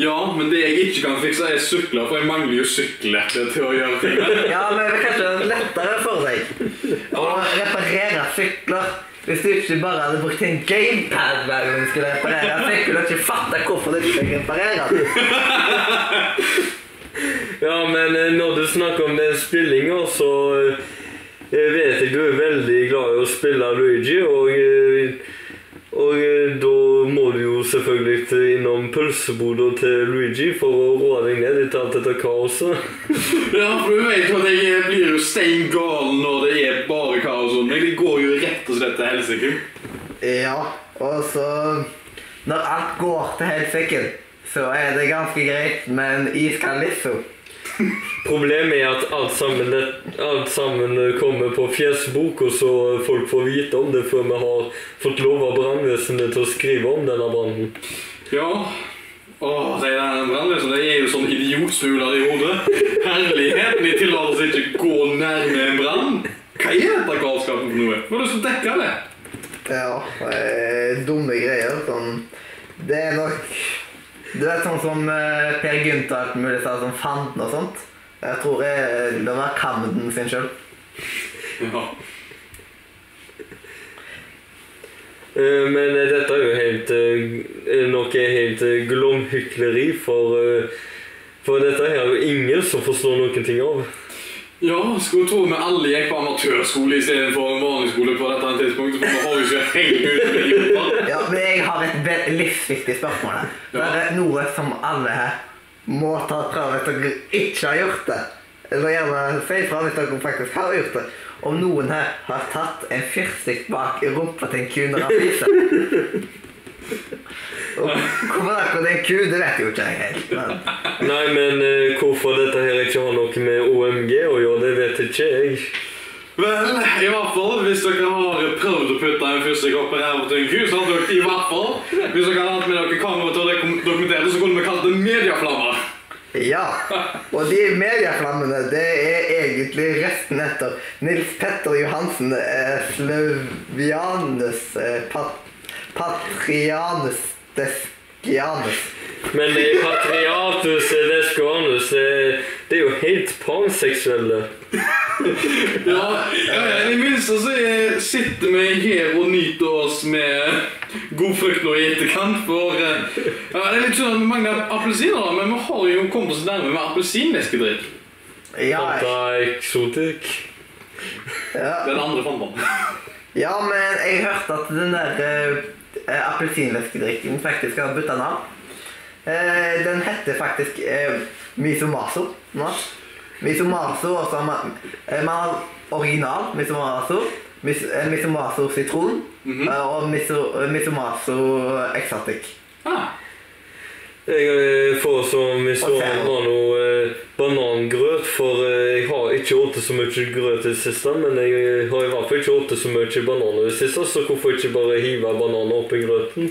Ja, men det jeg ikke kan fikse, er sykler, for jeg mangler jo sykkelhette til å gjøre ting med.
Ja, men det er kanskje lettere for deg å reparere sykler hvis du ikke bare hadde brukt en gamepad hver gang du skulle reparere en sykkel og ikke fatta hvorfor du ikke skal reparere den.
Ja, men eh, når du snakker om den spillinga, så eh, jeg vet jeg du er veldig glad i å spille Luigi, og, eh, og eh, da må du jo selvfølgelig til- innom pølseboda til Luigi for å roe deg ned etter alt dette kaoset.
Ja, for du vet jo at jeg blir jo stein gal når det er bare kaos rundt meg. Det går jo rett og slett til helsike.
Ja, og så Når alt går til helsiken, så er det ganske greit med en iskald lisso.
Problemet er at alt sammen, det, alt sammen eh, kommer på fjesboka, så folk får vite om det før vi har fått lov av brannvesenet til å skrive om denne brannen.
Ja. Åh, de der brannløsene, de er jo sånn idiotsmuler i hodet. Herligheten, de tillater seg ikke gå nærme en brann. Hva er dette galskapen for noe? Hva har du lyst til å dekke det?
Ja, eh, dumme greier. Sånn. Det er nok Du vet sånn som eh, Per Gynt og alt mulig sånn som Fanden og sånt. Jeg tror eh, det var Camden sin skyld.
Ja.
Eh, Men eh, dette er jo helt eh, noe helt eh, glomhykleri, for, eh, for dette her er jo ingen som forstår noen ting av.
ja, skulle tro vi alle gikk på amatørskole istedenfor en vanlig skole på dette tidspunktet, for vi har jo ikke helt utbildning.
Ja, men jeg har et ve- livsviktig spørsmål her. Det er noe som alle her må ta prøve hvis dere ikke har gjort det. Jeg må gjerne si fra hvis dere faktisk har gjort det. Om noen her har tatt en fyrstikk bak rumpa til en ku når han spiser. Og Hvorfor akkurat det er en ku, det vet jo ikke jeg helt. Men
Nei, men eh, hvorfor dette her ikke har noe med OMG å gjøre, det vet ikke jeg.
Vel, i hvert fall, hvis dere har prøvd å putte en fyrstikk opp i ræva til en ku, så hadde dere i hvert fall Hvis dere hadde hatt med dere kamera til å dokum- dokumentere det, så kunne vi kalt det medieflammer.
ja. Og de medieflammene, det er egentlig resten etter Nils Petter Johansen eh, Sløvianus eh, pat, Patrianus Deskianus.
Men eh, patriatus eh, lesbianus, eh, det er jo helt panseksuelle.
Ja, eh, I minst så er- sitter vi her og nyter oss med god frukt nå i etterkant, for eh, ja, Det er litt synd at vi mangler appelsiner, da, men vi har jo kommet oss nærme med appelsinvæskedrikk.
Ja,
Fanta eksotikk.
ja,
Den andre fanden.
ja, men jeg hørte at den der eh, appelsinvæskedrikken faktisk har bytta navn. Eh, den heter faktisk eh, Misomaso nå. Misomaso, og så har man, eh, man har original Misomaso, mis, eh, Misomaso sitron eh, og miso, eh, Misomaso exotic.
Ah,
Jeg eh, foreslår vi står
Ok.
har noe eh, banangrøt, for eh, jeg har ikke spist så mye grøt i det siste. Men jeg eh, har i hvert fall ikke spist så mye bananer i det siste, så hvorfor ikke bare hive bananer oppi grøten?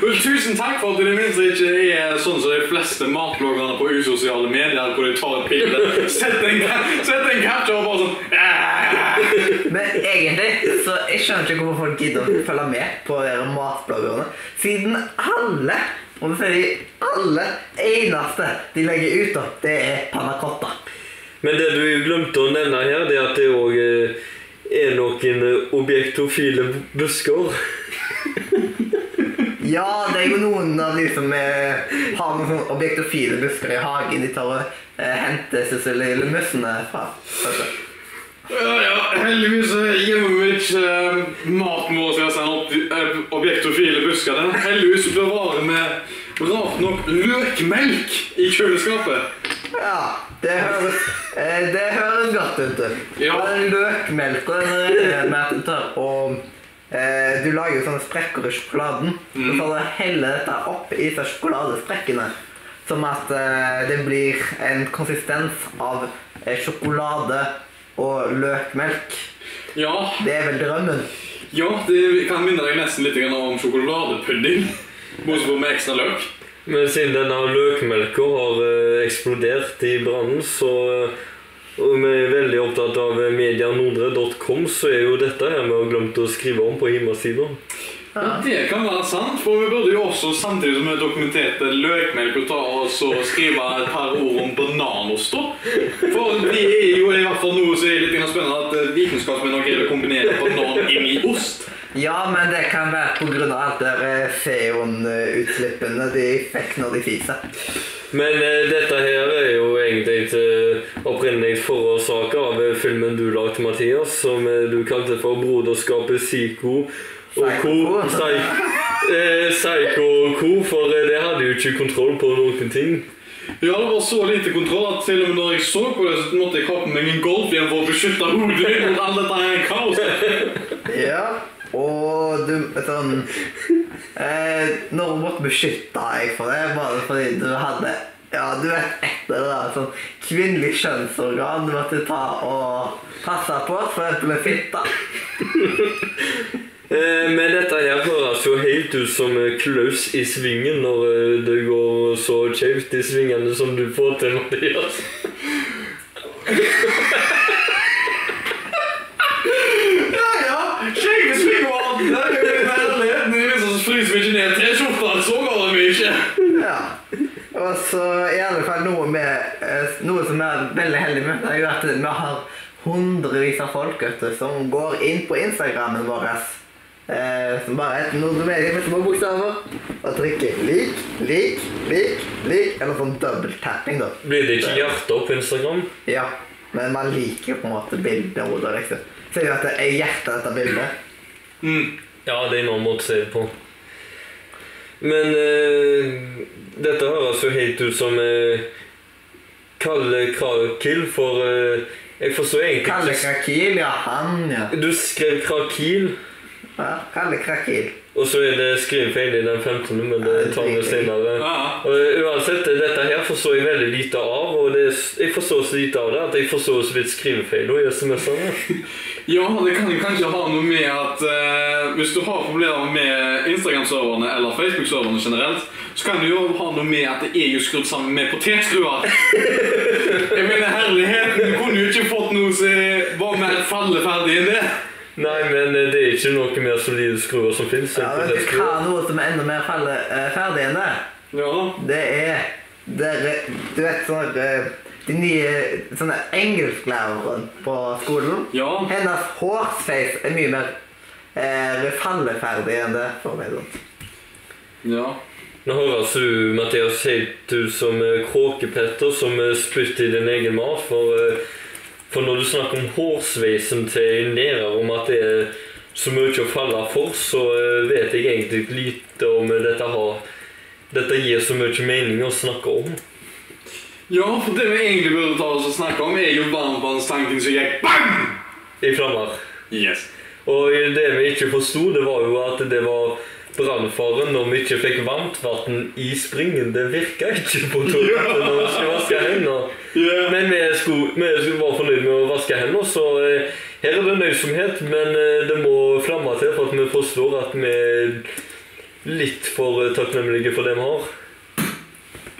Vel, tusen takk for at det i det minste ikke er sånn som de fleste matbloggerne på usosiale medier, hvor de tar et bilde, setter en, ca- setter en capture og bare sånn "Ah!"
Men egentlig så jeg skjønner ikke hvorfor folk gidder å følge med på dere matbloggerne. Siden alle, og så sier de alle, eneste de legger ut, da, det er panna cotta.
Men det du glemte å nevne her, det er at det òg er noen eh, objektofile bu- busker.
Ja, det er jo noen av de som eh, har noen sånne objektofile busker i hagen. De tar og eh, henter seg så lille mussene fra.
Ja, ja, heldigvis eh, gjemmer vi ikke eh, maten vår til å sende opp eh, objektofile busker. Den er heldigvis bevarer med rart nok løkmelk i kjøleskapet.
Ja, det høres, eh, det høres godt ut. du.
Ja.
Og den løkmelka den regner jeg med at du tar eh, og eh, Du lager jo sånne sprekker i sjokoladen. Så tar du og heller dette opp i disse sjokoladesprekkene. Sånn at eh, det blir en konsistens av eh, sjokolade og løkmelk.
Ja,
Det er vel drømmen.
ja, det kan minne deg nesten litt grann om sjokoladepudding. Bortsett fra med ekstra løk.
Men siden denne løkmelka har eh, eksplodert i brannen, så eh, og vi er veldig opptatt av eh, medianordre.com, så er jo dette her vi har glemt å skrive om på hjemmesida.
Ja, det kan være sant, for vi burde jo også samtidig som vi dokumenterte løkmelk og ta og så skrive et par ord om bananost, da. For det er jo i hvert fall noe som er litt grann spennende at eh, vitenskapsmenn har greid å kombinere banan inn i ost.
Ja, men det kan være pga. alt der CO-utslippene de fikk når de fiser.
Men eh, dette her er jo egentlig et eh, opprinnelig forårsaka av eh, filmen du lagde, Mathias, som eh, du kalte for 'Broderskapet Psycho og
Psycho.
Co'. Psy- eh, Psycho og Co, for eh, det hadde jo ikke kontroll på noen ting.
Ja, det var så lite kontroll at til og med når jeg så på det, så måtte jeg ha på meg en golf igjen for å beskytte hodet mitt mot all dette her kaoset.
Ja, og du sånn eh, Når måtte beskytte deg for det, bare fordi du hadde Ja, du vet et eller annet sånn kvinnelig kjønnsorgan du måtte ta og passe på, for eksempel en fitte.
Eh, Men dette her høres jo helt ut som eh, Klaus i svingen når eh, det går så kjevt i svingene som du får til, Mathias.
Ja, ja, skjegget svinger og alt. Det er jo i virkeligheten. Det er liksom så fryser vi ikke ned T-skjorta, så går det mye.
Ja. Og så i alle fall noe, med, eh, noe som er veldig heldig med, er jo at vi har hundrevis av folk vet du, som går inn på Instagrammen vår. Eh, som bare heter Nordomedia med små bokstaver. Og trykker lik, lik, lik, lik. Eller sånn dobbelttapping, da.
Blir det ikke hjerter på Instagram?
Ja, men man liker jo på en måte bildet og hodet, liksom. Ser jo at det er hjertet av dette bildet.
Ja, det er en annen måte å si det på. Men eh, dette høres jo helt ut som eh, Kalle Krakil, for eh, jeg forstår egentlig
Kalle
ikke
Krakil, ja. Han, ja.
Du skrev Krakil,
ja Kalle Krakil.
og så er det skrivefeil i den 15., men det tar vi senere.
Ja.
Og eh, uansett, eh, dette her forstår jeg veldig lite av, og det, er s- jeg forstår så lite av det at jeg forstår så vidt skrivefeil i SMS-ene.
ja, det kan jo kanskje ha noe med at eh, hvis du har problemer med Instagram-serverne eller Facebook-serverne generelt, så kan det jo ha noe med at det er jo skrudd sammen med potetskruer. Jeg mener herligheten, du kunne jo ikke fått noe som var mer falleferdig enn det.
Nei, men eh, det er ikke noe mer solide skruer som fins.
Ja, vet du hva er noe som er enda mer falle, eh, ferdig enn det?
Ja,
Det er dere, Du vet sånn eh, De nye sånne engelsklæreren på skolen.
ja.
Hennes hårsveis er mye mer eh, falleferdig enn det. for meg sånn.
ja.
Nå høres du, Mathias, helt ut som eh, Kråkepetter som eh, spytter i din egen mat. For, eh, for når du snakker om hårsveisen til en lærer, om at det er så mye å falle for, så eh, vet jeg egentlig lite om eh, dette har Dette gir så mye mening å snakke om.
Ja, for det vi egentlig burde ta oss og snakke om, er jo varmtvannstanken som gikk bang!
I flammer.
Yes.
Og det vi ikke forsto, det var jo at det var brannfaren når vi ikke fikk varmt vann i springen. Det virka ikke på toalettet når vi skulle vaske hendene.
Yeah.
Men vi skulle, vi skulle være fornøyd med å vaske hendene, så eh, her er det nøysomhet. Men eh, det må flamme til for at vi forstår at vi er litt for eh, takknemlige for det vi har.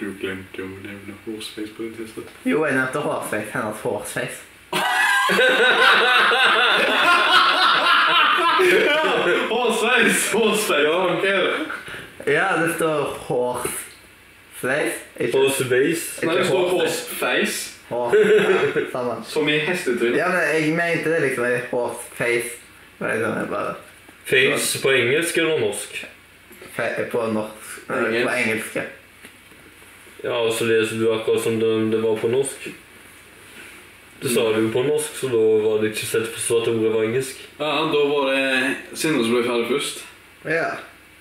Du glemte jo å nevne hårsveis på den testen.
Jo, jeg nevnte hårsveis. Hennes hårsveis.
Hårsveis! Hårsveis! Ja,
Ja, det står hårsveis. Ikke
Og sveis.
Nei, det står hårsfeis,
hår... Ja, samme.
som i hestetryll.
Ja, men jeg mente det liksom. i Hårsveis. Det var Liksom, jeg bare...
Face på engelsk eller norsk?
Fe- På norsk eh, På engelsk. ja.
Ja, og så leser du akkurat som det, det var på norsk. Du sa det jo på norsk, så da var det ikke sett forstå at ordet var engelsk.
Ja, da var det Sindre som ble ferdig først,
Ja.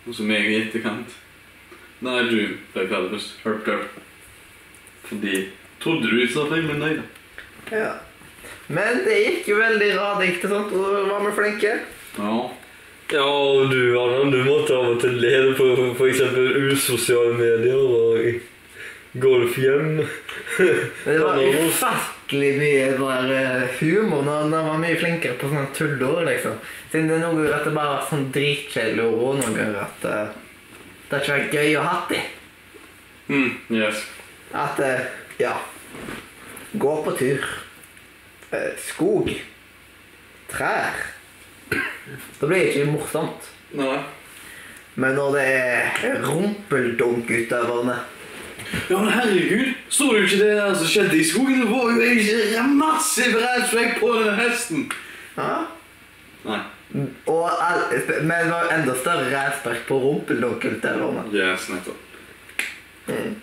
og så meg i etterkant. Nei, du ble ferdig først. Hørp, hørp. Fordi Trodde du sa feil, men nei da.
ja. Men det gikk jo veldig radikt og sånt, og så var vi flinke.
Ja.
Ja, og du, Allan, du måtte av og til lede på f.eks. usosiale medier og i golfhjem.
Men det var
Ja, nå-
ufattelig mye der eh, humor. Når når man var mye flinkere på sånne tulleord, liksom. Siden det er noen ganger at det bare var sånn dritkjedelig ord, og noen ganger at eh, det har ikke vært gøy å ha det.
Mm, yes.
At eh, ja Gå på tur. Eh, Skog. Trær. Da blir det ikke morsomt.
Nei.
Men når det er rumpeldunk-utøverne
Ja, men herregud, så du ikke det der som skjedde i skogen? Det var jo en massiv rævsvekk på den hesten.
ja.
Nei.
og all, Men det var enda større rævspark på rumpeldunk-utøverne.
Yes, nettopp.
Mm,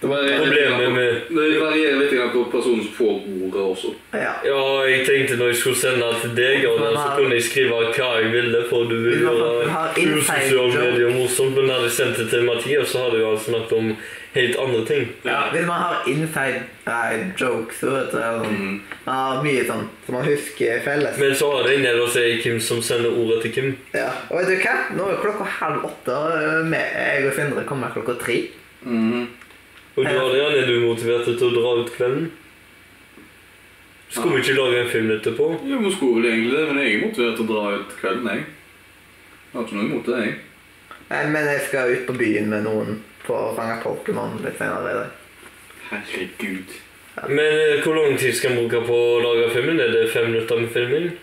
Det varierer litt
Problemet
grann på-
med
det varierer litt grann på personen som får ordet også.
Ja.
Ja, jeg tenkte når jeg skulle sende det til deg, Allan, så kunne jeg skrive hva jeg ville, for du ville
Du
gjøre
har inside
usosiale
joke.
medier morsomt, men hadde jeg sendt det til Mathias, så hadde jeg altså snakket om helt andre ting.
Ja, Hvis man har inside nei, jokes så vet du, eller sånn.
Mm.
Man har mye sånn som man husker felles.
Men så har det en del å si hvem som sender ordet til hvem.
Ja. Og vet du hva? Nå er klokka halv åtte, og vi- jeg og Sindre kommer klokka tre.
Mm-hmm.
Og du, Adrian, er du motivert til å dra ut kvelden? Skulle vi ikke lage en film etterpå?
Jo, man skulle vel egentlig det, men jeg er motivert til å dra ut kvelden, jeg. Jeg har ikke noe imot det, jeg.
Nei, Men jeg skal ut på byen med noen for å fange Pokémon litt senere i dag.
Herregud.
Men eh, hvor lang tid skal man bruke på å lage filmen? Er det fem minutter med filmen?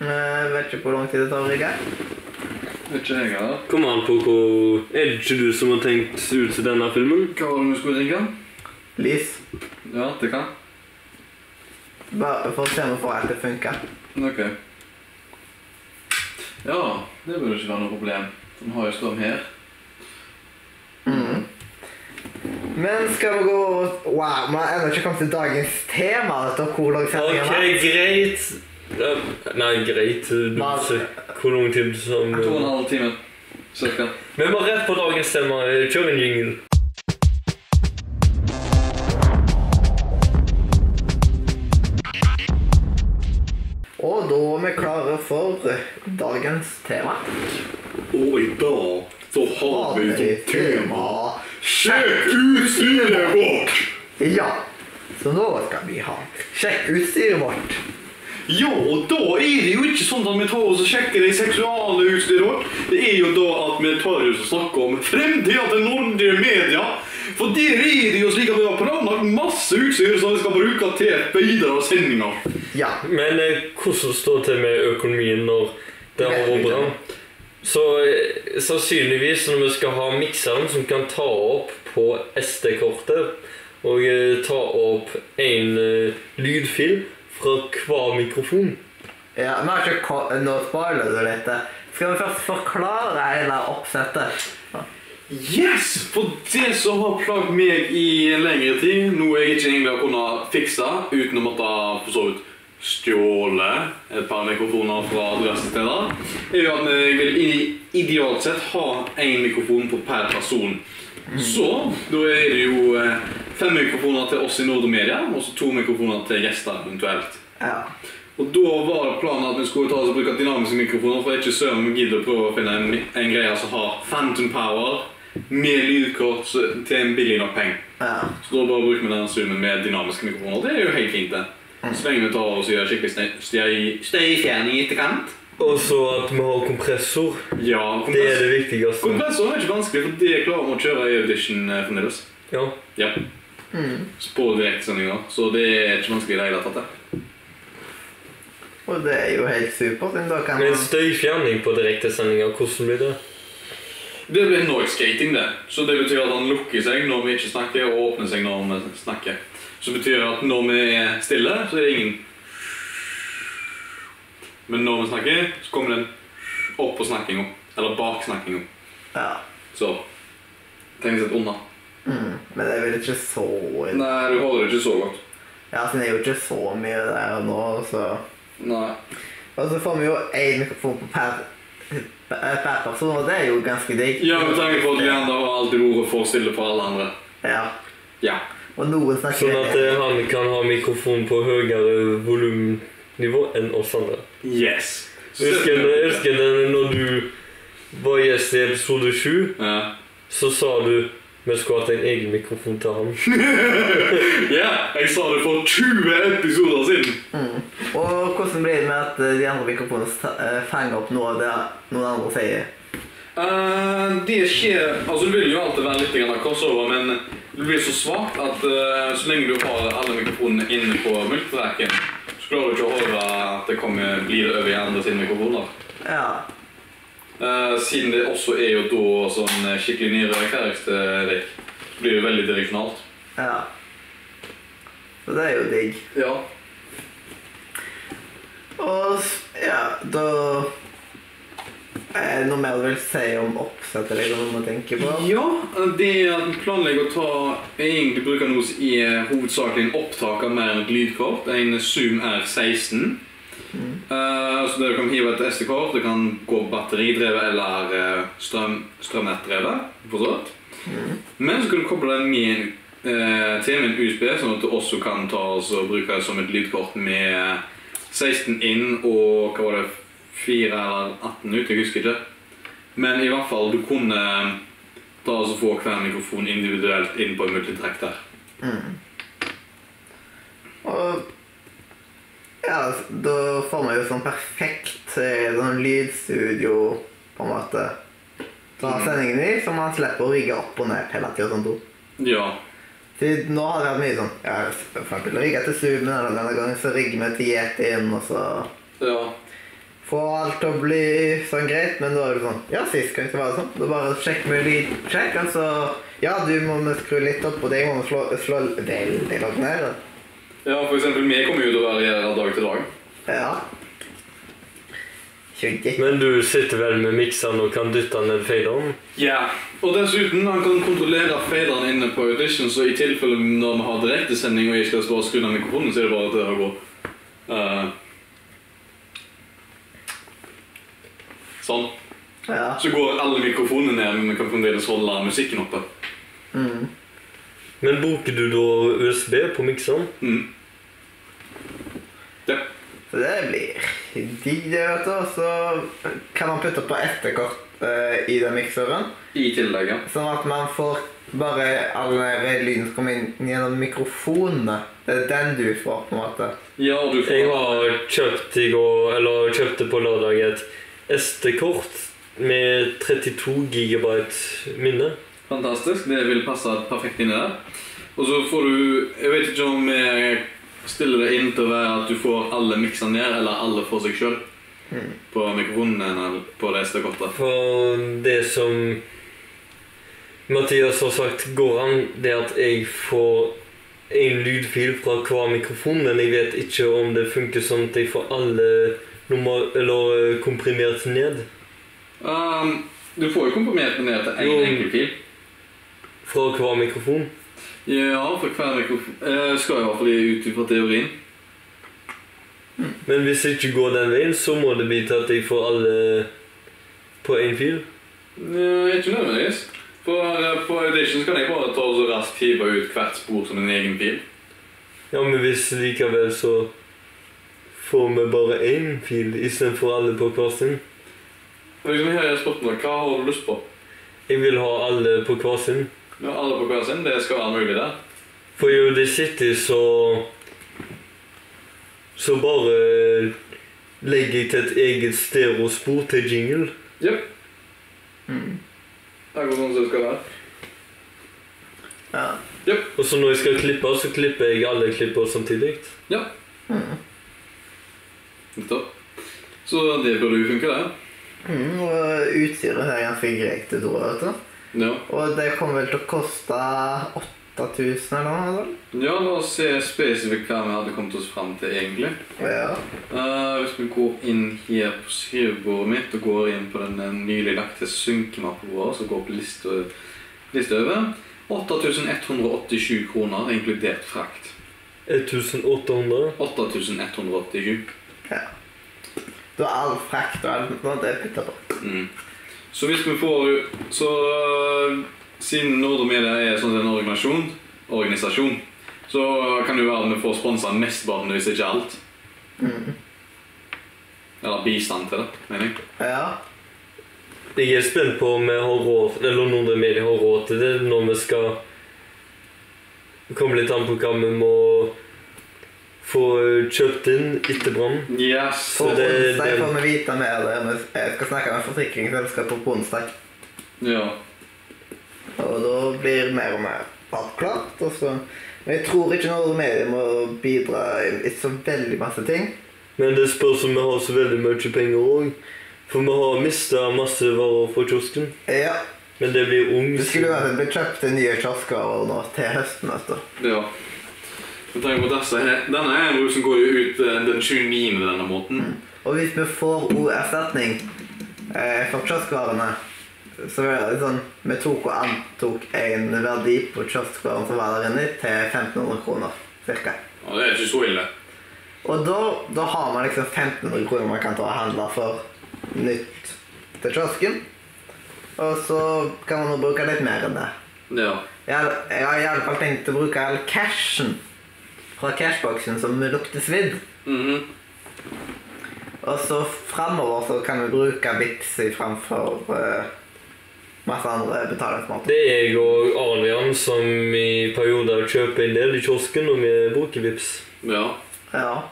Eh, vet ikke hvor lang tid det tar. Ikke?
Ikke jeg heller.
Kommer an på hvor Er det ikke du som har tenkt ut til denne filmen?
Hva var det vi skulle ringe?
Lys,
Ja, det kan.
bare for å se om vi får alt til å funke.
Ok. Ja, det burde ikke være noe problem. Den har jo strøm her.
Mm. Men skal vi gå Wow, vi har ennå ikke kommet til dagens tema. Dette, hvor lang sendingen
Ok,
var.
greit. Eh, Nei, greit. Du
Hva-
se hvor lang tid som
To og en halv time, cirka.
Vi må rett på dagens tema. Kjør en jingle.
Og da er vi klare for dagens tema.
Og i dag så
Oh,
har vi som tema Sjekk utstyret vårt!
Ja. Så nå skal vi ha Sjekk utstyret vårt.
Ja, og da er det jo ikke sånn at vi tar oss og sjekker det seksuale utstyret vårt. Det er jo da at vi tar oss og snakker om fremtida til nordlige media. For der er det jo slik at vi har planlagt masse utstyr som vi skal bruke til videre sendinger.
Ja.
Men eh, hvordan står det til med økonomien når det har vært brann? Så eh, sannsynligvis når vi skal ha mikseren som kan ta opp på SD-kortet og eh, ta opp en eh, lydfil fra hver mikrofon
ja vi har ikke ko- Nå spoiler du litt. Skal vi først forklare hele oppsettet?
Yes! For det som har plaget meg i lengre tid, noe jeg ikke egentlig har kunnet fikse uten å måtte for så vidt stjåle et par mikrofoner fra adressesteder, er jo at jeg vil i- idealt sett ha én mikrofon på per person. Så da er det jo eh, fem mikrofoner til oss i Nord og Media, og så to mikrofoner til gjester eventuelt.
Ja.
Og da var planen at vi skulle ta oss og bruke dynamiske mikrofoner, for ikke søren vi gidder å prøve å finne en, en greie som har phantom power med lydkort så- til en billig nok penge.
ja.
Så da bare bruker vi den summen med dynamiske mikrofoner. Det er jo helt fint, det.
Mm.
Så lenge vi tar oss og gjør skikkelig sne- støy- støyfjerning i etterkant.
Og så at vi har kompressor.
Ja,
Det er det
kompressor.
viktigste.
Kompressor er ikke vanskelig, for det klarer vi å kjøre i audition eh, fremdeles.
Ja.
Ja.
Mm.
Så På direktesendinger. Så det er ikke vanskelig i det hele tatt. det.
Og det er jo helt supert. siden Da kan
Men
man
støyfjerning på direktesendinger, hvordan blir det?
Det blir noise skating, det. Så det betyr at han lukker seg når vi ikke snakker, og åpner seg når vi snakker. Så det betyr at når vi er stille, så er det ingen Men når vi snakker, så kommer den opp på snakkinga. Eller bak snakkinga.
Ja.
Så Tenk seg unna.
Mm. Men det er vel ikke så
Nei, du holder det ikke så godt.
Ja, siden det er jo ikke så mye der og nå, så
Nei.
Og så får vi jo én mikrofon på per, per person, og det er jo ganske digg.
Ja, med tanke på at Leander har alltid vært for stille for alle andre.
Ja.
Ja.
Og noen snakker
Sånn at eh, han kan ha mikrofon på høyere volumnivå enn oss andre.
Yes.
Husker du husker du når du var gjest i episode 7,
Ja.
så sa du vi skulle hatt en egen mikrofon til han.
ja, jeg sa det for 20 episoder siden.
Og hvordan blir det med at eh, de andre mikrofonene sta- eh, fanger opp noe av det noen andre sier?
Eh, det skjer Altså, det vil jo alltid være litt grann crossover, men det blir så svakt at eh, så lenge du har alle mikrofonene inne på multitracken, så klarer du ikke å høre at det kommer blir over i andre sine mikrofoner.
Ja.
Eh, siden det også er jo da sånn skikkelig nyrøykarakterik, så blir eh, det veldig direksjonalt.
ja. Så det er jo digg.
Ja.
Og s- ja, da er det Noe mer du vil si om oppsettet, eller noe du må tenke på?
Ja, det at vi planlegger å ta egentlig bruker noe som er hovedsakelig en opptaker mer enn et lydkort. En Zoom R16. Eh, så dere kan hive et SD-kort. Det kan gå batteridrevet eller eh, strøm, strømnettdrevet. for så vidt. Men så kan du koble den med en, eh, til med en USB, sånn at du også kan ta altså, bruke det som et lydkort med 16 inn og hva var det, 4 eller 18 ut. Jeg husker ikke. Men i hvert fall, du kunne da altså få hver mikrofon individuelt inn på en multitrack der.
Og ja, da får man jo sånn perfekt eh, sånn lydstudio, på en måte. Ta sendingen i, så man slipper å rigge opp og ned hele tida. Sånn, to.
Ja.
Til nå har det vært mye sånn ja, For eksempel rigga til Zoomen, eller denne gangen så rigger vi til Yetien, og så
ja.
få alt til å bli sånn greit, men da er det sånn Ja, sist gang så var det sånn. Da bare sjekk med lyd, sjekk, altså Ja, du må vi skru litt opp, og deg må vi slå, slå veldig langt ned. da.
Ja, for eksempel, vi kommer jo til å variere dag til dag.
Ja. Tjugge.
Men du sitter vel med mikseren og kan dytte ned faderen?
Ja, og dessuten, han kan kontrollere faderen inne på audition, så i tilfelle når vi har direktesending og jeg skal bare skru ned mikrofonen, så er det bare til å gå. Eh, sånn.
Ja.
Så går alle mikrofonene ned, men vi kan fremdeles holde musikken oppe.
Mm.
Men bruker du da USB på mikseren?
Mm. Ja.
Så det blir digg, det, vet du. Og så kan man putte på etterkort eh, i den mikseren.
I tillegg, ja.
Sånn at man får bare all den der lyden som kommer inn gjennom mikrofonene. Det er den du får, på en måte.
Ja, og du får...
Jeg har kjøpt i går, eller kjøpte på lørdag et SD-kort med 32 gigabyte minne.
Fantastisk. Det vil passe perfekt inn i det. Og så får du Jeg vet ikke om jeg stiller det inn til å være at du får alle miksa ned, eller alle for seg sjøl. På mikrofonen eller på det SD-kortet.
For det som Mathias har sagt går an, det er at jeg får en lydfil fra hver mikrofon, men jeg vet ikke om det funker sånn at jeg får alle nummer, eller eh, komprimert ned
Um, du får jo komprimert det ned til
Jo.
én enkel fil.
fra hver mikrofon.
Ja, for hver mikrofon eh, Skal i hvert fall ut fra teorien.
Men hvis det ikke går den veien, så må det bli til at jeg får alle på én fil.
Eh, ikke nødvendigvis. For eh, på Audition så kan jeg bare ta og så raskt hive ut hvert spor som en egen fil.
Ja, men hvis likevel så får vi bare én fil istedenfor alle på hver sin.
Og Liksom her er spørsmålet, Hva har du lyst på?
Jeg vil ha alle på hver sin.
Ja, alle på hver sin. Det skal være mulig, det.
For i UD City så Så bare legger jeg til et eget stereospor til jingle.
Jep. Akkurat sånn som det skal være.
Ja.
Og så når jeg skal klippe, så klipper jeg alle klipper samtidig.
Nettopp. Så det burde jo funke, det.
Mm, og utstyret er ganske greit, det tror jeg. vet du.
Ja.
Og det kommer vel til å koste 8000 eller noe sånt.
ja, la oss se spesifikt hva vi hadde kommet oss fram til, egentlig.
Ja.
Eh, hvis vi går inn her på skrivebordet mitt og går inn på den eh, nylig lagte synkemappen vår, som går på liste, liste over 8187 kroner, inkludert frakt.
1800.
8187.
Du har all frakt og alt sånt. Det er pytta på.
Mm. Så hvis vi får Så øh, siden Nordre Media er sånn sett en organisasjon, organisasjon så kan det jo være at vi får sponsa mesteparten, hvis ikke alt. Eller bistand til det, mener jeg.
Ja.
Jeg er spent på om vi har råd, eller Nordre Media har råd til det når vi skal Det kommer litt an på hva vi må få kjøpt inn etter brannen.
Yes.
På
Så det-
onsdag
det-
får vi vite mer. det, men Jeg skal snakke med forsikringsselskapet på onsdag.
Ja.
Og da blir mer og mer avklart. Og så. Men jeg tror ikke noe medier må bidra i så veldig masse ting.
Men det spørs om vi har så veldig mye penger òg. For vi har mista masse varer fra kiosken.
Ja,
Men det blir ung.
Det skulle vært at det ble kjøpt nye kiosker nå til høsten. altså. vet du.
ja. Jeg tenker på disse her. Denne her rusen går jo ut eh, den 29. denne måneden.
Og hvis vi får god erstatning eh, for kioskvarene så var det sånn, Vi tok og antok en verdi på kioskvaren som var der inne, til 1500 kroner cirka.
Ja, det er ikke så ille.
Og da, da har man liksom 1500 kroner man kan ta og handle for nytt til kiosken. Og så kan man jo bruke litt mer enn det.
Ja.
Jeg har- jeg har i alle fall tenkt å bruke all cashen fra cashboxen som lukter svidd.
Mhm.
Og så fremover så kan vi bruke Vipps framfor eh, masse andre betalingsmåter.
Det er jeg og Adrian som i perioder kjøper en del i kiosken, og vi bruker Vipps.
ja.
Ja.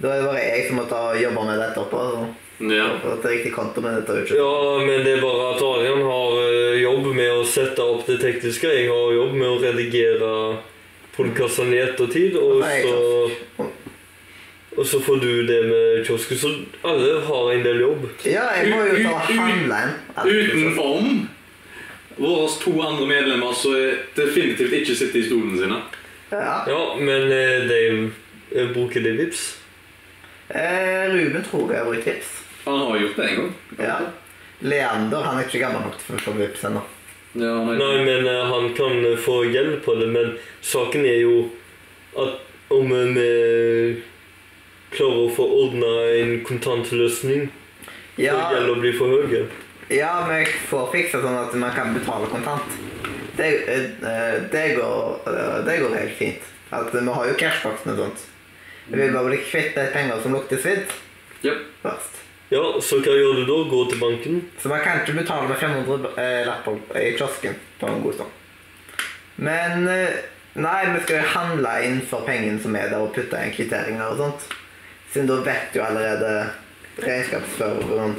Da er det bare jeg som må ta og jobbe med dette oppå. Så.
Ja.
For at det er riktig konto med dette. Ikke?
Ja, men det er bare at Adrian har eh, jobb med å sette opp det tekniske. Jeg har jobb med å redigere podkastene i ettertid, og
Nei,
så
klart.
Og så får du det med kiosken. Så alle har en del jobb.
Ja, jeg må jo
U-
ta
u-
og
u-
handle en.
Utenom våre to andre medlemmer som definitivt ikke sitter i stolene sine.
Ja.
Ja, men eh, de eh, bruker det vips.
Eh, Ruben tror jeg bruker tips.
Han har gjort det en gang.
Ja. Leander han er ikke gammel nok til å få vips ennå.
Ja, han har-
Nei, men eh, han kan eh, få hjelp på det, men saken er jo at om eh, vi klarer å få ordna en kontantløsning, så
Ja,
gjelder å bli for høye.
ja, men jeg får fiksa sånn at man kan betale kontant. Det, eh, det, går, eh, det går helt fint. At Vi har jo cashboxen og sånt. Vi vil bare bli kvitt de penger som lukter svidd
Ja.
først.
Ja, så hva gjør du da? Gå til banken?
Så man kan ikke betale med 500 eh, lapper i kiosken på en god stund. Men eh, nei, vi skal jo handle inn for pengene som er der, og putte inn kvitteringer og sånt. Siden da vet jo allerede regnskapsføreren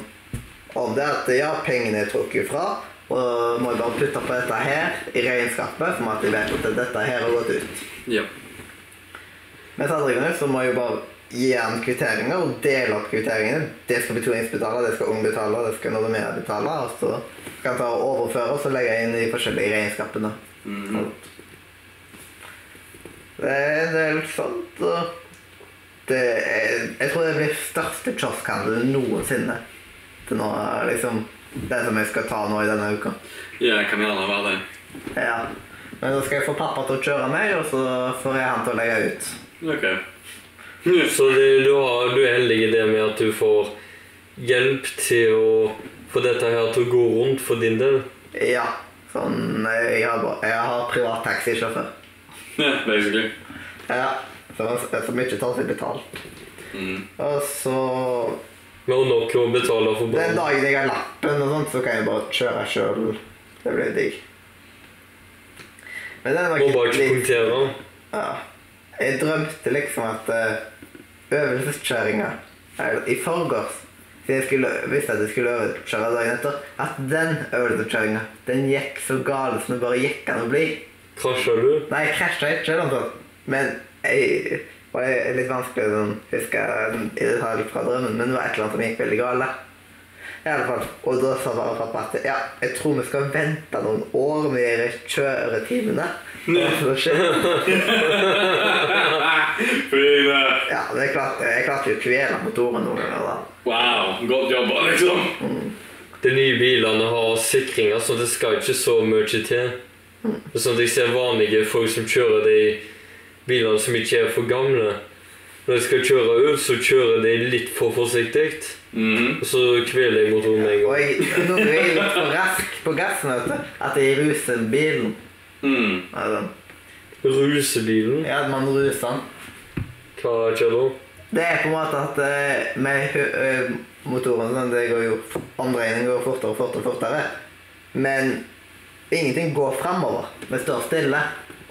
om det at ja, pengene er trukket fra, og må jeg bare putte på dette her i regnskapet, for at jeg vet at dette her har gått ut.
ja.
Mens andre ganger så må jeg jo bare gi han kvitteringer og dele opp kvitteringene. Det skal betalingsbetale, det skal ung betale, det skal noe mer betale. Og så kan jeg ta og overføre og så legge inn i forskjellige regnskapene. Det er det er litt sånt. Og det er, jeg tror det blir største kioskhandelen noensinne. Til nå er liksom den som jeg skal ta nå i denne uka.
ja, jeg kan gjerne være det.
Ja. Men da skal jeg få pappa til å kjøre meg, og så får jeg han til å legge ut.
Ok.
Så det, du, har, du er heldig i det med at du får hjelp til å få dette her til å gå rundt for din del.
Ja. Sånn, jeg har, ba- jeg har privat taxisjåfør.
Ja, basically.
Ja. Som, som ikke tar seg betalt.
Mm.
Og så
Vi har nok å betale for
Den
barn.
dagen jeg har lappen, og sånt, så kan jeg bare kjøre sjøl. Det blir digg. Men den var
Må
ikke
bare ikke
litt-
punktere.
ja. Jeg drømte liksom at uh, øvelseskjøringa eller I forgårs, siden jeg skulle, visste at jeg skulle øvelseskjøre dagen etter, at den øvelseskjøringa, den gikk så galt som det bare gikk an å bli.
Krasjer du?
Nei, jeg krasja ikke, eller noe sånt. Men jeg var litt vanskelig å sånn, huske i detalj fra drømmen, men det var et eller annet som gikk veldig galt. I alle fall. Og da sa bare pappa at ja, jeg tror vi skal vente noen år med de kjøretimene. Og så skjer-
Fine.
Ja, men jeg klarte, jeg klarte jo å kvele motoren noen ganger. da.
Wow, godt jobba, liksom.
De nye bilene har sikringer, så det skal ikke så mye til. Det er sånn at Jeg ser vanlige folk som kjører de bilene som ikke er for gamle. Når de skal kjøre ut, så kjører de litt for forsiktig.
Mhm.
Og så kveler jeg motoren med en
Og
gang.
jeg, noen ganger er jeg litt for rask på gassen vet du, at jeg ruser bilen.
Mm.
Altså,
Rusebilen?
ja, man ruser den.
Hva kjører du?
Det er på en måte at eh, med hø- eh, motoren sånn, det går jo Omdreiningen går fortere og fortere og fortere. Men ingenting går framover. Vi står stille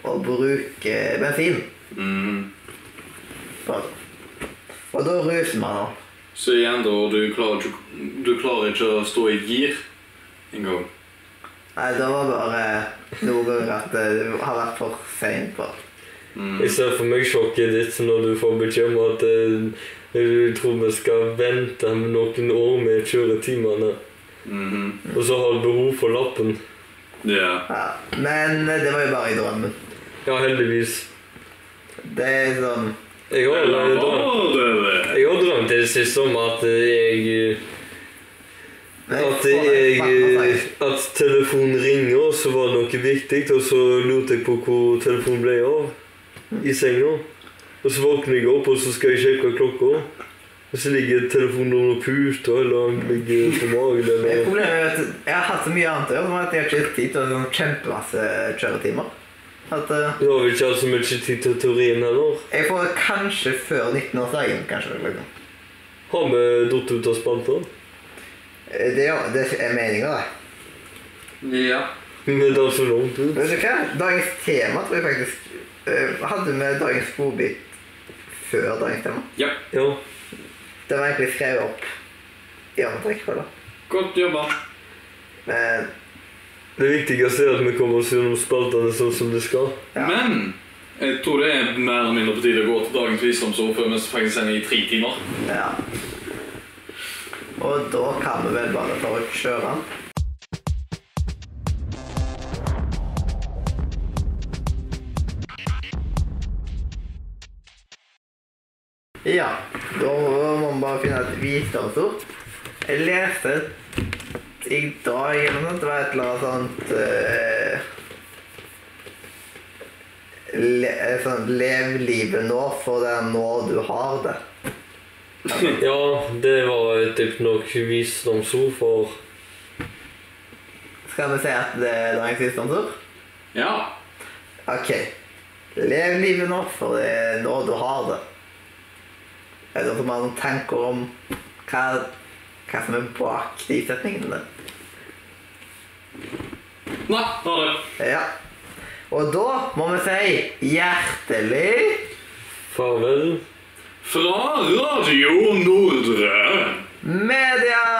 og bruker bensin.
Mm.
For. Og da ruser man nå.
Så igjen, da, du klarer, ikke- du klarer ikke å stå i gir engang.
Nei, da var det bare noen ganger at eh, det har vært for seint på.
Jeg ser for meg sjokket ditt når du får beskjed om at eh, du tror vi skal vente noen år med kjøretimene.
Mhm.
Og så har du behov for lappen.
Ja.
Ja. Men eh, det var jo bare i drømmen.
Ja, heldigvis.
Det er sånn
Jeg har
Eller
allerede
var det det?
Jeg har drømt i det siste om at jeg At
får det altså.
jeg
bakover.
At telefonen ringer, og så var det noe viktig, og så lurte jeg på hvor telefonen ble av i senga. Og så våkner jeg opp, og så skal jeg sjekke klokka. Og så ligger telefonen under puta, eller den ligger på magen,
Men
eller
Problemet er at jeg har hatt så mye annet å gjøre, sånn at jeg har ikke tid til å sånn kjempemasse kjøretimer. At eh,
Du har vel ikke hatt så mye tid til teorien heller?
Jeg får kanskje før 19-årsdagen, kanskje. Liksom.
Har vi datt ut av spalten?
Eh, Det, er- det er meninga, det.
Ja.
Vi datt så langt ut.
Vet du hva? Dagens tema tror jeg faktisk eh, Hadde vi dagens godbit før dagens tema?
ja.
Ja.
Det var egentlig skrevet opp i andre rekkefølge.
Godt jobba.
Men
Det viktigste er at vi kommer oss gjennom spaltene sånn som det skal.
Ja.
Men
Jeg tror det er mer eller mindre på tide å gå til dagens visdomsord før vi faktisk sender i tre timer.
Ja. Og da kan vi vel bare ta og kjøre den. Ja, da må vi bare finne et visdomsord. Jeg leste i dag eller noe sånt, det var et eller annet sånt eh, le, eh, sånn, Lev livet nå, for det er nå du har det.
Ja, det var et typ nok visdomsord for
Skal vi si at det er dagens visdomsord?
Ja.
Ok. Lev livet nå, for det er nå du har det. Er det noen som har noen tanker om hva, hva som er bak de setningene?
Nei, ha det.
Ja. Og da må vi si hjertelig
farvel.
Fra Radio Nordre.
media!